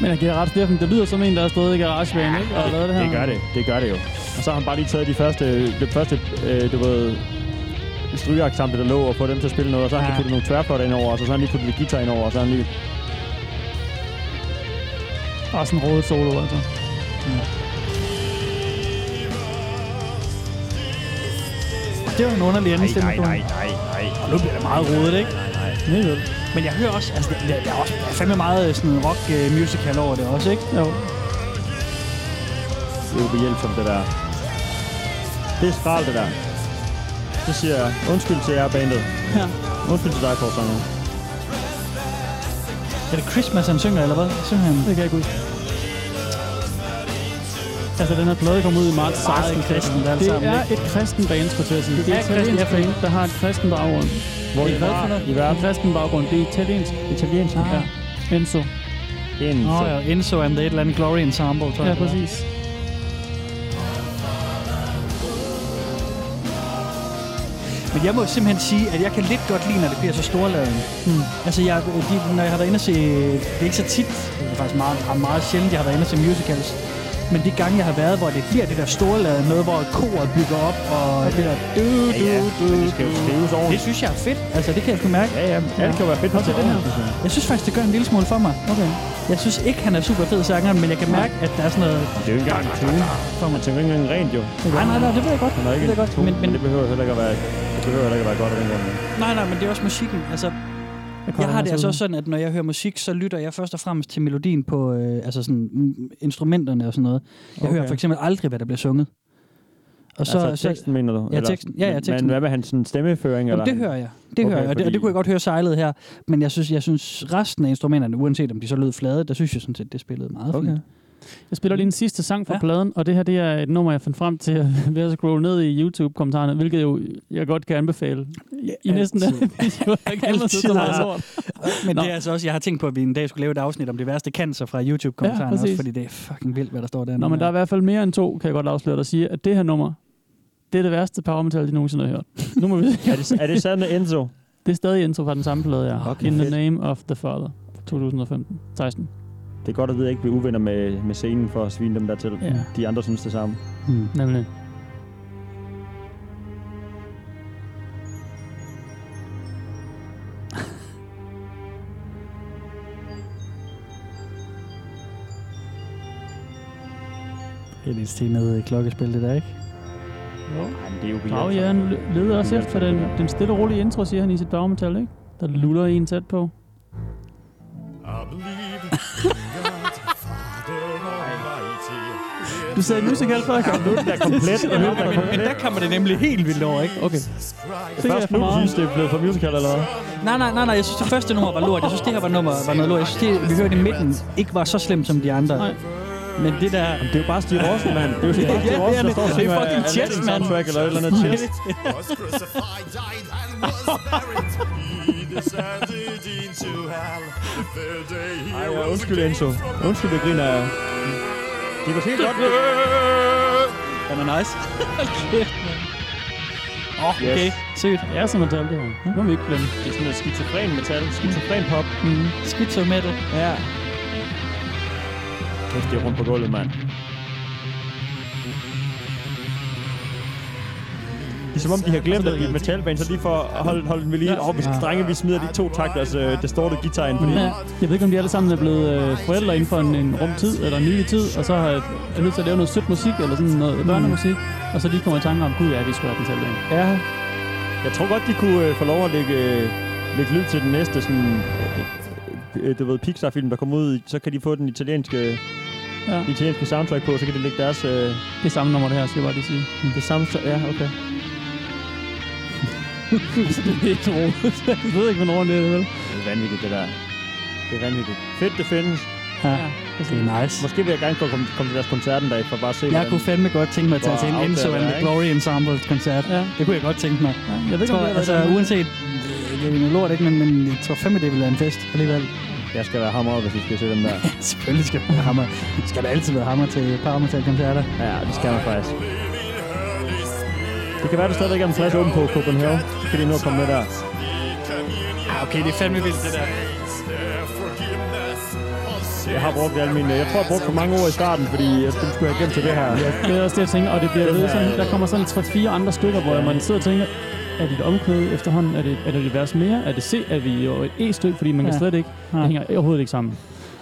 [SPEAKER 3] Men jeg giver ret, Steffen. Det lyder som en, der har stået i garagebanen, ikke? Og har lavet det her.
[SPEAKER 5] Det gør det. Det gør det jo. Og så har han bare lige taget de første, det første, øh, du ved, strygeaksample, der lå, og fået dem til at spille noget, og så har han
[SPEAKER 3] Ja.
[SPEAKER 5] lige puttet nogle tværflotter ind over, og så, så har han lige puttet lidt guitar ind over, og så har han lige...
[SPEAKER 3] Og sådan en rød solo, altså.
[SPEAKER 4] Det var en underlig anden stemme.
[SPEAKER 5] nej, nej.
[SPEAKER 4] Og nu bliver det meget rodet, ikke?
[SPEAKER 3] Nej, vel.
[SPEAKER 4] Men jeg hører også, altså, der, der er også der er fandme meget øh, sådan rock øh, musical over det også, ikke?
[SPEAKER 3] Jo.
[SPEAKER 5] Det er ubehjælpsomt, det der. Det er skrald, det der. Det siger jeg. Undskyld til jer, bandet.
[SPEAKER 3] Ja.
[SPEAKER 5] Undskyld til dig, Korsangeren.
[SPEAKER 4] Er det Christmas, han synger, eller hvad? Synger han?
[SPEAKER 3] Det kan jeg ikke huske. Altså, den her plade kom ud i marts 16.
[SPEAKER 4] meget kristent alt
[SPEAKER 3] det
[SPEAKER 4] sammen,
[SPEAKER 3] er et kristen band, skulle jeg til at sige. Det er
[SPEAKER 4] er
[SPEAKER 3] et
[SPEAKER 4] et
[SPEAKER 3] kristen
[SPEAKER 4] kristent
[SPEAKER 3] band, der har en kristen baggrund.
[SPEAKER 5] Hvor
[SPEAKER 4] Det
[SPEAKER 5] I
[SPEAKER 4] er hvad for noget?
[SPEAKER 5] I
[SPEAKER 3] En
[SPEAKER 5] verden.
[SPEAKER 3] kristen baggrund. Det er italiensk.
[SPEAKER 5] Italiensk.
[SPEAKER 3] Ja. Enzo.
[SPEAKER 5] En.
[SPEAKER 4] Nå
[SPEAKER 5] så-
[SPEAKER 4] ja, Enzo and the et eller andet Glory Ensemble, tror jeg.
[SPEAKER 3] Ja,
[SPEAKER 4] det var.
[SPEAKER 3] præcis.
[SPEAKER 4] Men jeg må simpelthen sige, at jeg kan lidt godt lide, når det bliver så storladen.
[SPEAKER 3] Hmm.
[SPEAKER 4] Altså, jeg, de, når jeg har været inde og se... Det er ikke så tit, det er faktisk meget, meget, meget sjældent, jeg har været inde og se musicals. Men de gange, jeg har været, hvor det bliver det der storladen, noget, hvor koret bygger op, og det der... Du,
[SPEAKER 5] Ja,
[SPEAKER 4] du,
[SPEAKER 5] ja.
[SPEAKER 4] du,
[SPEAKER 5] Men det skal jo skrives
[SPEAKER 4] du. Det
[SPEAKER 5] ordentligt.
[SPEAKER 4] synes jeg er fedt. Altså, det kan jeg sgu mærke.
[SPEAKER 5] Ja, ja. Alt kan jo være fedt. Prøv
[SPEAKER 4] den her. Jeg synes faktisk, det gør en lille smule for mig.
[SPEAKER 3] Okay.
[SPEAKER 4] Jeg synes ikke, han er super fed sangeren, men jeg kan mærke, at der er sådan noget...
[SPEAKER 5] Det er jo ikke engang en tune. For man tænker ikke engang rent, jo.
[SPEAKER 4] Nej, nej, nej, det ved jeg godt.
[SPEAKER 5] Han er ikke
[SPEAKER 4] det ved
[SPEAKER 5] en
[SPEAKER 4] jeg godt.
[SPEAKER 5] tune,
[SPEAKER 4] Men, men,
[SPEAKER 5] det behøver heller ikke at være, det behøver heller ikke at være godt af den grund.
[SPEAKER 4] nej, nej, men det er også musikken. Altså, Jeg har det altså også sådan, at når jeg hører musik, så lytter jeg først og fremmest til melodien på øh, altså sådan, mm, instrumenterne og sådan noget. Jeg
[SPEAKER 3] Okay.
[SPEAKER 4] okay. hører for eksempel aldrig, hvad der bliver sunget. Og så,
[SPEAKER 5] Så, altså teksten, mener du?
[SPEAKER 4] Ja, teksten. Ja, ja, teksten.
[SPEAKER 5] Men hvad med hans sådan, stemmeføring?
[SPEAKER 4] så,
[SPEAKER 5] eller
[SPEAKER 4] jamen, det
[SPEAKER 5] han-
[SPEAKER 4] hører jeg. Det
[SPEAKER 5] Okay,
[SPEAKER 4] hører jeg, og det, og
[SPEAKER 5] fordi-
[SPEAKER 4] det kunne jeg godt høre sejlet her. Men jeg synes, jeg synes resten af instrumenterne, uanset om de så lød flade, der synes jeg sådan set, det spillede meget
[SPEAKER 5] Okay.
[SPEAKER 4] fint.
[SPEAKER 3] Jeg spiller lige en sidste sang fra ja.
[SPEAKER 4] Ja.
[SPEAKER 3] pladen, og det her det er et nummer, jeg fandt frem til ved at scrolle ned i YouTube-kommentarerne, hvilket jo jeg godt kan anbefale. I næsten der video, jeg kan ellers sidde og holde
[SPEAKER 4] Altid.
[SPEAKER 3] lort.
[SPEAKER 4] Men
[SPEAKER 3] Nå.
[SPEAKER 4] det er altså også, jeg har tænkt på, at vi en dag skulle lave et afsnit om det værste cancer fra
[SPEAKER 3] Ja,
[SPEAKER 4] YouTube-kommentarerne, ja,
[SPEAKER 3] præcis.
[SPEAKER 4] også, fordi det er fucking vildt, hvad der står der.
[SPEAKER 3] Nå, men der er i hvert fald mere end to, kan jeg godt afsløre, der siger, at det her nummer, det er det værste power metal, de nogensinde har hørt. Nu må vi se.
[SPEAKER 5] Er det, er det sandt, Enzo?
[SPEAKER 3] Det er stadig intro fra den samme plade, ja.
[SPEAKER 5] Okay,
[SPEAKER 3] In the
[SPEAKER 5] fedt.
[SPEAKER 3] Name of the Father. 2015. 16.
[SPEAKER 5] Det er godt at vide, at jeg ikke bliver uvenner med, med scenen for at svine dem der til.
[SPEAKER 3] Ja.
[SPEAKER 5] De andre synes det samme.
[SPEAKER 4] hmm.
[SPEAKER 3] Mm. Nemlig.
[SPEAKER 4] Det er lidt stenet klokkespil, det der, ikke?
[SPEAKER 3] Jo.
[SPEAKER 5] Ej, men det er altså- jo
[SPEAKER 3] Og ja, nu leder også efter den, den stille og rolige intro, siger han i sit power metal, ikke? Der luller en tæt på. Du sagde musical før, kan
[SPEAKER 5] Nu er den der komplet. og nu er den der komplet.
[SPEAKER 4] Men der kommer det nemlig helt vildt over, ikke?
[SPEAKER 3] Okay. Det er
[SPEAKER 5] Først nu
[SPEAKER 3] for meget.
[SPEAKER 5] synes det er blevet for musical, eller hvad?
[SPEAKER 4] Nej, nej, nej, nej. Jeg synes, det første nummer var lort. Jeg synes, det her var, nummer, var noget lort. Jeg synes, det, vi hørte i midten, ikke var så slemt som de andre.
[SPEAKER 3] Nej.
[SPEAKER 4] Men det der...
[SPEAKER 5] Det er jo bare Steve Austin, mand. Det er jo bare Steve
[SPEAKER 4] det er
[SPEAKER 5] Austin,
[SPEAKER 4] det.
[SPEAKER 5] der står og
[SPEAKER 4] Det er
[SPEAKER 5] synger,
[SPEAKER 4] fucking
[SPEAKER 5] "Aladdin
[SPEAKER 4] Chess, mand."
[SPEAKER 5] soundtrack eller et eller andet chess.
[SPEAKER 6] was crucified, died, and was buried. He descended into hell. The third day he
[SPEAKER 5] Ej,
[SPEAKER 6] rose
[SPEAKER 5] undskyld,
[SPEAKER 6] again
[SPEAKER 5] Enzo.
[SPEAKER 6] from
[SPEAKER 5] Undskyld, jeg griner af jer. Det var helt godt.
[SPEAKER 4] Den er nice. Åh, okay. Oh, okay. Sødt.
[SPEAKER 3] Ja, som metal, det her. Hm? Nu må vi ikke glemme.
[SPEAKER 5] Det er sådan noget skizofren metal, skizofren pop.
[SPEAKER 3] Mm.
[SPEAKER 4] Schizo metal.
[SPEAKER 5] Ja. Kæft, det er rundt på gulvet, mand. Det er som om, de har glemt, at vi er et metalband, så lige for at holde, holde den ved lige. Åh, oh, vi skal drenge, vi smider de to takter, altså det står det guitar ind, fordi
[SPEAKER 3] Ja. Jeg ved ikke, om de alle sammen er blevet øh, forældre inden for en, en rum tid, eller en nylig tid, og så har er nødt til at lave noget sødt musik, eller sådan noget børnemusik, og så lige kommer i tanke om, gud ja, vi skulle have den selv ind.
[SPEAKER 5] Ja. Jeg tror godt, de kunne øh, få lov at lægge, øh, lægge lyd til den næste sådan, øh, øh, du ved, Pixar-film, der kommer ud. Så kan de få den italienske,
[SPEAKER 3] Ja.
[SPEAKER 5] ja. italienske soundtrack på, så kan de lægge deres... Øh,
[SPEAKER 3] Det er samme nummer, det her, skal jeg bare lige sige.
[SPEAKER 5] det samme... Ja, okay.
[SPEAKER 3] det er ikke roligt. jeg ved ikke, hvornår det er, vel?
[SPEAKER 5] Det er vanvittigt, det der. Det er vanvittigt. Fedt, det findes.
[SPEAKER 4] Ja, det
[SPEAKER 3] præcis.
[SPEAKER 4] er nice.
[SPEAKER 5] Måske vil jeg gerne kunne komme, komme til deres koncert en dag, for bare at se,
[SPEAKER 4] Jeg kunne fandme godt tænke mig at tage
[SPEAKER 5] Hvor
[SPEAKER 4] til en
[SPEAKER 5] afdaget
[SPEAKER 4] Enzo
[SPEAKER 5] er,
[SPEAKER 4] and the
[SPEAKER 5] ikke?
[SPEAKER 4] Glory Ensemble koncert.
[SPEAKER 3] Ja.
[SPEAKER 4] Det kunne jeg godt tænke mig.
[SPEAKER 3] ja. Jeg ved
[SPEAKER 4] Jeg
[SPEAKER 3] ikke,
[SPEAKER 4] tror,
[SPEAKER 3] om det er
[SPEAKER 4] altså, uanset... Det er jo noget lort, ikke? Men, men jeg tror fandme, det ville være en fest alligevel.
[SPEAKER 5] Jeg skal være hammer, hvis vi skal se dem der.
[SPEAKER 4] Selvfølgelig skal man hammer. Skal der altid være hammer til Paramatal-koncerter.
[SPEAKER 5] ja, det skal man faktisk. Det kan være, du stadigvæk er en plads åben på Copenhagen. Så kan de nå at komme med der.
[SPEAKER 4] Ah, okay, det er fandme vildt, det der.
[SPEAKER 6] Saints, their forgiveness of
[SPEAKER 5] Jeg har brugt alle mine... Jeg tror, jeg brugte for mange ord i starten, fordi jeg skulle skulle have gemt til det her.
[SPEAKER 3] Ja, det er også det, jeg tænker. Og det bliver ved sådan, der kommer sådan 3-4 andre stykker, hvor man sidder og tænker, er det et omkvæd efterhånden? Er det, er det et vers mere? Er det C? Er vi jo et E-stykke? Fordi man kan
[SPEAKER 4] Ja.
[SPEAKER 3] slet ikke...
[SPEAKER 4] Nej.
[SPEAKER 3] Det hænger overhovedet ikke sammen.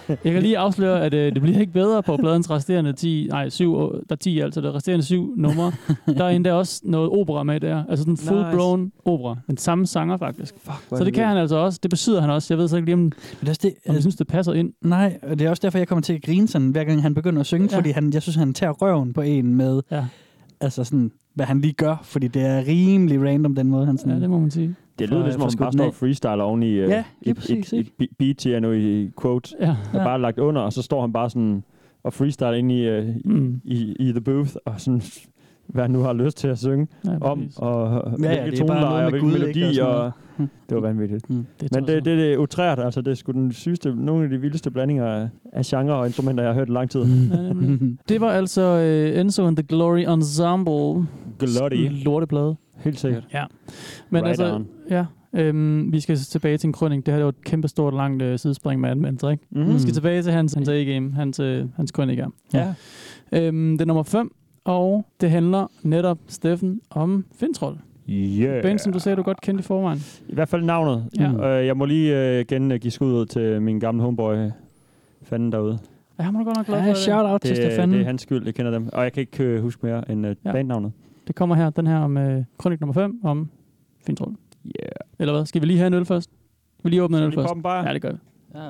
[SPEAKER 3] Jeg kan lige afsløre, at øh, det bliver ikke bedre på pladens resterende 10... Nej, 7, der er 10 altså. Der er resterende 7 numre. Der er endda også noget opera med der. Altså sådan full-blown nice. opera. Den samme sanger faktisk.
[SPEAKER 4] hvor
[SPEAKER 3] så det kan han altså også. Det besidder han også. Jeg ved så ikke lige, om,
[SPEAKER 4] Men det er også det,
[SPEAKER 3] om jeg
[SPEAKER 4] altså,
[SPEAKER 3] synes, det passer ind.
[SPEAKER 4] nej, og det er også derfor, jeg kommer til at grine sådan, hver gang han begynder at synge,
[SPEAKER 3] Ja.
[SPEAKER 4] ja. fordi han, jeg synes, han tager røven på en med,
[SPEAKER 3] Ja.
[SPEAKER 4] altså sådan, hvad han lige gør, fordi det er rimelig random, den måde, han sådan...
[SPEAKER 3] Ja, det må man sige.
[SPEAKER 5] Det lyder
[SPEAKER 4] For-
[SPEAKER 5] lidt, som om
[SPEAKER 4] for
[SPEAKER 5] han
[SPEAKER 4] skudt
[SPEAKER 5] bare står
[SPEAKER 4] den
[SPEAKER 5] og freestyler oven i øh,
[SPEAKER 4] Ja, lige
[SPEAKER 5] et,
[SPEAKER 4] præcis,
[SPEAKER 5] et, et,
[SPEAKER 4] ikke?
[SPEAKER 5] et beat her nu i quote.
[SPEAKER 3] Ja.
[SPEAKER 5] Der
[SPEAKER 4] Ja.
[SPEAKER 5] bare er lagt under, og så står han bare sådan og freestyler ind i, øh,
[SPEAKER 3] Mm.
[SPEAKER 5] i, i The Booth, og sådan, hvad han nu har lyst til at synge
[SPEAKER 3] ja
[SPEAKER 5] om,
[SPEAKER 3] præcis.
[SPEAKER 5] og ja,
[SPEAKER 4] det er
[SPEAKER 5] hvilke
[SPEAKER 4] bare noget
[SPEAKER 5] toneleje,
[SPEAKER 4] med
[SPEAKER 5] og hvilken
[SPEAKER 4] Gud, ikke, og
[SPEAKER 5] melodi,
[SPEAKER 4] sådan
[SPEAKER 5] og,
[SPEAKER 4] noget. Hm.
[SPEAKER 5] det var vanvittigt.
[SPEAKER 3] det
[SPEAKER 5] Men
[SPEAKER 3] tror jeg
[SPEAKER 5] det, det, det er utrært, altså det er sgu den sygeste, nogle af de vildeste blandinger af- af genre og instrumenter, jeg har hørt i lang tid.
[SPEAKER 3] Ja, nemlig.
[SPEAKER 4] Mhm.
[SPEAKER 3] Det var altså uh, Enzo and the Glory Ensemble.
[SPEAKER 5] Glotty.
[SPEAKER 3] Lorteplade.
[SPEAKER 5] Helt sikkert.
[SPEAKER 3] Ja. Men
[SPEAKER 5] Right
[SPEAKER 3] altså,
[SPEAKER 5] on.
[SPEAKER 3] ja. Øhm, vi skal tilbage til en krønning. Det her det var et kæmpe stort langt øh, sidespring med anmeldelse, ikke?
[SPEAKER 5] Mhm.
[SPEAKER 3] Mm. Vi skal tilbage til hans, hans A-game, hans, øh, hans krønninger.
[SPEAKER 5] Ja.
[SPEAKER 3] Øhm, det er nummer 5, og det handler netop, Steffen, om Fintroll.
[SPEAKER 5] Yeah.
[SPEAKER 3] Band, som du sagde, du godt kendte i forvejen.
[SPEAKER 5] I hvert fald navnet.
[SPEAKER 3] Ja.
[SPEAKER 5] Øh, jeg må lige øh, igen øh, give skud ud til min gamle homeboy, øh, fanden derude.
[SPEAKER 3] Ja, han var du godt nok glad for
[SPEAKER 4] Ja,
[SPEAKER 3] det.
[SPEAKER 4] shout out til
[SPEAKER 5] Det, er-
[SPEAKER 4] Stefan.
[SPEAKER 5] det er hans skyld, jeg kender dem. Og jeg kan ikke øh, huske mere end øh,
[SPEAKER 3] Ja.
[SPEAKER 5] ja. bandnavnet.
[SPEAKER 3] Det kommer her, den her om øh, krønning nummer 5, om Fintroll.
[SPEAKER 5] Yeah.
[SPEAKER 3] Eller hvad? Skal vi lige have en øl først? Skal vi lige åbne en
[SPEAKER 5] Skal
[SPEAKER 3] øl
[SPEAKER 5] vi
[SPEAKER 3] først?
[SPEAKER 5] komme bare?
[SPEAKER 3] Ja, det gør vi.
[SPEAKER 5] Ja, jeg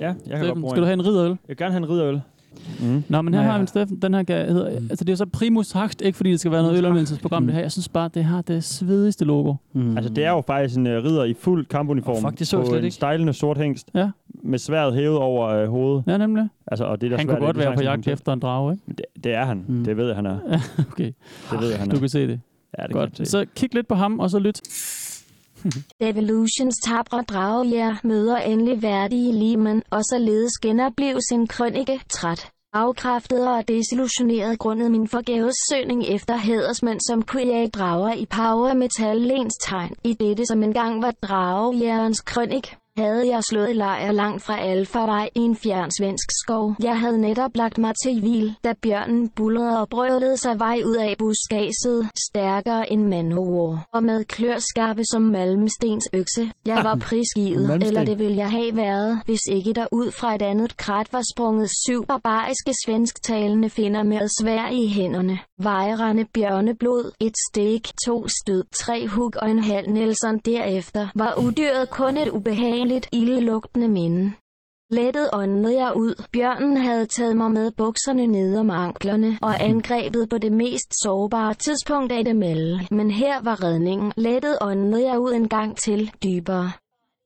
[SPEAKER 5] kan godt
[SPEAKER 3] Steffen,
[SPEAKER 5] bruge
[SPEAKER 3] skal du
[SPEAKER 5] en.
[SPEAKER 3] have en ridderøl?
[SPEAKER 5] Jeg vil gerne have en ridderøl. Mm.
[SPEAKER 3] Nå, men her
[SPEAKER 4] Nå,
[SPEAKER 3] har
[SPEAKER 4] ja.
[SPEAKER 3] vi en Steffen. Den her ga- hedder... Mm. Altså, det er jo så primus hakt, ikke fordi det skal være noget ølanvendelsesprogram, det her. Jeg synes bare, det har det svedigste logo.
[SPEAKER 4] Mm.
[SPEAKER 5] Altså, det er jo faktisk en øh, ridder i fuld kampuniform.
[SPEAKER 4] Åh, fuck, det så
[SPEAKER 5] på
[SPEAKER 4] jeg slet
[SPEAKER 5] en
[SPEAKER 4] ikke.
[SPEAKER 5] stejlende sort hængst.
[SPEAKER 3] Ja.
[SPEAKER 5] Med sværet hævet over øh, hovedet.
[SPEAKER 3] Ja, nemlig.
[SPEAKER 5] Altså, og det er da
[SPEAKER 3] Han
[SPEAKER 5] svært,
[SPEAKER 3] kunne godt
[SPEAKER 5] det er
[SPEAKER 3] være på
[SPEAKER 5] sådan,
[SPEAKER 3] jagt
[SPEAKER 5] sådan-
[SPEAKER 3] efter en drage, ikke?
[SPEAKER 5] Det, det er han.
[SPEAKER 4] Mm.
[SPEAKER 5] Mm. Det ved jeg, han er.
[SPEAKER 3] Okay,
[SPEAKER 5] Det ved jeg, han er.
[SPEAKER 3] du kan se det.
[SPEAKER 5] Ja, det
[SPEAKER 3] Godt.
[SPEAKER 5] Godt.
[SPEAKER 3] Så kig lidt på ham, og så lyt.
[SPEAKER 2] Devolutions tabre drager møder endelig værdige limen, og således genoplev sin krønike træt. Afkræftet og desillusioneret grundet min forgæves søgning efter hædersmænd som kunne jage drager i power metal lens tegn. I dette som engang var dragejærens krønik, havde jeg slået lejr langt fra alfarvej i en fjern svensk skov. Jeg havde netop lagt mig til hvil, da bjørnen bullerede og brølede sig vej ud af buskaget, stærkere end manowar, og med klørskarpe som malmstens økse. Jeg var prisgivet,
[SPEAKER 4] Malmsten.
[SPEAKER 2] eller det ville jeg have været, hvis ikke der ud fra et andet krat var sprunget syv barbariske svensktalende finder med svær i hænderne. Vejrende bjørneblod, et stik, to stød, tre hug og en halv Nelson derefter, var udyret kun et ubehageligt, ildelugtende minde. Lettet åndede jeg ud. Bjørnen havde taget mig med bukserne ned om anklerne og angrebet på det mest sårbare tidspunkt af dem alle. Men her var redningen. Lettet åndede jeg ud en gang til, dybere.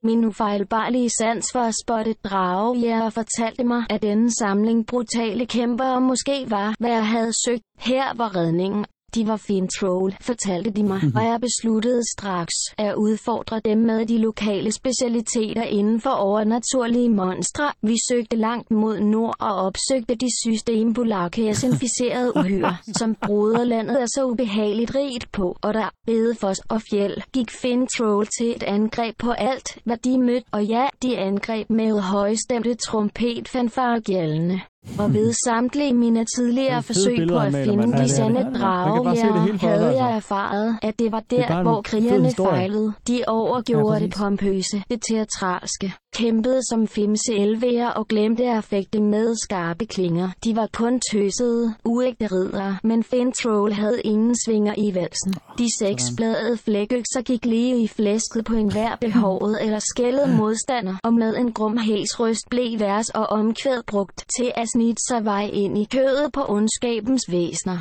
[SPEAKER 2] Min ufejlbarlige sans for at spotte dragejæger fortalte mig, at denne samling brutale kæmpere måske var, hvad jeg havde søgt. Her var redningen. De var fin troll, fortalte de mig, og jeg besluttede straks at udfordre dem med de lokale specialiteter inden for overnaturlige monstre. Vi søgte langt mod nord og opsøgte de systembolakkæs inficerede uhyre, som broderlandet er så ubehageligt rigt på, og der Bedefors og Fjeld gik Finn Troll til et angreb på alt, hvad de mødte, og ja, de angreb med højstemte trompetfanfare gældende. Og ved samtlige mine tidligere
[SPEAKER 5] fede
[SPEAKER 2] forsøg på
[SPEAKER 5] billeder,
[SPEAKER 2] at
[SPEAKER 5] han maler,
[SPEAKER 2] finde
[SPEAKER 5] mand. Ja,
[SPEAKER 2] de
[SPEAKER 5] det er
[SPEAKER 2] sande
[SPEAKER 5] det. Man kan bare se det
[SPEAKER 2] drager,
[SPEAKER 5] hele for sig,
[SPEAKER 2] havde
[SPEAKER 5] altså.
[SPEAKER 2] jeg erfaret, at det var
[SPEAKER 5] er bare
[SPEAKER 2] der,
[SPEAKER 5] en
[SPEAKER 2] hvor
[SPEAKER 5] fed
[SPEAKER 2] krigerne
[SPEAKER 5] historie.
[SPEAKER 2] fejlede. De overgjorde
[SPEAKER 4] Ja,
[SPEAKER 2] det
[SPEAKER 4] præcis.
[SPEAKER 2] pompøse, det teatralske. Kæmpede som femse elveer og glemte at fægte med skarpe klinger. De var kun tøsede, uægte riddere, men Finn Troll havde ingen svinger i valsen. De seksbladede flækøkser gik lige i flæsket på enhver behovet eller skældede modstander, og med en grum hælsryst blev vers og omkvæd brugt til at snitte sig vej ind i kødet på ondskabens væsner.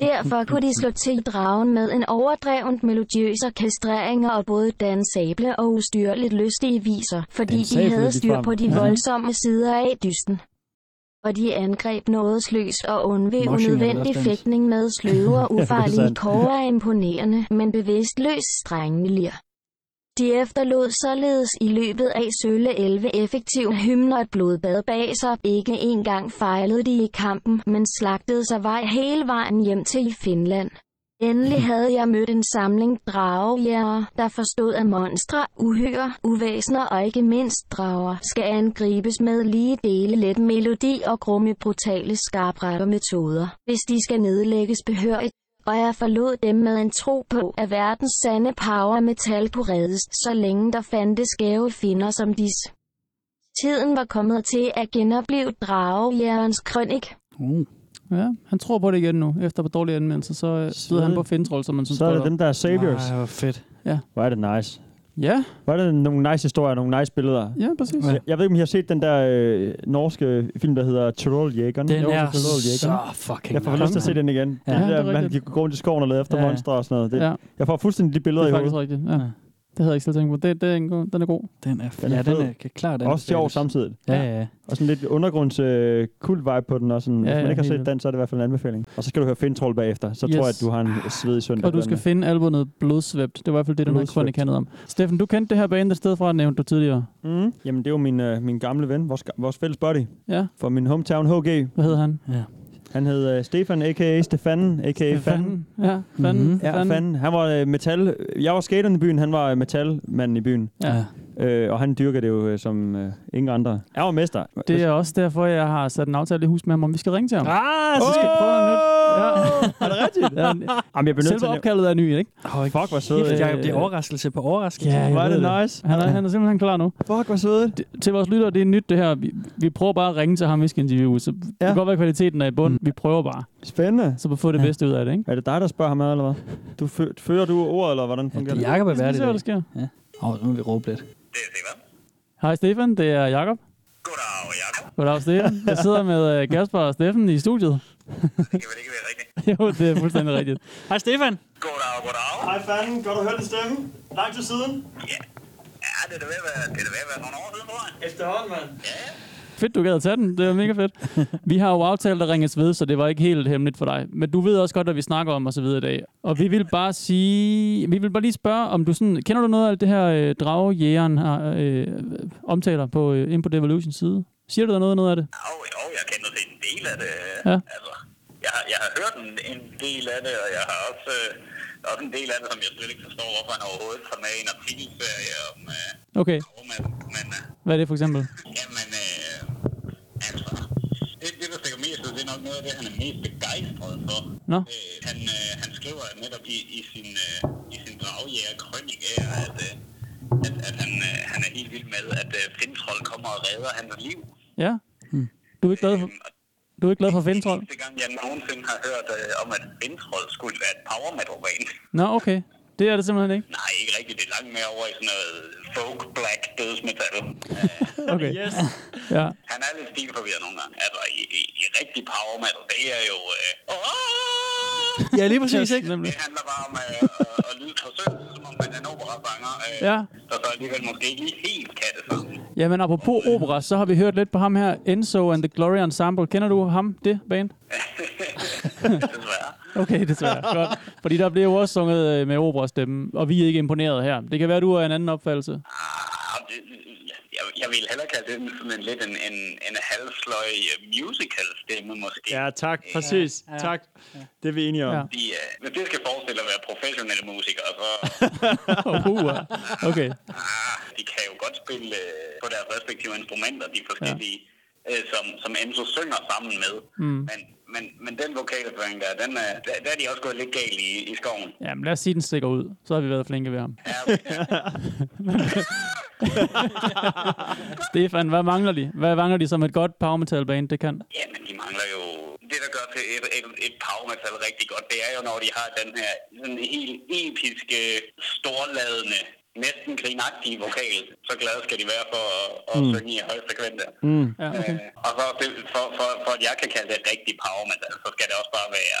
[SPEAKER 2] Derfor kunne de slå til dragen med en overdrevent melodiøs orkestrering og både dansable og ustyrligt lystige viser, fordi de
[SPEAKER 5] Dansable
[SPEAKER 2] havde styr
[SPEAKER 5] ligefrem.
[SPEAKER 2] på de
[SPEAKER 5] Ja.
[SPEAKER 2] voldsomme sider af dysten. Og de angreb nådesløs og undved
[SPEAKER 4] Moshing er vel
[SPEAKER 2] unødvendig
[SPEAKER 4] også dans.
[SPEAKER 2] fægtning med sløve og ufarlige
[SPEAKER 5] sandt.
[SPEAKER 2] kår er imponerende, men bevidstløs strengende lir. De efterlod således i løbet af Sølle 11 effektive hymner et blodbad bag sig. Ikke engang fejlede de i kampen, men slagtede sig vej hele vejen hjem til i Finland. Endelig havde jeg mødt en samling dragejæger, der forstod, at monstre, uhyrer, uvæsner og ikke mindst drager, skal angribes med lige dele let melodi og grumme brutale skarpretter metoder, hvis de skal nedlægges behørigt og jeg forlod dem med en tro på, at verdens sande power metal kunne reddes, så længe der fandtes skæve finder som dis. Tiden var kommet til at genopleve dragejægerens krønik.
[SPEAKER 4] Uh.
[SPEAKER 3] Ja, han tror på det igen nu. Efter på dårlige anmeldelser, så øh, sidder han på Fintroll, som man synes
[SPEAKER 5] Så er det
[SPEAKER 3] godt om.
[SPEAKER 5] dem, der er saviors.
[SPEAKER 4] Nej, hvor fedt.
[SPEAKER 5] Hvor er det nice.
[SPEAKER 3] Ja,
[SPEAKER 5] Hvor er det nogle nice historier, nogle nice billeder.
[SPEAKER 3] ja, præcis.
[SPEAKER 5] Jeg, jeg ved ikke, om I har set den der øh, norske film, der hedder Tyrol-jægeren.
[SPEAKER 4] Den
[SPEAKER 5] Jo,
[SPEAKER 4] er
[SPEAKER 5] Tyrol-jægeren.
[SPEAKER 4] så fucking
[SPEAKER 5] Jeg får lyst til at se den igen.
[SPEAKER 4] Ja.
[SPEAKER 5] Ja, det
[SPEAKER 3] Ja,
[SPEAKER 5] der,
[SPEAKER 3] det er
[SPEAKER 5] man
[SPEAKER 3] rigtigt.
[SPEAKER 5] gik rundt i skoven og lede efter
[SPEAKER 4] Ja, ja.
[SPEAKER 5] monstre og sådan noget. Det,
[SPEAKER 3] Ja,
[SPEAKER 5] Jeg får fuldstændig de
[SPEAKER 3] det
[SPEAKER 5] billeder
[SPEAKER 3] er
[SPEAKER 5] i
[SPEAKER 3] faktisk
[SPEAKER 5] hovedet.
[SPEAKER 3] rigtigt.
[SPEAKER 4] Ja.
[SPEAKER 3] Ja. Det havde jeg ikke selv tænkt på. Det, det er en god, den er god.
[SPEAKER 4] Den er,
[SPEAKER 5] Den er
[SPEAKER 4] ja, den
[SPEAKER 5] fed.
[SPEAKER 4] er kan klart
[SPEAKER 5] Også sjov
[SPEAKER 4] anbefales.
[SPEAKER 5] samtidig.
[SPEAKER 4] Ja, ja, ja.
[SPEAKER 5] Og sådan lidt undergrunds øh, cool vibe på den. Og sådan,
[SPEAKER 3] Ja,
[SPEAKER 5] Hvis
[SPEAKER 3] ja,
[SPEAKER 5] man ikke har
[SPEAKER 3] helt
[SPEAKER 5] set den, så er det i hvert fald en anbefaling. Og så skal du høre Fintroll bagefter. Så
[SPEAKER 3] Yes.
[SPEAKER 5] tror jeg, at du har en svedig søndag.
[SPEAKER 3] Og du skal finde albumet Blodsvæbt. Det var i hvert fald det, den her
[SPEAKER 5] Blodsvæbt.
[SPEAKER 3] kronik handlede om. Steffen, du kendte det her band et sted fra, nævnte du tidligere.
[SPEAKER 5] Mm. Jamen, det er jo min, øh, min gamle ven, vores, vores fælles buddy.
[SPEAKER 3] Ja,
[SPEAKER 5] Fra min hometown HG.
[SPEAKER 3] hvad hedder han?
[SPEAKER 5] Han hed øh, Stefan, a.k.a. Stefan, a.k.a. Fanden.
[SPEAKER 3] Ja, fanden.
[SPEAKER 4] Mhm.
[SPEAKER 3] Mm-hmm.
[SPEAKER 5] Ja, fanden. Han var øh, metal. Jeg var skateren i byen, han var øh, metalmanden i byen.
[SPEAKER 3] Ja.
[SPEAKER 5] Øh, og han dyrker det jo øh, som øh, ingen andre. Jeg var mester.
[SPEAKER 3] Det er også derfor, jeg har sat en aftale i hus med ham, om vi skal ringe til ham.
[SPEAKER 5] Ah,
[SPEAKER 3] så skal vi prøve noget nyt. Ja.
[SPEAKER 5] Er det rigtigt?
[SPEAKER 3] Ja,
[SPEAKER 5] Jamen, jeg bliver nødt til
[SPEAKER 3] selve
[SPEAKER 5] at...
[SPEAKER 3] opkaldet er ny, ikke?
[SPEAKER 4] Høj,
[SPEAKER 5] Fuck, hvor sødt.
[SPEAKER 4] kæft,
[SPEAKER 3] øh,
[SPEAKER 4] Jacob, det er overraskelse på overraskelse.
[SPEAKER 3] Ja, jeg
[SPEAKER 5] Hvor er
[SPEAKER 3] ved
[SPEAKER 5] det
[SPEAKER 3] det.
[SPEAKER 5] nice.
[SPEAKER 3] Han er, han er simpelthen klar nu.
[SPEAKER 5] Fuck, hvor sødt.
[SPEAKER 3] Det- Til vores lyttere, det er nyt det her. Vi, vi prøver bare at ringe til ham, vi skal interviewe. Så det
[SPEAKER 5] Ja.
[SPEAKER 3] kan godt være, at kvaliteten er i bund. Vi prøver bare.
[SPEAKER 5] Spændende.
[SPEAKER 3] Så vi får det
[SPEAKER 4] Ja.
[SPEAKER 3] bedste ud af det, ikke?
[SPEAKER 5] Er det dig, der spørger ham ad, eller hvad? Du fø- føler du ordet, eller hvordan
[SPEAKER 4] Ja, det
[SPEAKER 5] fungerer
[SPEAKER 4] er Jacob er
[SPEAKER 3] Vi skal
[SPEAKER 4] værdig.
[SPEAKER 3] se, hvad der sker.
[SPEAKER 4] Åh, oh, nu vil vi råbe lidt.
[SPEAKER 3] Hej Stefan, det er Jakob.
[SPEAKER 7] Goddag, Jacob.
[SPEAKER 3] Goddag Stefan. Jeg sidder med øh, Kasper og Steffen i studiet.
[SPEAKER 7] Det kan vel ikke være rigtigt.
[SPEAKER 3] jo, det er fuldstændig rigtigt.
[SPEAKER 4] Hej Stefan.
[SPEAKER 7] Goddag, goddag.
[SPEAKER 5] Hej fanden, godt at høre din stemme. Lang tid siden.
[SPEAKER 7] Ja, ja det er da ved at være, det er da ved at være nogle år siden, tror jeg.
[SPEAKER 5] Efterhånden, mand.
[SPEAKER 3] Fedt, du gad at tage den. Det var mega fedt. Vi har jo aftalt at ringes ved, så det var ikke helt hemmeligt for dig. Men du ved også godt, hvad vi snakker om osv. i dag. Og vi vil bare sige... Vi vil bare lige spørge, om du sådan... Kender du noget af det her øh, dragjægeren har, øh, omtaler på øh, Input Evolutions side? Siger du dig noget af noget af det?
[SPEAKER 7] Jo, jo, jeg kender til en del af det.
[SPEAKER 3] Ja.
[SPEAKER 7] Altså, jeg, har- jeg har hørt en, en del af det, og jeg har også, øh, også en del af det, som jeg slet ikke forstår, hvorfor han overhovedet har med i en artikelserie om... Øh,
[SPEAKER 3] Okay.
[SPEAKER 7] om at, men, øh,
[SPEAKER 3] Hvad er det for eksempel?
[SPEAKER 7] jamen, øh, altså, det, det, der stikker mest ud, det er nok noget af det, han er mest begejstret for.
[SPEAKER 3] Nå?
[SPEAKER 7] Øh, han, øh, han skriver netop i, i sin, øh, i sin dragjægerkrønik her, at, øh, at, at han, øh, han er helt vild med, at øh, Fintroll kommer og redder hans liv.
[SPEAKER 3] Ja? Du er ikke glad for,
[SPEAKER 7] Øhm, og
[SPEAKER 3] du er ikke glad for
[SPEAKER 7] det er
[SPEAKER 3] Fintroll?
[SPEAKER 7] eneste gang, jeg nogensinde har hørt øh, om, at Fintroll skulle være et power metal band.
[SPEAKER 3] Nå, okay. Det er det simpelthen ikke.
[SPEAKER 7] Nej, ikke rigtigt. Det er langt mere over i sådan noget folk black dødsmetal.
[SPEAKER 3] Okay. Yes. Ja.
[SPEAKER 7] Han er lidt stilforvirret nogle gange. Altså, i, i, i rigtig power metal, det er jo... Øh, "Åh!"
[SPEAKER 4] Ja, lige præcis,
[SPEAKER 3] Yes,
[SPEAKER 4] ikke?
[SPEAKER 3] nemlig.
[SPEAKER 7] Det handler bare om øh, at- at lyde forsøgt, som om man er en operasanger, øh,
[SPEAKER 3] Ja.
[SPEAKER 7] der så alligevel måske ikke lige helt kan det sammen.
[SPEAKER 3] Jamen, apropos opera, så har vi hørt lidt på ham her, Enzo and the Glory Ensemble. Kender du ham, det band?
[SPEAKER 7] Desværre.
[SPEAKER 3] Okay, desværre. Godt. Fordi der bliver jo også sunget øh, med operastemme, og vi er ikke imponeret her. Det kan være, du har en anden opfattelse.
[SPEAKER 7] Ah, det, jeg, jeg vil hellere kalde det sådan en lidt en, en, en halvsløj øh, musical stemme måske.
[SPEAKER 5] Ja, tak. Præcis. Tak. Det er vi enige om.
[SPEAKER 3] Ja.
[SPEAKER 7] De, øh, hvis det skal forestille at være professionelle musikere, så
[SPEAKER 3] Oh, uh, okay.
[SPEAKER 7] ah, de kan jo godt spille øh, på deres respektive instrumenter, de forskellige, ja. øh, som, som Enzo synger sammen med. Mm. Men, men, men den vokalføring der, den, øh, der, der er de også gået lidt galt i, i skoven.
[SPEAKER 3] Jamen, lad os sige, den stikker ud. Så har vi været flinke ved ham.
[SPEAKER 7] Ja, okay.
[SPEAKER 3] Stefan, hvad mangler de? Hvad mangler de som et godt power metal band, det kan?
[SPEAKER 7] ja, men de mangler jo... Det, der gør til et, et, et power metal rigtig godt, det er jo, når de har den her sådan helt episke, storladende, næsten grinagtige vokal. Så glade skal de være for at, at mm. synge i høj frekvenser. Mm.
[SPEAKER 3] Ja, okay.
[SPEAKER 7] Øh, og så det, for, for, for at jeg kan kalde det rigtig power metal, så skal det også bare være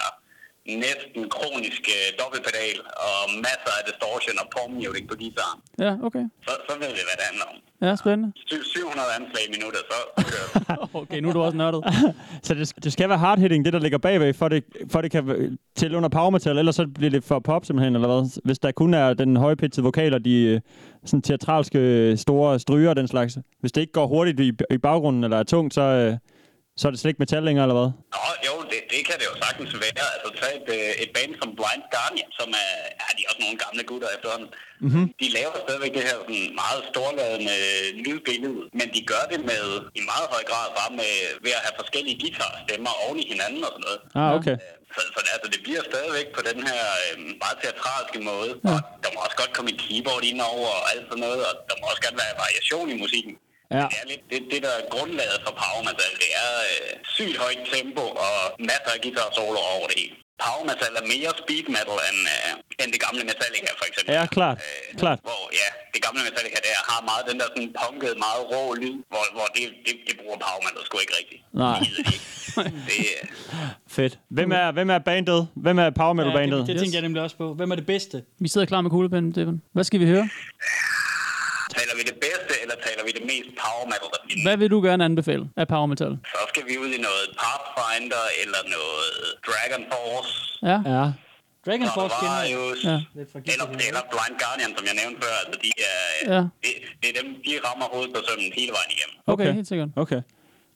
[SPEAKER 7] næsten kronisk øh, dobbeltpedal og masser af distortion og pop music på guitaren.
[SPEAKER 3] Ja, okay.
[SPEAKER 7] Så, så ved vi, hvad det handler om.
[SPEAKER 3] Ja, spændende.
[SPEAKER 7] Syv- 700 anslag i minuttet, så kører det.
[SPEAKER 3] Okay, nu er du også nørdet.
[SPEAKER 5] Så det, det skal være hardhitting, det der ligger bagved, for det, for det kan øh, tælle under power metal, ellers så bliver det for pop simpelthen, eller hvad? Hvis der kun er den højpitchede vokal og de øh, sådan teatralske øh, store stryger og den slags. Hvis det ikke går hurtigt i, i baggrunden eller er tungt, så, øh, så er det slet ikke metal længere, eller hvad?
[SPEAKER 7] Nå, jo, det, det, det kan det jo sagtens være. Altså, tag et, øh, et band som Blind Guardian, som er, ja, de er også nogle gamle gutter efterhånden. Mm-hmm. De laver stadigvæk det her sådan, meget storladende lydbillede, men de gør det med, i meget høj grad bare med, ved at have forskellige guitarstemmer oven i hinanden og sådan noget.
[SPEAKER 5] Ah, okay.
[SPEAKER 7] Så, så det, altså, det bliver stadigvæk på den her øh, meget teatralske måde. Ja. Og der må også godt komme et keyboard indover og alt sådan noget, og der må også godt være variation i musikken.
[SPEAKER 5] Ja.
[SPEAKER 7] Ja. Det er lidt det, det, der er grundlaget for Powermetal. Det er øh, sygt højt tempo og masser af guitar solo over det hele. Powermetal er mere speed metal end, øh, end det gamle Metallica, for eksempel. Øh,
[SPEAKER 5] Ja, klart. Klart.
[SPEAKER 7] Hvor, ja, det gamle Metallica der har meget den der sådan punkede, meget rå lyd, hvor, hvor det, det, det bruger Powermetal sgu ikke rigtigt.
[SPEAKER 5] Nej.
[SPEAKER 7] Det, gider de ikke.
[SPEAKER 5] Mm.
[SPEAKER 7] det, øh,
[SPEAKER 5] Fedt. Hvem er, hvem er bandet? Hvem er power metal
[SPEAKER 4] Ja,
[SPEAKER 5] bandet?
[SPEAKER 4] det, det tænker jeg nemlig også på. Hvem er det bedste?
[SPEAKER 3] Vi sidder klar med kuglepinden, Stefan. Hvad skal vi høre?
[SPEAKER 7] taler vi det bedste, eller taler vi det mest power metal, der findes?
[SPEAKER 3] Hvad vil du gerne anbefale af power metal?
[SPEAKER 7] Så skal vi ud i noget Pathfinder, eller noget Dragon Force.
[SPEAKER 3] Ja.
[SPEAKER 5] Ja.
[SPEAKER 4] Dragon Force kender jeg.
[SPEAKER 7] Stradivarius,
[SPEAKER 3] Ja.
[SPEAKER 4] Lidt fra
[SPEAKER 7] Eller,
[SPEAKER 4] Gilbert Haven.
[SPEAKER 7] eller Blind Guardian, som jeg nævnte før. Altså, de er,
[SPEAKER 3] Ja.
[SPEAKER 7] det, det er dem, de rammer hovedet på sømmen hele vejen igennem.
[SPEAKER 3] Okay, helt sikkert.
[SPEAKER 5] Okay.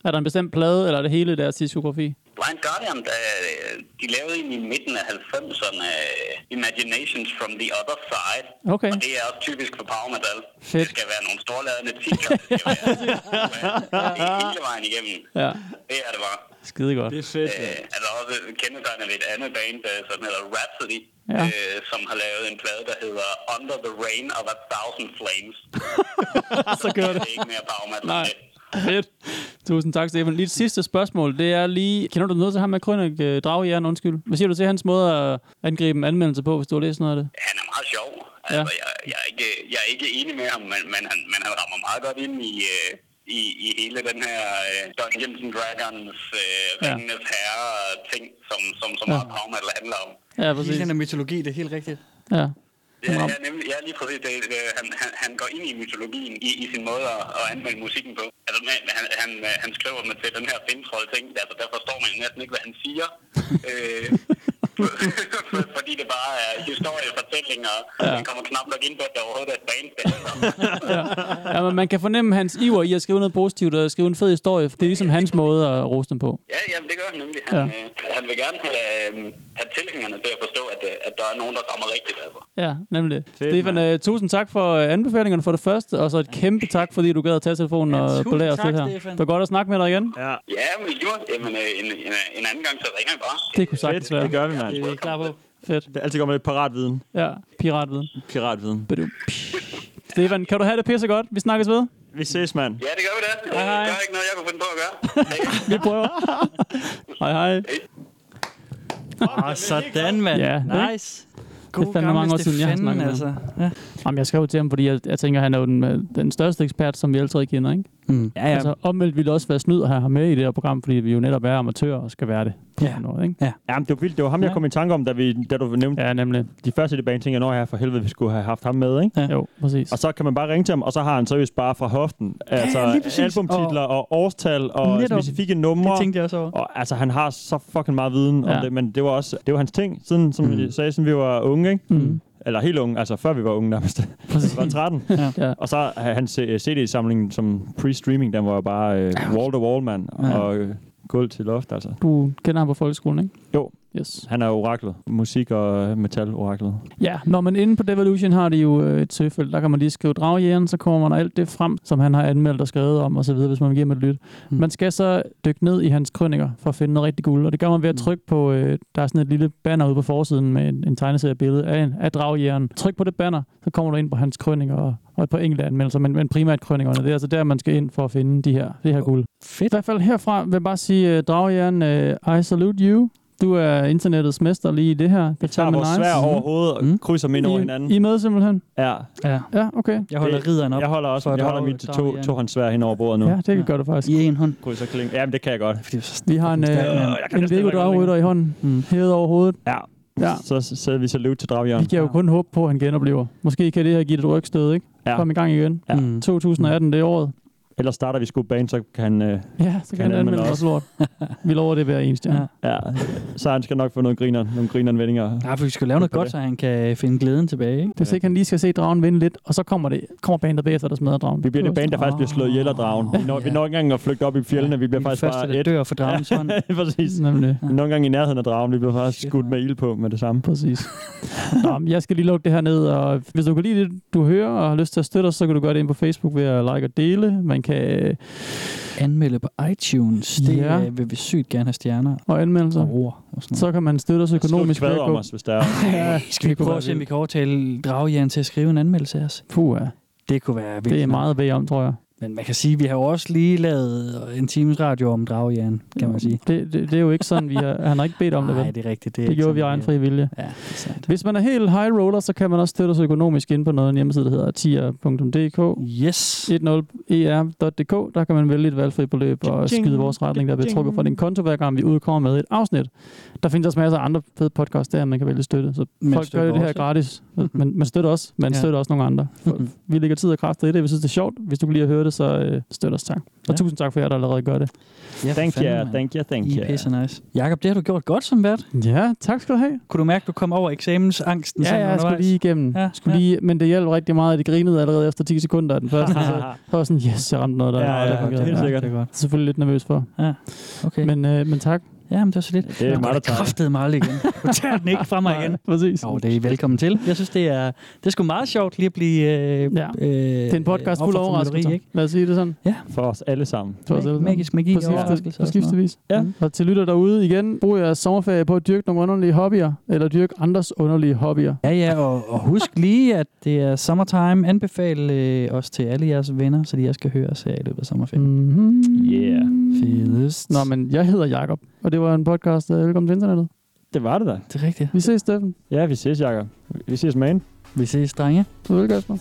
[SPEAKER 3] Er der en bestemt plade, eller er det hele deres diskografi?
[SPEAKER 7] Blind Guardian, der, øh, de lavede en i midten af 90'erne uh, Imaginations from the Other Side.
[SPEAKER 3] Okay.
[SPEAKER 7] Og det er også typisk for Power Metal.
[SPEAKER 3] Fedt.
[SPEAKER 7] Det skal være nogle storladende titler. Det skal være det er hele vejen igennem.
[SPEAKER 3] Ja,
[SPEAKER 7] Det er det bare.
[SPEAKER 3] skide godt.
[SPEAKER 4] Det er fedt.
[SPEAKER 7] Øh, altså også kendetegnet ved et andet band, øh, som hedder Rhapsody,
[SPEAKER 3] Ja.
[SPEAKER 7] ja. øh, som har lavet en plade, der hedder Under the Rain of a Thousand Flames.
[SPEAKER 3] Så gør
[SPEAKER 7] Det er ikke mere power metal.
[SPEAKER 3] Nej. Fedt. Tusind tak, Stefan. Lige et sidste spørgsmål, det er lige... Kender du noget til ham med Krønik øh, Draghjern, undskyld? Hvad siger du til hans måde at angribe en anmeldelse på, hvis du har læst noget af det?
[SPEAKER 7] Han er meget sjov. Altså, jeg, jeg, er ikke, jeg er ikke enig med ham, men, men, han, men han rammer meget godt ind i, øh, i, i hele den her øh, Dungeons and Dragons, øh,
[SPEAKER 3] Ja.
[SPEAKER 7] Ringenes Herre-ting, som, som, som meget power metal handler om.
[SPEAKER 3] Ja,
[SPEAKER 4] Hele
[SPEAKER 3] præcis.
[SPEAKER 4] den her mytologi, det er helt rigtigt.
[SPEAKER 3] Ja.
[SPEAKER 7] Ja, ja, nemlig, ja lige præcis. Det, det, han, han, han går ind i mytologien i, i sin måde at, at anmelde musikken på. Altså, men han, han, øh, han skriver med til den her fintroll-ting, altså, der forstår man jo næsten ikke, hvad han siger. øh, for- for- fordi det bare er historiefortællinger, og ja. han kommer knap nok ind på, at der overhovedet er et band. der hedder.
[SPEAKER 3] ja men man kan fornemme hans iver i at skrive noget positivt og skrive en fed historie. Det er ligesom hans måde at rose dem på.
[SPEAKER 7] Ja, jamen, det gør han nemlig. Han,
[SPEAKER 3] Ja.
[SPEAKER 7] ja. øh, han vil gerne have, øh, have tilhængerne til at forstå, at, øh, at der er nogen, der rammer rigtigt. Altså.
[SPEAKER 3] Ja, nemlig. Stefan, øh, tusind tak for øh, anbefalingerne for det første, og så et kæmpe tak, fordi du gad at tage telefonen
[SPEAKER 4] Ja,
[SPEAKER 3] og
[SPEAKER 4] tusind
[SPEAKER 3] belære os
[SPEAKER 4] tak,
[SPEAKER 3] lidt her.
[SPEAKER 4] Stefan.
[SPEAKER 3] Det var godt at snakke med dig igen.
[SPEAKER 5] Ja.
[SPEAKER 7] Ja, men i lige måde. jamen, øh, en, en, en anden gang, så ringer han bare.
[SPEAKER 3] Det kunne sagtens
[SPEAKER 5] Fedt. Det
[SPEAKER 3] være.
[SPEAKER 5] gør vi, mand.
[SPEAKER 4] Det er vi klar på.
[SPEAKER 3] Fedt.
[SPEAKER 5] Det er altid godt med lidt piratviden.
[SPEAKER 3] Ja, piratviden.
[SPEAKER 5] Piratviden.
[SPEAKER 3] Badum. Stefan, kan du have det pisse godt? Vi snakkes ved.
[SPEAKER 5] Vi ses, mand.
[SPEAKER 7] Ja, det gør vi da.
[SPEAKER 3] Hej, hej.
[SPEAKER 7] Det gør ikke noget, jeg kunne finde på at gøre.
[SPEAKER 3] Vi prøver. hej, hej.
[SPEAKER 4] Åh, sådan, mand.
[SPEAKER 3] Ja.
[SPEAKER 4] Nice. God
[SPEAKER 3] fandme mange år siden, jeg har snakket med
[SPEAKER 4] altså. Ja,
[SPEAKER 3] Jamen, jeg skrev til ham, fordi jeg, jeg tænker, han er jo den, øh, den største ekspert, som vi alle tre kender, ikke?
[SPEAKER 4] mm. ja.
[SPEAKER 3] Ja.
[SPEAKER 4] ja.
[SPEAKER 3] Altså, omvendt ville det også være snyd at have ham med i det her program, fordi vi jo netop er amatører og skal være det. på
[SPEAKER 4] Ja.
[SPEAKER 3] sådan Noget, ikke?
[SPEAKER 5] Jamen, det var vildt. Det var ham, jeg
[SPEAKER 3] Ja.
[SPEAKER 5] kom i tanke om, da, vi, da du nævnte ja.
[SPEAKER 3] Ja, nemlig.
[SPEAKER 5] de første i det bane. Tænkte jeg, når jeg for helvede, vi skulle have haft ham med, ikke?
[SPEAKER 4] Ja.
[SPEAKER 3] Jo, præcis.
[SPEAKER 5] Og så kan man bare ringe til ham, og så har han seriøst bare fra hoften. Altså,
[SPEAKER 4] lige præcis.
[SPEAKER 5] albumtitler og, og årstal og
[SPEAKER 4] Netop.
[SPEAKER 5] specifikke numre.
[SPEAKER 4] det tænkte jeg også over.
[SPEAKER 5] Og altså, han har så fucking meget viden ja.
[SPEAKER 3] Ja.
[SPEAKER 5] om det, men det var også det var hans ting, siden, som mm. vi sagde, siden vi var unge, ikke? Mm. Eller helt unge, altså før vi var unge nærmest.
[SPEAKER 3] Præcis.
[SPEAKER 5] Altså, var 13.
[SPEAKER 3] Ja.
[SPEAKER 5] Og så har hans øh, CD-samling som pre-streaming, den var jo bare øh, wall-to-wall, mand.
[SPEAKER 4] Ja.
[SPEAKER 5] Og øh, gulv til loft, altså.
[SPEAKER 3] Du kender ham fra folkeskolen, ikke?
[SPEAKER 5] Jo.
[SPEAKER 3] Yes.
[SPEAKER 5] Han er oraklet. Musik- og øh, metal-oraklet.
[SPEAKER 3] Ja, når man inde på Devolution har de jo øh, et søgefelt, der kan man lige skrive dragjæren, så kommer man alt det frem, som han har anmeldt og skrevet om osv., hvis man vil give ham et lyt. Mm.
[SPEAKER 5] Hmm.
[SPEAKER 3] Man skal så dykke ned i hans krønninger for at finde noget rigtig guld, og det gør man ved at
[SPEAKER 5] Hmm.
[SPEAKER 3] trykke på, øh, der er sådan et lille banner ude på forsiden med en, en tegneseriebillede af, en- af dragjæren. Tryk på det banner, så kommer du ind på hans krønninger og, og et par enkelte anmeldelser, men, men primært krønningerne. Det er altså der, man skal ind for at finde de her, det her guld. Fedt. I hvert fald herfra vil jeg bare sige, øh, dragjæren, øh, I salute you. Du er internettets mester lige i det her. Det er
[SPEAKER 5] Vi tager
[SPEAKER 3] fandme
[SPEAKER 5] vores svær over hovedet og
[SPEAKER 4] Mm.
[SPEAKER 5] krydser dem ind over
[SPEAKER 3] I,
[SPEAKER 5] hinanden.
[SPEAKER 3] I er med simpelthen?
[SPEAKER 5] Ja.
[SPEAKER 4] Ja.
[SPEAKER 3] Ja, okay.
[SPEAKER 4] Jeg holder
[SPEAKER 5] Det-
[SPEAKER 4] ridderen op.
[SPEAKER 5] Jeg holder også
[SPEAKER 4] for
[SPEAKER 5] jeg
[SPEAKER 4] at
[SPEAKER 5] holder
[SPEAKER 4] drage-
[SPEAKER 5] mit
[SPEAKER 4] drage
[SPEAKER 5] to,
[SPEAKER 4] jern.
[SPEAKER 5] to hånd svær hen over bordet nu.
[SPEAKER 3] Ja, det kan gøre det faktisk.
[SPEAKER 4] I en hånd.
[SPEAKER 5] Krydser kling. Jamen, det kan jeg godt.
[SPEAKER 4] Fordi det er så
[SPEAKER 3] Vi har en, øh, en
[SPEAKER 5] næsten
[SPEAKER 3] Lego
[SPEAKER 5] ikke
[SPEAKER 3] dragrytter i hånden, mm. hævet over hovedet.
[SPEAKER 5] Ja.
[SPEAKER 3] Ja.
[SPEAKER 5] Så så sætter vi salute til
[SPEAKER 3] Vi
[SPEAKER 5] Dragjørn.
[SPEAKER 3] kan jo kun håbe på, at han genoplever. Måske kan det her give det et rygstød, ikke?
[SPEAKER 5] Ja.
[SPEAKER 3] Kom i gang igen.
[SPEAKER 5] Ja.
[SPEAKER 4] Mm.
[SPEAKER 3] 2018, det er året.
[SPEAKER 5] Ellers starter vi sgu band, så kan han... Øh,
[SPEAKER 3] Ja, så kan han anmelde os lort. Vi lover det hver eneste
[SPEAKER 4] Ja.
[SPEAKER 3] ja.
[SPEAKER 5] Ja, så han skal nok få noget griner, nogle grineranvendinger.
[SPEAKER 4] Nej, for vi skal jo lave noget
[SPEAKER 5] Det er
[SPEAKER 4] godt,
[SPEAKER 5] det.
[SPEAKER 4] så han kan finde glæden tilbage, ikke?
[SPEAKER 3] Hvis ikke han lige skal se dragen vinde lidt, og så kommer, det, kommer bandet bagefter, der smadrer dragen.
[SPEAKER 5] Vi bliver det band, der faktisk bliver slået ihjel af dragen. Vi når, vi når ikke engang at flygte op i fjellene, vi bliver
[SPEAKER 4] Vi er de
[SPEAKER 5] faktisk
[SPEAKER 4] første,
[SPEAKER 5] bare
[SPEAKER 4] der
[SPEAKER 5] et.
[SPEAKER 4] dør for dragens hånd.
[SPEAKER 5] Præcis.
[SPEAKER 3] Nemlig.
[SPEAKER 5] Nogle gange i nærheden af dragen, vi bliver faktisk
[SPEAKER 4] Shit,
[SPEAKER 5] skudt
[SPEAKER 4] mand.
[SPEAKER 5] med ild på med det samme.
[SPEAKER 3] Præcis. Nå, men jeg skal lige lukke det her ned, og hvis du kan lide det, du hører, og har lyst til at støtte os, så kan du gøre det ind på Facebook ved at like og dele. Man kan... øh,
[SPEAKER 4] Anmelde på iTunes, det
[SPEAKER 3] Ja.
[SPEAKER 4] ja. vil vi sygt gerne have stjerner
[SPEAKER 3] Og anmeldelser.
[SPEAKER 4] og ord og sådan noget.
[SPEAKER 3] Så kan man støtte os økonomisk
[SPEAKER 5] Skriv
[SPEAKER 3] ved
[SPEAKER 5] et
[SPEAKER 3] at
[SPEAKER 5] kvad om
[SPEAKER 3] gå...
[SPEAKER 5] os, hvis der er.
[SPEAKER 3] Ja,
[SPEAKER 4] Skal vi prøve at se, om vi kan overtale draghjern til at skrive en anmeldelse af os?
[SPEAKER 3] Puh, ja.
[SPEAKER 4] Det kunne være vildt.
[SPEAKER 3] det er
[SPEAKER 4] nok.
[SPEAKER 3] meget ved om, tror jeg.
[SPEAKER 4] Men man kan sige, at vi har jo også lige lavet en times radio om draghjern, kan man sige.
[SPEAKER 3] Det, det, det er jo ikke sådan, vi har... Han har ikke bedt om det, vel?
[SPEAKER 4] Nej, det er rigtigt. Det, er
[SPEAKER 3] Det
[SPEAKER 4] ikke
[SPEAKER 3] gjorde vi af
[SPEAKER 4] sådan,
[SPEAKER 3] egen fri vilje.
[SPEAKER 4] Ja, det er sandt.
[SPEAKER 3] Hvis man øh, er helt high roller, så kan man også støtte os økonomisk ind på noget, en hjemmeside, der hedder tier.dk. E
[SPEAKER 4] Yes.
[SPEAKER 3] 10er.dk, der kan man vælge et valgfrit beløb og skyde vores retning, der bliver trukket fra din konto, hver gang vi udkommer med et afsnit. Der findes også masser af andre fede podcasts der, man kan vælge støtte. Så
[SPEAKER 4] Men
[SPEAKER 3] folk gør
[SPEAKER 4] støtter
[SPEAKER 3] det her
[SPEAKER 4] også.
[SPEAKER 3] gratis. Men man støtter os, man
[SPEAKER 4] Ja.
[SPEAKER 3] ja. støtter også nogle andre. Folk-
[SPEAKER 4] Mhm.
[SPEAKER 3] Vi lægger tid og kræfter i det. Vi synes, det er sjovt. Hvis du kan lide at høre det, så øh, støtter os tak. Og
[SPEAKER 4] Ja.
[SPEAKER 3] tusind tak for jer, der allerede gør det.
[SPEAKER 4] Ja,
[SPEAKER 5] Thank
[SPEAKER 4] fanden,
[SPEAKER 5] you,
[SPEAKER 4] mand.
[SPEAKER 5] thank you, thank
[SPEAKER 4] I
[SPEAKER 5] you.
[SPEAKER 4] er pisse nice. Jakob, det har du gjort godt som vært.
[SPEAKER 3] Ja, tak skal du have.
[SPEAKER 4] Kunne du mærke, at du kom over eksamensangsten?
[SPEAKER 3] Ja,
[SPEAKER 4] sådan
[SPEAKER 3] ja, jeg skulle
[SPEAKER 4] undervejs?
[SPEAKER 3] lige igennem.
[SPEAKER 4] Ja,
[SPEAKER 3] Ja, skulle
[SPEAKER 4] ja.
[SPEAKER 3] ja. Lige, men det hjalp rigtig meget, at det grinede allerede efter 10 sekunder af den første. så så var jeg sådan, yes, jeg ramte noget der.
[SPEAKER 5] Ja,
[SPEAKER 3] Nå,
[SPEAKER 5] ja,
[SPEAKER 3] det
[SPEAKER 5] ja,
[SPEAKER 3] fungerede.
[SPEAKER 5] helt
[SPEAKER 3] Ja,
[SPEAKER 5] sikkert.
[SPEAKER 4] Det er godt.
[SPEAKER 3] jeg er Selvfølgelig lidt nervøs for.
[SPEAKER 4] Okay. Men,
[SPEAKER 3] Men, øh, men tak.
[SPEAKER 4] ja, men det var så lidt.
[SPEAKER 5] Det er mig, der tager det.
[SPEAKER 4] kræftede mig aldrig igen. Du tager den ikke fra mig igen.
[SPEAKER 3] Præcis.
[SPEAKER 4] Jo, det er I velkommen til. Jeg synes, det er, det er sgu meget sjovt lige at blive... Øh,
[SPEAKER 3] Ja.
[SPEAKER 4] øh,
[SPEAKER 3] Det er en podcast fuld af overraskelser. Lad os sige det sådan.
[SPEAKER 5] For os alle sammen.
[SPEAKER 3] For os alle sammen.
[SPEAKER 4] Magisk magi
[SPEAKER 3] På
[SPEAKER 4] og
[SPEAKER 3] skifte-
[SPEAKER 4] overraskelser.
[SPEAKER 3] På
[SPEAKER 4] og sådan noget.
[SPEAKER 3] skiftevis.
[SPEAKER 4] Ja.
[SPEAKER 3] Ja. Og til lytter derude igen, brug jeres sommerferie på at dyrke nogle underlige hobbyer, eller dyrke andres underlige hobbyer.
[SPEAKER 4] Ja, ja, og, og husk lige, at det er summertime. Anbefal øh, os til alle jeres venner, så de også skal høre os her i løbet af sommerferien.
[SPEAKER 3] Mm-hmm.
[SPEAKER 5] Yeah.
[SPEAKER 4] Mm. Fedest.
[SPEAKER 3] Nå, men jeg hedder Jakob, og det var en podcast af Velkommen til Internettet.
[SPEAKER 5] Det var det da.
[SPEAKER 4] Det er rigtigt.
[SPEAKER 3] Vi ses, Steffen.
[SPEAKER 5] Ja, vi ses, Jakob. Vi ses, man.
[SPEAKER 4] Vi ses, drenge.
[SPEAKER 3] Du vil Kasper.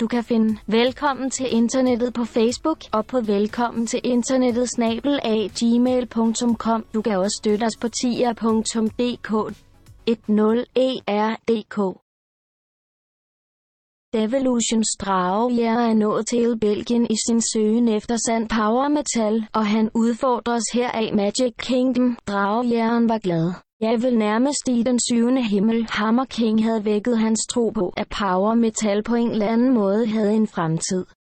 [SPEAKER 2] Du kan finde Velkommen til internettet på Facebook og på velkommen til internettet snabel af gmail.com. Du kan også støtte os på tier.dk E 10er.dk Devolutions dragejer er nået til Belgien i sin søgen efter sand power metal, og han udfordres her af Magic Kingdom. Dragejæren var glad. Jeg vil nærmest i den syvende himmel. Hammer King havde vækket hans tro på, at power metal på en eller anden måde havde en fremtid.